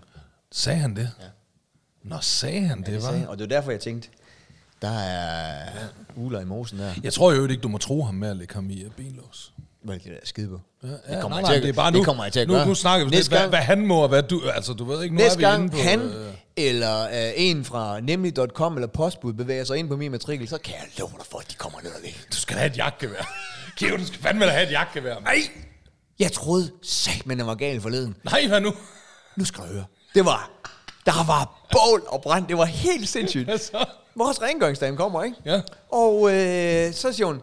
Speaker 1: Sagde han det? Ja. Nå, sagde han det,
Speaker 2: Det
Speaker 1: var.
Speaker 2: sagde, og det var derfor, jeg tænkte, der er uler i mosen der.
Speaker 1: Jeg tror jo ikke, du må tro ham med at lægge ham i øh, benlås.
Speaker 2: Hvad er det der skide på?
Speaker 1: Ja, ja, nej,
Speaker 2: kommer jeg
Speaker 1: nej,
Speaker 2: til at-
Speaker 1: det er bare
Speaker 2: det
Speaker 1: nu,
Speaker 2: kommer jeg til at
Speaker 1: nu,
Speaker 2: gøre.
Speaker 1: Nu snakker vi
Speaker 2: Næste
Speaker 1: lidt, hvad,
Speaker 2: gang-
Speaker 1: hvad, han må og hvad du... Altså, du ved ikke, nu
Speaker 2: Næste
Speaker 1: er vi inde
Speaker 2: gang
Speaker 1: på...
Speaker 2: han
Speaker 1: øh,
Speaker 2: eller øh, en fra nemlig.com eller postbud bevæger sig ind på min matrikel, så kan jeg love dig for, at de kommer ned og væk.
Speaker 1: Du skal da have et jagtgevær. Kæve, du skal fandme da have et jagtgevær. Nej,
Speaker 2: Jeg troede sagt, men den var gal forleden.
Speaker 1: nej, hvad nu?
Speaker 2: Nu skal du høre. Det var, der var bål og brand. Det var helt sindssygt.
Speaker 1: Hvad så?
Speaker 2: Vores rengøringsdame kommer, ikke?
Speaker 1: Ja.
Speaker 2: Og øh, så siger hun,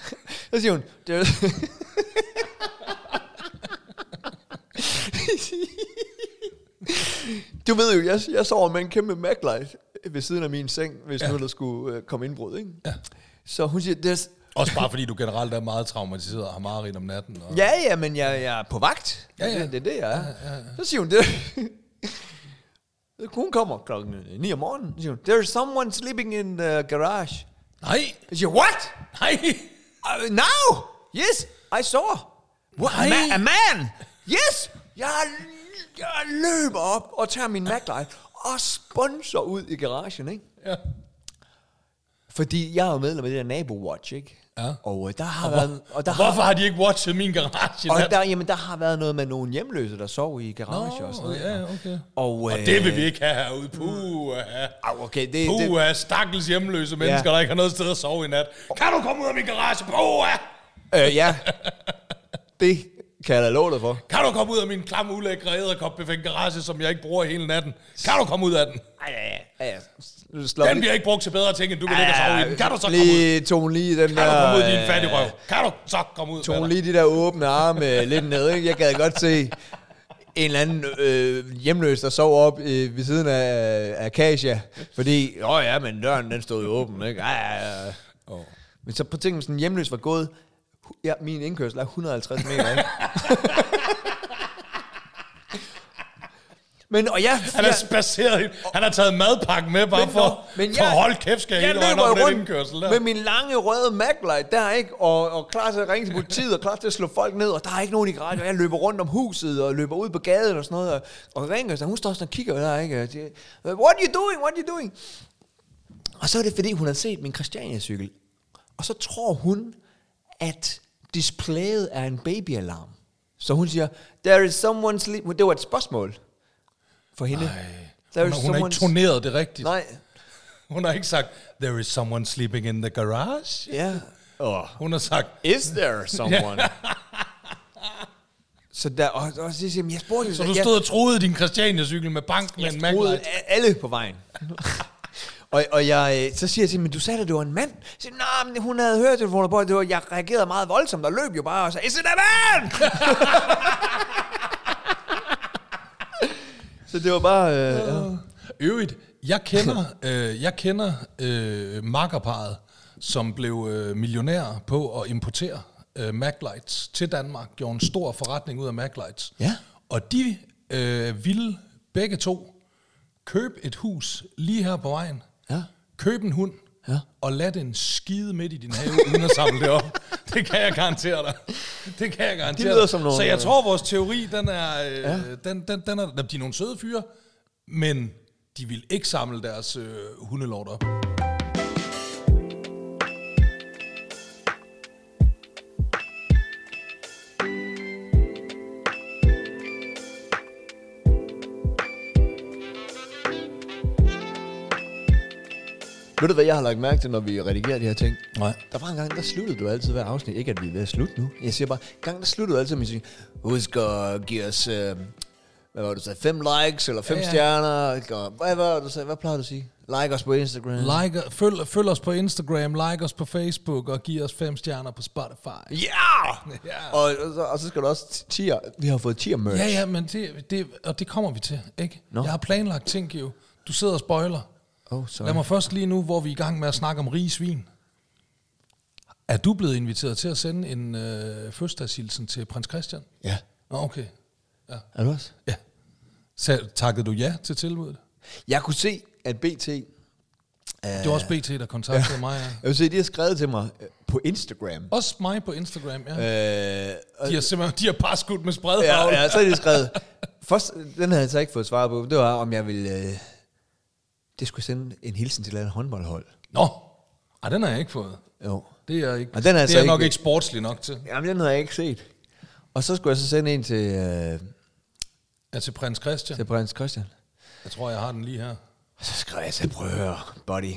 Speaker 2: så siger hun, det var, du ved jo, jeg, jeg sover med en kæmpe maglight ved siden af min seng, hvis ja. nu der skulle øh, komme indbrud, ikke? Ja. Så hun siger, det er,
Speaker 1: Også bare fordi du generelt er meget traumatiseret og har mareridt om natten. Og...
Speaker 2: Ja, ja, men jeg, jeg er på vagt.
Speaker 1: Ja, ja.
Speaker 2: Det, det er det, jeg er. Ja, ja, ja. Så siger hun det. Hun kommer klokken 9 om morgenen. Så siger hun, there's someone sleeping in the garage.
Speaker 1: Nej,
Speaker 2: Jeg siger, what?
Speaker 1: nej,
Speaker 2: Uh, now? Yes, I saw. What? A, ma- a man? Yes! Jeg, jeg løber op og tager min MacLife og sponsor ud i garagen, ikke?
Speaker 1: Ja.
Speaker 2: Fordi jeg er jo medlem af det der nabo-watch, ikke?
Speaker 1: Ja.
Speaker 2: Og øh, der har været... Og der har,
Speaker 1: Hvorfor har de ikke watchet min garage? i
Speaker 2: og
Speaker 1: nat?
Speaker 2: der, jamen, der har været noget med nogle hjemløse, der sov i garage og sådan noget.
Speaker 1: ja, okay. Mm.
Speaker 2: Og, øh,
Speaker 1: Og det vil vi ikke have herude. Puh,
Speaker 2: Au, okay, det,
Speaker 1: Puh,
Speaker 2: det,
Speaker 1: stakkels hjemløse mennesker,
Speaker 2: Ja.
Speaker 1: der ikke har noget sted at sove i nat. Kan du komme ud af min garage? Puh,
Speaker 2: øh, ja. det kan jeg da love dig for.
Speaker 1: kan du komme ud af min klamme, ulækre æderkopbefængt garage, som jeg ikke bruger hele natten? Kan du komme ud af den?
Speaker 2: Ej, ja, ja. ja. ja. Slå
Speaker 1: Den bliver ikke brugt til bedre ting, end du kan ligge og sove i den. Kan du så komme ud?
Speaker 2: lige, Tog hun lige den
Speaker 1: Kan du komme ud,
Speaker 2: der...
Speaker 1: din fattig røv? Kan du så komme ud?
Speaker 2: Tog hun
Speaker 1: med
Speaker 2: lige de der åbne arme øh, lidt ned, ikke? Jeg gad godt se en eller anden øh, hjemløs, der sov op øh, ved siden af, af Kasia. Fordi, åh oh ja, men døren den stod jo åben, ikke? Ej, ej, ej. Oh. Men så på tænk, hvis en hjemløs var gået... hu- Ja, min indkørsel er 150 meter, ikke? men, og jeg...
Speaker 1: Han er spaceret. i- Han har taget madpakken med bare
Speaker 2: Men
Speaker 1: for,
Speaker 2: nå, men
Speaker 1: for
Speaker 2: jeg-
Speaker 1: hold kæft, skal jeg,
Speaker 2: jeg
Speaker 1: hele vejen
Speaker 2: løber
Speaker 1: op på den
Speaker 2: rundt
Speaker 1: indkørsel
Speaker 2: med
Speaker 1: der.
Speaker 2: min lange røde maglight der, ikke? Og, og klar til at ringe til politiet, og klar til at slå folk ned, og der er ikke nogen i garagen, og jeg løber rundt om huset, og løber ud på gaden og sådan noget, og, og ringer, så hun står sådan og kigger der, ikke? Og siger, What are you doing? What are you doing? Og så er det, fordi hun har set min Christiania-cykel, og så tror hun, at displayet er en babyalarm. Så hun siger, there is someone sleeping... Det var et spørgsmål for hende. There
Speaker 1: Hun,
Speaker 2: is
Speaker 1: hun har
Speaker 2: someone's-
Speaker 1: ikke toneret det rigtigt.
Speaker 2: Nej,
Speaker 1: Hun har ikke sagt, there is someone sleeping in the garage.
Speaker 2: ja. Oh.
Speaker 1: Hun har sagt,
Speaker 2: Is there someone? så der, og, og så siger jeg, jeg spurgte jo
Speaker 1: så du stod og troede din Christiania-cykel med bank med
Speaker 2: jeg,
Speaker 1: en
Speaker 2: jeg troede
Speaker 1: maglight.
Speaker 2: a- alle på vejen. og, og jeg, øh, så siger jeg til hende, men du sagde, at det var en mand. Så siger, jeg, "Nå, men hun havde hørt telefoner på, og det var, jeg reagerede meget voldsomt og løb jo bare og sagde, is it a man? så det var bare, øh, ja.
Speaker 1: Øvrigt, jeg kender, øh, jeg kender øh, makkerparet, som blev øh, millionærer på at importere øh, Maglights til Danmark, gjorde en stor forretning ud af Maglights.
Speaker 2: Ja.
Speaker 1: Og de øh, ville begge to købe et hus lige her på vejen,
Speaker 2: Ja.
Speaker 1: købe en hund,
Speaker 2: Ja.
Speaker 1: og lad den skide midt i din have, uden at samle det op. Det kan jeg garantere dig. Det kan jeg garantere
Speaker 2: lyder
Speaker 1: dig.
Speaker 2: som nogle- øh,
Speaker 1: Så jeg tror, vores teori, den er, øh, ja. den, den, den er, de er nogle søde fyre, men de vil ikke samle deres øh, hundelort op.
Speaker 2: Ved du, hvad jeg har lagt mærke til, når vi redigerer de her ting?
Speaker 1: Nej.
Speaker 2: Der var en gang, der sluttede du altid hver afsnit. Ikke, at vi er ved at slutte nu. Jeg siger bare, en gang, der sluttede du altid med at sige, husk at give os, øh, hvad var det, du sagde, fem likes eller fem ja,
Speaker 1: Ja,
Speaker 2: ja.
Speaker 1: ja.
Speaker 2: stjerner. Og, hvad var det, du sagde? Hvad plejer du at sige? Like os på Instagram.
Speaker 1: Like, følg, følg os på Instagram, like os på Facebook, og giv os fem stjerner på Spotify.
Speaker 2: Yeah!
Speaker 1: Ja.
Speaker 2: Og, og, så, og så skal du også tier. Vi har fået tier merch.
Speaker 1: Ja, ja, men det, det, og det kommer vi til, ikke?
Speaker 2: Nå.
Speaker 1: Jeg har planlagt ting, jo. Du sidder og spoiler.
Speaker 2: Oh, sorry.
Speaker 1: Lad mig først lige nu, hvor vi er i gang med at snakke om rige svin. Er du blevet inviteret til at sende en øh, fødselsdagshilsen til prins Christian?
Speaker 2: Ja.
Speaker 1: Nå, okay.
Speaker 2: Er du også?
Speaker 1: Ja. Så, takkede du ja til tilbuddet?
Speaker 2: Jeg kunne se, at BT...
Speaker 1: Det var også BT, der kontaktede mig. Ja.
Speaker 2: Jeg vil se, de har skrevet til mig øh, på Instagram.
Speaker 1: Også mig på Instagram, ja.
Speaker 2: Øh, og-
Speaker 1: De har simpelthen de har bare skudt med spredt
Speaker 2: ja, ja, så er de skrevet. Først, den havde jeg så ikke fået svar på. Det var, om jeg ville... Øh, det skulle sende en hilsen til et eller andet håndboldhold.
Speaker 1: Nå, Ej, den har jeg ikke fået.
Speaker 2: Jo.
Speaker 1: Det er jeg, ikke,
Speaker 2: Og den er
Speaker 1: det
Speaker 2: altså
Speaker 1: er jeg nok
Speaker 2: ikke-
Speaker 1: ikke sportslig nok til.
Speaker 2: Jamen, den havde jeg ikke set. Og så skulle jeg så sende en til, øh,
Speaker 1: Ja, til prins Christian.
Speaker 2: til prins Christian.
Speaker 1: Jeg tror, jeg har den lige her.
Speaker 2: Og så skrev jeg så, prøv at høre, buddy.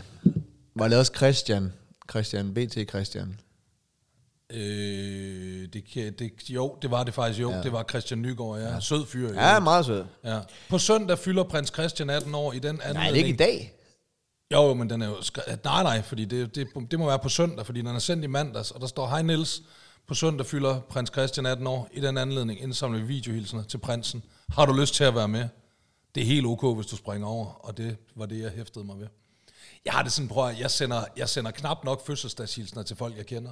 Speaker 2: Var det også Christian? Christian, BT Christian.
Speaker 1: Øh, det, kan- det, jo, det var det faktisk jo. Ja. Det var Christian Nygaard, ja. ja. Sød fyr. jo.
Speaker 2: Ja, meget sød.
Speaker 1: Ja. På søndag fylder prins Christian 18 år i den anden.
Speaker 2: Nej, det er ikke i dag.
Speaker 1: Jo, jo, men den er jo skrevet... Nej, nej, fordi det, det, det må være på søndag, fordi den er sendt i mandags, og der står, Hej Niels, på søndag fylder prins Christian 18 år. I den anledning indsamler vi videohilsener til prinsen. Har du lyst til at være med? Det er helt ok, hvis du springer over, og det var det, jeg hæftede mig ved. Jeg har det sådan, prøv at høre, jeg sender, jeg sender knap nok fødselsdagshilsener til folk, jeg kender.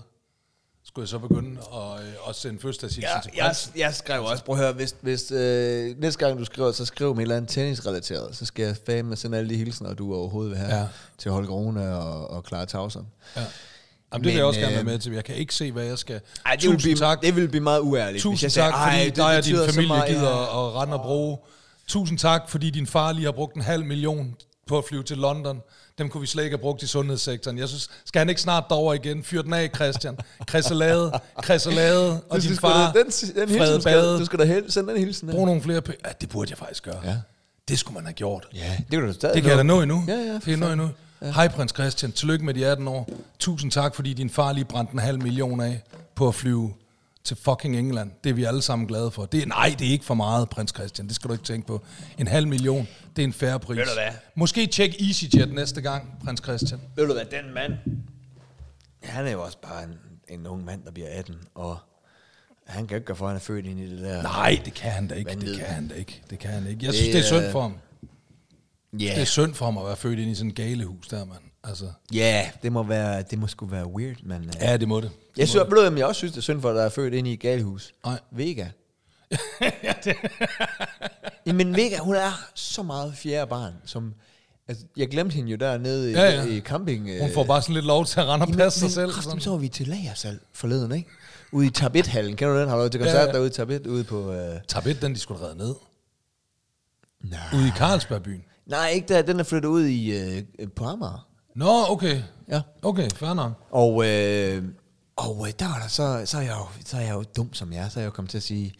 Speaker 1: Skulle jeg så begynde at, øh, at sende fødselsdagshilsener
Speaker 2: Ja,
Speaker 1: til
Speaker 2: jeg,
Speaker 1: prinsen?
Speaker 2: jeg skrev også, prøv at høre, hvis, hvis øh, næste gang du skriver, så skriv med et eller andet tennisrelateret, så skal jeg fandme sende alle de hilsener, du overhovedet vil have
Speaker 1: Ja.
Speaker 2: ja. til Holger Rune og, og Clara Tauson.
Speaker 1: Ja. Jamen, det vil jeg
Speaker 2: Men,
Speaker 1: også gerne være
Speaker 2: øh,
Speaker 1: med til. Jeg kan ikke se, hvad jeg skal.
Speaker 2: Ej, det, ville blive, tak. det ville blive meget uærligt.
Speaker 1: Tusind
Speaker 2: hvis jeg
Speaker 1: tak, fordi
Speaker 2: det
Speaker 1: dig og din
Speaker 2: betyder så
Speaker 1: familie meget,
Speaker 2: meget,
Speaker 1: gider
Speaker 2: ja.
Speaker 1: ja. at rende og bruge. Tusind tak, fordi din far lige har brugt en halv million på at flyve til London. Dem kunne vi slet ikke have brugt i sundhedssektoren. Jeg synes, skal han ikke snart derover igen? Fyr den af, Christian. Chrysalade, Chrysalade og
Speaker 2: Du
Speaker 1: din
Speaker 2: skal sgu
Speaker 1: far.
Speaker 2: da- den, den
Speaker 1: Frede Bade.
Speaker 2: hilsen skal, du skal da hel, sende den hilsen.
Speaker 1: Brug nogle flere penge. Ja, det burde jeg faktisk gøre.
Speaker 2: Ja.
Speaker 1: Det skulle man have gjort.
Speaker 2: Ja, det kan du stadig
Speaker 1: Det kan jeg da
Speaker 2: nå.
Speaker 1: nå endnu.
Speaker 2: Ja, ja,
Speaker 1: det
Speaker 2: for
Speaker 1: kan jeg nå
Speaker 2: fanden.
Speaker 1: endnu. Ja. Hej prins Christian, tillykke med de 18 år. Tusind tak, fordi din far lige brændte en halv million af på at flyve til fucking England. Det er vi alle sammen glade for. Det er, nej, det er ikke for meget, prins Christian. Det skal du ikke tænke på. En halv million, det er en færre pris.
Speaker 2: Ved du hvad?
Speaker 1: Måske tjek EasyJet næste gang, prins Christian.
Speaker 2: Ved du hvad, den mand, han er jo også bare en, en ung mand, der bliver 18, og han kan jo ikke gøre for, at han er født ind i det der...
Speaker 1: Nej, det kan han da ikke. Det
Speaker 2: Vanvid.
Speaker 1: kan han da ikke. Det kan han ikke. Jeg
Speaker 2: Det
Speaker 1: synes, det, er
Speaker 2: er-
Speaker 1: synd for ham.
Speaker 2: Ja,
Speaker 1: Det er synd for ham at være født ind i sådan et galehus der, mand. Altså,
Speaker 2: ja, det må, være, det må sgu være weird, men... øh,
Speaker 1: ja, det må det. det
Speaker 2: Jeg
Speaker 1: må
Speaker 2: synes, ved du, hvem jeg også synes, det er synd for, at der er født ind i et galehus.
Speaker 1: Nej.
Speaker 2: Vega. Jamen, Vega, hun er så meget fjerde barn, som... Altså, jeg glemte hende jo dernede
Speaker 1: Ja, ja.
Speaker 2: ja, ja. i camping. øh,
Speaker 1: det. Hun får bare sådan lidt lov til at rende og passe sig selv.
Speaker 2: Kraften,
Speaker 1: sådan.
Speaker 2: så var vi til lagersal forleden, ikke? Ude i Tabit-hallen. Kender du den? Har du været til
Speaker 1: Ja,
Speaker 2: koncert ja,
Speaker 1: ja.
Speaker 2: ja. derude i Tabit? Ude på... Øh...
Speaker 1: Tabet, den de skulle redde ned.
Speaker 2: Nej.
Speaker 1: Ude i Carlsbergbyen.
Speaker 2: Nej, ikke der. Den er flyttet ud i øh, på Amager.
Speaker 1: Nå, okay.
Speaker 2: Ja.
Speaker 1: Okay, fair nok.
Speaker 2: Og, øh, og øh, der var der så, så, er jeg jo, så er jeg jo dum som jeg, er, så er jeg jo kommet til at sige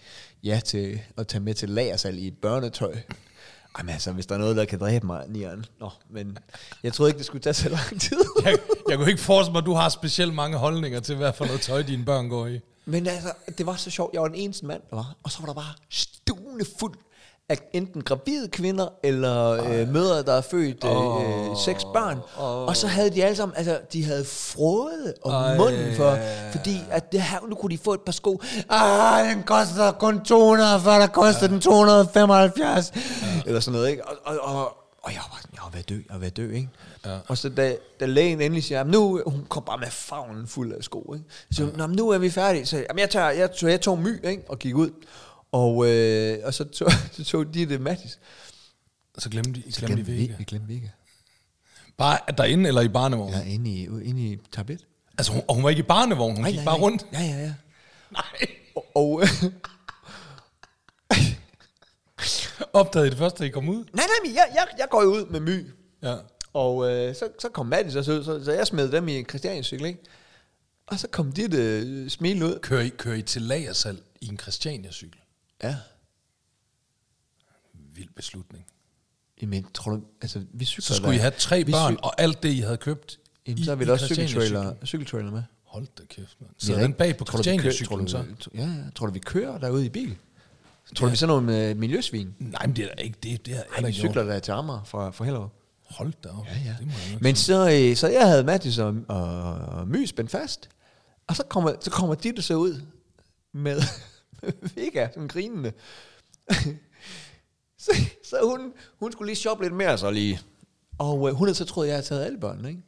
Speaker 2: ja til at tage med til lagersal i børnetøj. Ej, men altså, hvis der er noget, der kan dræbe mig, Nian. Nå, men jeg troede ikke, det skulle tage så lang tid.
Speaker 1: Jeg, jeg kunne ikke forestille mig, at du har specielt mange holdninger til, hvad for noget tøj dine børn går i.
Speaker 2: Men altså, det var så sjovt. Jeg var den eneste mand, der var. Og så var der bare stuende fuld af enten gravide kvinder, eller øh, mødre, der er født øh, øh, seks børn. Og så havde de alle sammen, altså, de havde frået om
Speaker 1: Ej.
Speaker 2: munden for, fordi at det her, nu kunne de få et par sko. Ah, den koster kun 200, for der koster den 275. Eller sådan noget, ikke? Og, og, og, og jeg var sådan, jeg var ved at dø, jeg var ved at dø, ikke? Ja. Og så da, da lægen endelig siger, "Jamen, nu, hun kom bare med favnen fuld af sko, ikke? Så siger hun, "Nå, men nu er vi færdige. Så jamen, jeg, tager, jeg, tog, jeg tog my, ikke? Og gik ud. Og, øh, og så, tog, så tog de det Mattis.
Speaker 1: Så glemte de, glemte de Vega.
Speaker 2: Vi glemte Vega.
Speaker 1: Bare er derinde eller i barnevognen?
Speaker 2: Ja,
Speaker 1: Ja.
Speaker 2: inde i, inde i tablet.
Speaker 1: Altså, hun, og hun var ikke i barnevognen, hun gik bare rundt.
Speaker 2: Ja, ja, ja.
Speaker 1: Nej.
Speaker 2: Og, og øh,
Speaker 1: Opdagede I det første, da I kom ud?
Speaker 2: nej, nej, men jeg, jeg, jeg går jo ud med my.
Speaker 1: Ja.
Speaker 2: Og øh, så, så kom Mattis også ud, så, så jeg smed dem i en Christianscykel, ikke? Og så kom dit øh, smil ud.
Speaker 1: Kører I, kører I til lagersal i en Christiania-cykel?
Speaker 2: Ja.
Speaker 1: Vild beslutning.
Speaker 2: Jamen, tror du, altså, vi cykler
Speaker 1: Så skulle I
Speaker 2: da.
Speaker 1: have tre
Speaker 2: Vi
Speaker 1: børn,
Speaker 2: cyk-
Speaker 1: og alt det, I havde købt
Speaker 2: Jamen, så har vi
Speaker 1: i
Speaker 2: da også
Speaker 1: Christiania-cyklen.
Speaker 2: cykeltrailer, cykeltrailer med.
Speaker 1: Hold da kæft, mand.
Speaker 2: Vi
Speaker 1: Så
Speaker 2: har
Speaker 1: den
Speaker 2: ikke-
Speaker 1: bag på
Speaker 2: tror du, vi kører-
Speaker 1: Christiania-cyklen, så?
Speaker 2: tror du- Ja, ja. Tror du, vi kører derude i bil? Tror du, vi sådan nogle øh, miljøsvin?
Speaker 1: Nej, men det er da ikke det. Det er
Speaker 2: Nej, vi cykler der til Amager fra, fra Hellerup.
Speaker 1: Hold da op. Ja, ja. Det må jeg nok
Speaker 2: Men så, øh, så jeg havde Mathis og, og, og My spændt fast, og så kommer, så kommer Ditte så ud med Vega, sådan grinende. så så hun, hun skulle lige shoppe lidt mere så lige. Og øh, hun havde så troet, jeg havde taget alle børnene, ikke?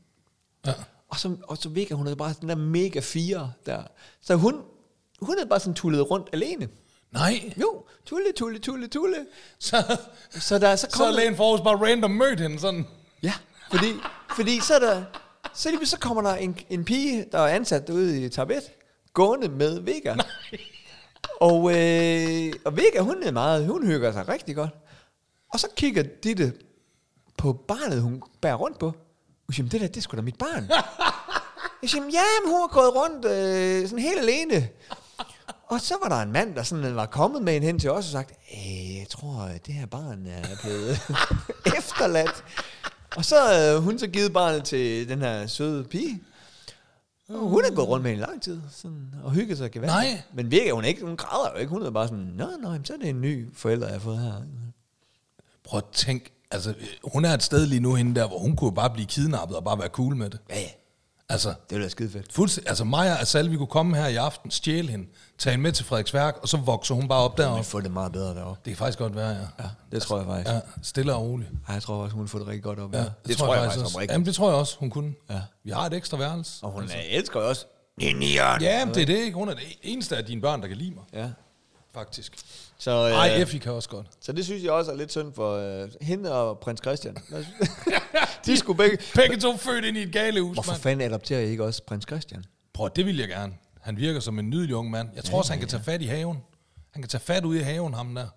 Speaker 1: Ja.
Speaker 2: Og så, og så Vega, hun havde bare den der mega fire der. Så hun, hun havde bare sådan tullet rundt alene.
Speaker 1: Nej.
Speaker 2: Jo, tulle, tulle, tulle, tulle.
Speaker 1: Så,
Speaker 2: Så, der, så
Speaker 1: så
Speaker 2: kom
Speaker 1: er lægen for Aarhus bare random mødt hende sådan.
Speaker 2: Ja, fordi, fordi så, er der, så, lige, pludselig så kommer der en, en pige, der er ansat derude i Tabet, gående med Vega. Og, øh, og Vega, hun er meget, hun hygger sig rigtig godt. Og så kigger Ditte på barnet, hun bærer rundt på. Hun siger, "Men det der, det er sgu da mit barn. Jeg siger, ja, men hun har gået rundt øh, sådan helt alene. Og så var der en mand, der sådan var kommet med en hen til os og sagt, "Øh, jeg tror, at det her barn er blevet efterladt. Og så havde øh, hun så givet barnet til den her søde pige. Og hun har gået rundt med en lang tid sådan, og hygget sig gevaldigt.
Speaker 1: Nej.
Speaker 2: Men virker hun ikke, hun græder jo ikke. Hun er bare sådan, nå, nå, jamen, så er det en ny forælder, jeg har fået her.
Speaker 1: Prøv at tænk, altså øh, hun er et sted lige nu hende der, hvor hun kunne bare blive kidnappet og bare være cool med det.
Speaker 2: Ja, ja.
Speaker 1: Altså,
Speaker 2: Det ville være skide fedt.
Speaker 1: fuldstændig, altså Maja og Salvi kunne komme her i aften, stjæle hende, tage hende med til Frederiksværk, og så vokser hun bare op
Speaker 2: Hun
Speaker 1: deroppe.
Speaker 2: får det meget bedre derovre.
Speaker 1: Det kan faktisk godt være, ja.
Speaker 2: Ja, det tror jeg faktisk.
Speaker 1: Altså, Ja, stille og roligt.
Speaker 2: Ej, jeg tror faktisk, hun får det rigtig godt op.
Speaker 1: Ja,
Speaker 2: her. det, tror jeg, faktisk
Speaker 1: også.
Speaker 2: oprigtigt.
Speaker 1: Jamen, det tror jeg også, hun kunne.
Speaker 2: Ja.
Speaker 1: Vi har et ekstra værelse.
Speaker 2: Og hun altså. elsker jo også.
Speaker 8: En nion.
Speaker 1: Ja, men det er det ikke. Hun er det eneste af dine børn, der kan lide mig,
Speaker 2: Ja.
Speaker 1: faktisk.
Speaker 2: Så,
Speaker 1: Nej,
Speaker 2: øh,
Speaker 1: Effie kan også godt.
Speaker 2: så det synes jeg også er lidt synd for øh, hende og prins Christian. de skulle begge...
Speaker 1: Begge to født ind i et gale hus,
Speaker 2: Hvorfor
Speaker 1: mand.
Speaker 2: fanden adopterer I ikke også prins Christian?
Speaker 1: Prøv, det vil jeg gerne. Han virker som en nydelig ung mand. Jeg tror også, han kan tage fat i haven. Han kan tage fat ud i haven, ham der.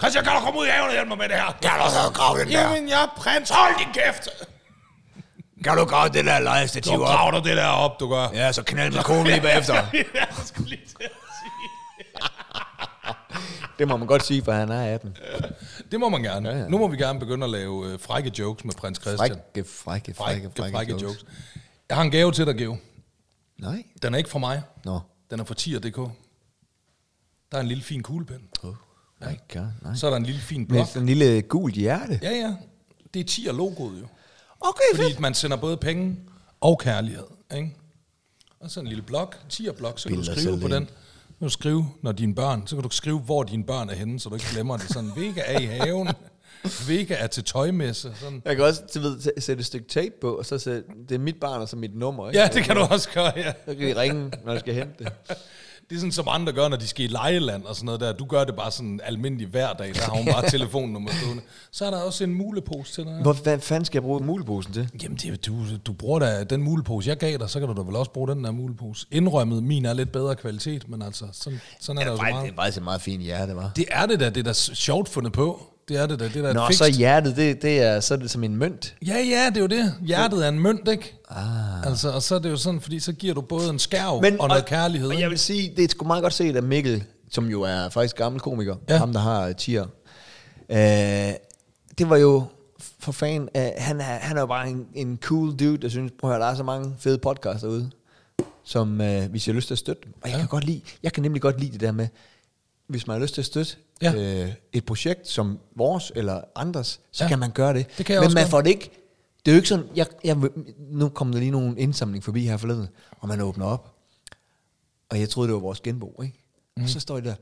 Speaker 1: Christian, kan du komme ud i haven og hjælpe mig med det her?
Speaker 8: Kan du så grave den der?
Speaker 1: Jamen, jeg er prins. Hold din kæft!
Speaker 8: Kan du grave det der lejestativ
Speaker 1: Du
Speaker 8: op?
Speaker 1: graver dig det der op, du gør.
Speaker 8: Ja, så knald med konen lige bagefter.
Speaker 2: Det må man godt sige, for han er 18.
Speaker 1: Det må man gerne.
Speaker 2: Ja, ja.
Speaker 1: Nu må vi gerne begynde at lave øh, frække jokes med prins Christian.
Speaker 2: Frække,
Speaker 1: Frække,
Speaker 2: frække, frække,
Speaker 1: frække, frække jokes. Jeg har en gave til dig, Geo.
Speaker 2: Nej.
Speaker 1: Den er ikke fra mig.
Speaker 2: Nå.
Speaker 1: Den er fra 10.dk. Der er en lille fin kuglepen.
Speaker 2: Oh, my God, nej.
Speaker 1: Så er der en lille fin blok.
Speaker 2: Med en lille gul hjerte.
Speaker 1: Ja, ja. Det er 10'er logoet jo.
Speaker 2: Okay,
Speaker 1: Fordi man sender både penge og kærlighed. Ikke? Og så en lille blok, 10'er blok, så kan du
Speaker 2: Bilder
Speaker 1: skrive
Speaker 2: selv
Speaker 1: på
Speaker 2: ind.
Speaker 1: den. Så kan du skrive, når dine børn, så kan du skrive, hvor dine børn er henne, så du ikke glemmer det. Sådan, Vega er i haven, Vega er til tøjmesse. Sådan.
Speaker 2: Jeg kan også du ved, sæ- sætte et stykke tape på, og så sætte, det er mit barn, og så mit nummer. Ikke? Altså,
Speaker 1: Ja, det kan du også gøre, ja.
Speaker 2: Så kan de ringe, når jeg skal hente det.
Speaker 1: Det er sådan, som andre gør, når de skal i lejeland og sådan noget der. Du gør det bare sådan almindelig hver dag. Der har hun bare telefonnummer stående. Så er der også en mulepose til dig.
Speaker 2: Hvor, hvad fanden skal jeg bruge muleposen til?
Speaker 1: Jamen, det, er- du, du bruger da den mulepose, jeg gav dig, så kan du da vel også bruge den der mulepose. Indrømmet, min er lidt bedre kvalitet, men altså, sådan, sådan er der jo så meget.
Speaker 2: er faktisk et meget fint hjerte, var.
Speaker 1: Det er det da, det er da sjovt fundet på. Det er det da, det er da
Speaker 2: Nå,
Speaker 1: fikst.
Speaker 2: så hjertet, det, det er, så er det som en mønt.
Speaker 1: Ja, ja, det er jo det. Hjertet er en mønt, ikke? Ah. Altså, og så er det jo sådan, fordi så giver du både en skærv Men, og noget kærlighed.
Speaker 2: Og jeg vil sige, det er sgu meget godt set af Mikkel, som jo er faktisk gammel komiker,
Speaker 1: Ja.
Speaker 2: ja. ham der har tier. Øh, det var jo for fan, øh, han, er, han er jo bare en, en cool dude, der synes, prøv at høre, der er så mange fede podcasts derude, som øh, hvis jeg har lyst til at støtte dem. Og jeg, ja. kan godt lide, jeg kan nemlig godt lide det der med, hvis man har lyst til at støtte
Speaker 1: Ja.
Speaker 2: ja. øh, et projekt som vores eller andres,
Speaker 1: Ja.
Speaker 2: så ja. kan man gøre det.
Speaker 1: Det kan jeg
Speaker 2: Men
Speaker 1: også
Speaker 2: man
Speaker 1: godt.
Speaker 2: får det ikke. Det er jo ikke sådan, jeg, jeg, nu kom der lige nogen indsamling forbi her forleden, og man åbner op, og jeg troede, det var vores genbo, ikke? Mm. Og så står jeg der,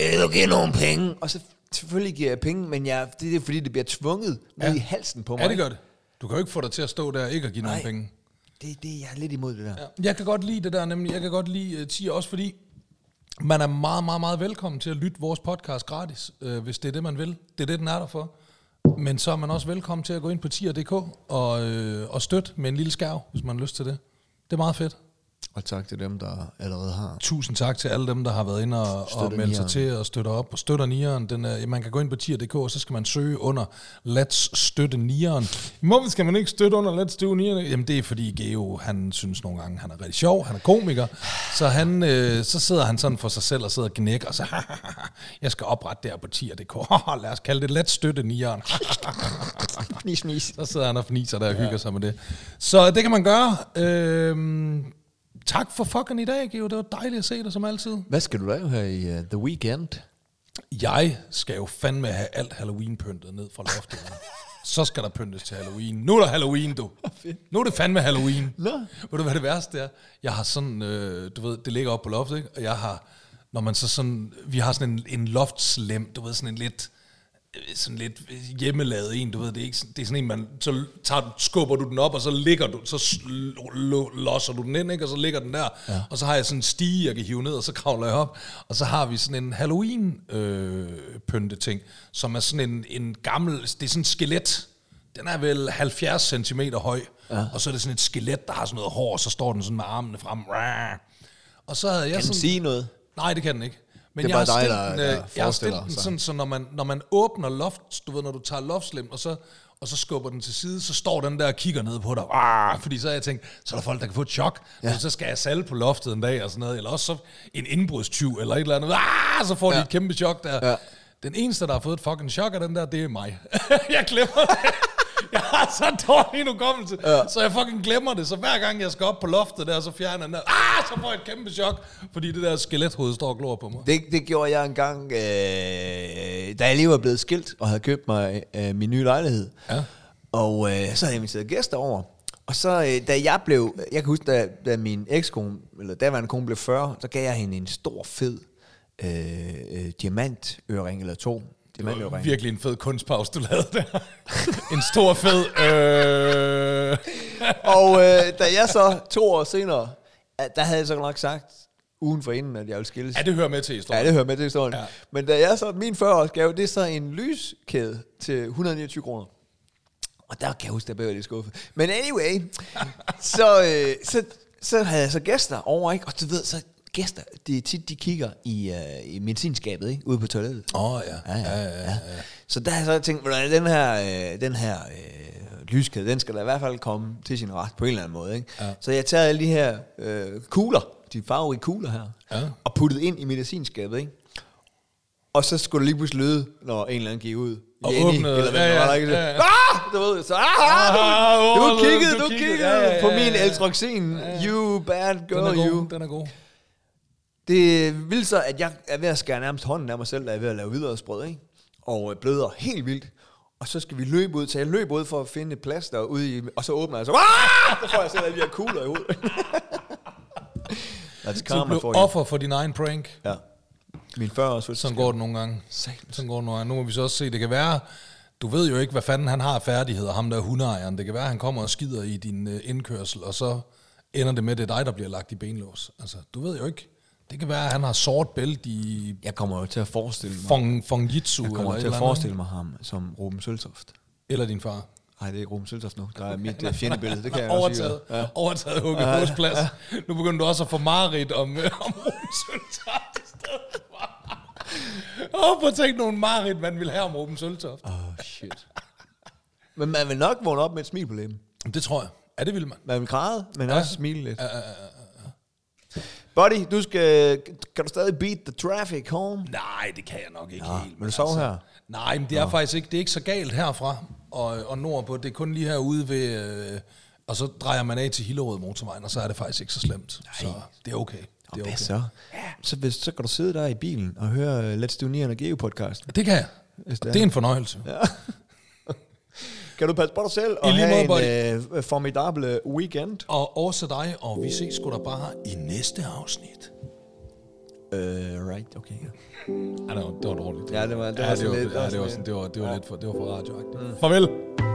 Speaker 2: "Øh,
Speaker 8: Vil du give nogle penge?
Speaker 2: og så selvfølgelig giver jeg penge, men jeg, det er fordi, det bliver tvunget ja. ned i halsen på mig.
Speaker 1: Ja, det gør det. Du kan jo ikke få dig til at stå der og ikke at give nogen
Speaker 2: Nej.
Speaker 1: penge.
Speaker 2: Det, er det, jeg er lidt imod det der. Ja.
Speaker 1: Ja. Jeg kan godt lide det der, nemlig. Jeg kan godt lide uh, tier, også fordi man er meget, meget, meget velkommen til at lytte vores podcast gratis, øh, hvis det er det, man vil. Det er det, den er der for. Men så er man også velkommen til at gå ind på tier.dk og, øh, og støtte med en lille skærv, hvis man har lyst til det. Det er meget fedt.
Speaker 2: Og tak til dem, der allerede har.
Speaker 1: Tusind tak til alle dem, der har været inde og, og
Speaker 2: Støtter
Speaker 1: meldt sig
Speaker 2: nieren.
Speaker 1: til og støtter op. Og støtter nieren, den er, man kan gå ind på tier.dk, og så skal man søge under Let's støtte nieren. Hvorfor skal man ikke støtte under Let's støtte nieren? Jamen det er fordi Geo, han synes nogle gange, han er rigtig sjov, han er komiker. Så, han, øh, så sidder han sådan for sig selv og sidder og gnækker, og så, jeg skal oprette der på tier.dk. Lad os kalde det Let's støtte nieren.
Speaker 2: Fnis, fnis.
Speaker 1: Så sidder han og fniser der og hygger sig med det. Så det kan man gøre. Øhm, tak for fucking i dag, Geo. Det var dejligt at se dig som altid.
Speaker 2: Hvad skal du lave her i uh, The Weekend?
Speaker 1: Jeg skal jo fandme have alt Halloween-pyntet ned fra loftet. mand. Så skal der pyntes til Halloween. Nu er der Halloween, du. Nu er det fandme Halloween.
Speaker 2: Nå.
Speaker 1: Ved du, hvad det værste er? Jeg har sådan, øh, du ved, det ligger oppe på loftet, ikke? Og jeg har, når man så sådan, vi har sådan en, en loftslem, du ved, sådan en lidt, øh, sådan lidt hjemmelavet en, du ved, det er, ikke, sådan- det er sådan en, man, så tager, du- skubber du den op, og så ligger du, så sl- lo- losser du den ind, ikke, og så ligger den der, ja. og så har jeg sådan en stige, jeg kan hive ned, og så kravler jeg op, og så har vi sådan en Halloween øh, pynteting, som er sådan en, en gammel, det er sådan en skelet, den er vel 70 cm høj, ja. og så er det sådan et skelet, der har sådan noget hår, og så står den sådan med armene frem, og så havde jeg
Speaker 2: Kan
Speaker 1: sådan...
Speaker 2: du sige noget?
Speaker 1: Nej, det kan den ikke. Men
Speaker 2: Det er
Speaker 1: jeg
Speaker 2: bare
Speaker 1: har
Speaker 2: dig,
Speaker 1: stillet
Speaker 2: der-
Speaker 1: den,
Speaker 2: der
Speaker 1: øh, jeg har stillet
Speaker 2: forestiller
Speaker 1: den
Speaker 2: sig.
Speaker 1: sådan, så når man, når man åbner loft, du ved, når du tager loftslim, og så, og så skubber den til side, så står den der og kigger ned på dig. Arh, fordi så har jeg tænkt, så er der folk, der kan få et chok. Ja. Så skal jeg salve på loftet en dag og sådan noget. Eller også så en indbrudstyv eller et eller andet. Arh, så får ja. de et kæmpe chok der. Ja. Den eneste, der har fået et fucking chok af den der, det er mig. jeg glemmer det. Jeg har har så dårlig en hukommelse,
Speaker 2: Ja.
Speaker 1: ja. så jeg fucking glemmer det. Så hver gang jeg skal op på loftet der, så fjerner jeg den der. Ah, så får jeg et kæmpe chok, fordi det der skelethoved står og glor på mig.
Speaker 2: Det, det gjorde jeg engang, øh, da jeg lige var blevet skilt, og havde købt mig øh, min nye lejlighed. Ja. Og øh, så havde jeg inviteret gæster over. Og så, øh, da jeg blev, jeg kan huske, da, da min ekskone, eller daværende kone blev 40, så gav jeg hende en stor, fed øh, øh, diamantøring eller to.
Speaker 1: Det var
Speaker 2: Diamantøring.
Speaker 1: virkelig en fed kunstpause, du lavede der. en stor fed... Øh...
Speaker 2: og øh, da jeg så to år senere, at der havde jeg så nok sagt, ugen for inden, at jeg ville skilles.
Speaker 1: Ja, det hører med til historien.
Speaker 2: Ja, det hører med til historien. Ja. Men da jeg så, min 40-årsgave, det er så en lyskæde til 129 kroner. Og der kan jeg huske, der blev jeg lidt skuffet. Men anyway, så, øh, så, så havde jeg så gæster over, ikke? Og du ved, så gæster, det er tit, de kigger i, øh, i medicinskabet, ikke? Ude på toilettet.
Speaker 1: Åh, oh, ja.
Speaker 2: Ja, ja, ja. Øh, Så der har jeg så tænkt, hvordan den her, øh, den her øh, lyskæde, den skal da i hvert fald komme til sin ret på en eller anden måde, ikke? Ja. Så jeg tager alle de her øh, kugler, de farverige kugler her, ja. og puttet ind i medicinskabet, ikke? Og så skulle det lige pludselig lyde, når en eller anden gik ud.
Speaker 1: Og
Speaker 2: Jenny,
Speaker 1: åbnede,
Speaker 2: Eller hvad
Speaker 1: ja,
Speaker 2: det
Speaker 1: ja,
Speaker 2: var, der ikke?
Speaker 1: ja, ja.
Speaker 2: Ah! Du ved, så, ah, ah,
Speaker 1: Ah,
Speaker 2: du,
Speaker 1: åh,
Speaker 2: du kiggede,
Speaker 1: du
Speaker 2: du
Speaker 1: kiggede,
Speaker 2: kiggede
Speaker 1: ja, ja, ja,
Speaker 2: på min
Speaker 1: ja.
Speaker 2: eltroxin. You bad
Speaker 1: Den er
Speaker 2: girl, you.
Speaker 1: god, den er god.
Speaker 2: Det vil så, at jeg er ved at skære nærmest hånden af mig selv, da jeg er ved at lave hvidløgsbrød, ikke? Og øh, bløder helt vildt. Og så skal vi løbe ud, så jeg løb ud for at finde et plads derude, i, og så åbner jeg så, Aah! så får jeg selv alle de her kugler i hovedet. That's
Speaker 1: Du
Speaker 2: karma
Speaker 1: blev
Speaker 2: for you.
Speaker 1: offer for din egen prank.
Speaker 2: Ja. Min 40 års
Speaker 1: Sådan går det nogle gange. Sådan går det nogle gange. Nu må vi så også se, det kan være, du ved jo ikke, hvad fanden han har af færdigheder, ham der er hundeejeren. Det kan være, han kommer og skider i din øh, indkørsel, og så ender det med, at det er dig, der bliver lagt i benlås. Altså, du ved jo ikke. Det kan være, at han har sort bælte i
Speaker 2: Jeg kommer jo til at forestille mig,
Speaker 1: fong, fong jitsu.
Speaker 2: jeg kommer til at forestille mig ham som Ruben Søltoft.
Speaker 1: Eller din far.
Speaker 2: Nej, det er ikke Ruben Søltoft nu. Der er mit øh, fjendebillede, det kan jeg også
Speaker 1: overtaget,
Speaker 2: sige.
Speaker 1: ja. overtaget Hugo ja, plads. Nu begynder du også at få mareridt om, øh, om Ruben Søltoft i stedet for. Åh, prøv at tænke nogle mareridt, man ville have om Ruben Søltoft.
Speaker 2: Åh, oh, shit. Men man vil nok vågne op med et smil på læben.
Speaker 1: Det tror jeg. Ja, det ville man.
Speaker 2: Man vil græde, men ja. også smile lidt. Ja, ja, ja, Buddy, du skal, kan du stadig beat the traffic home?
Speaker 1: Nej, det kan jeg nok ikke
Speaker 2: Nå,
Speaker 1: helt. altså.
Speaker 2: men du sov her?
Speaker 1: Nej, men det er faktisk ikke, det er ikke så galt herfra og, og nordpå. Det er kun lige herude ved... Øh, og så drejer man af til Hillerød motorvejen, og så er det faktisk ikke så slemt. Nej. Så det er okay. Det er
Speaker 2: Hvad
Speaker 1: okay.
Speaker 2: så? Så, hvis, så kan du sidde der i bilen og høre øh, Let's Do Neon og Geo podcasten.
Speaker 1: Det kan jeg.
Speaker 2: Hvis
Speaker 1: Og
Speaker 2: det er.
Speaker 1: det er en fornøjelse.
Speaker 2: Kan du passe på dig selv
Speaker 1: I
Speaker 2: og
Speaker 1: lige
Speaker 2: have
Speaker 1: måde,
Speaker 2: en øh, formidable weekend?
Speaker 1: Og også dig, og vi ses sgu da bare i næste afsnit.
Speaker 2: Uh, right, okay. Ja.
Speaker 1: Ej, det var, det var dårligt.
Speaker 2: Ja, det var- det var
Speaker 1: ja, det
Speaker 2: sådan
Speaker 1: var,
Speaker 2: lidt-
Speaker 1: ja, det var, sådan, det var, det var lidt for, det var for radioagtigt. Mm. Farvel.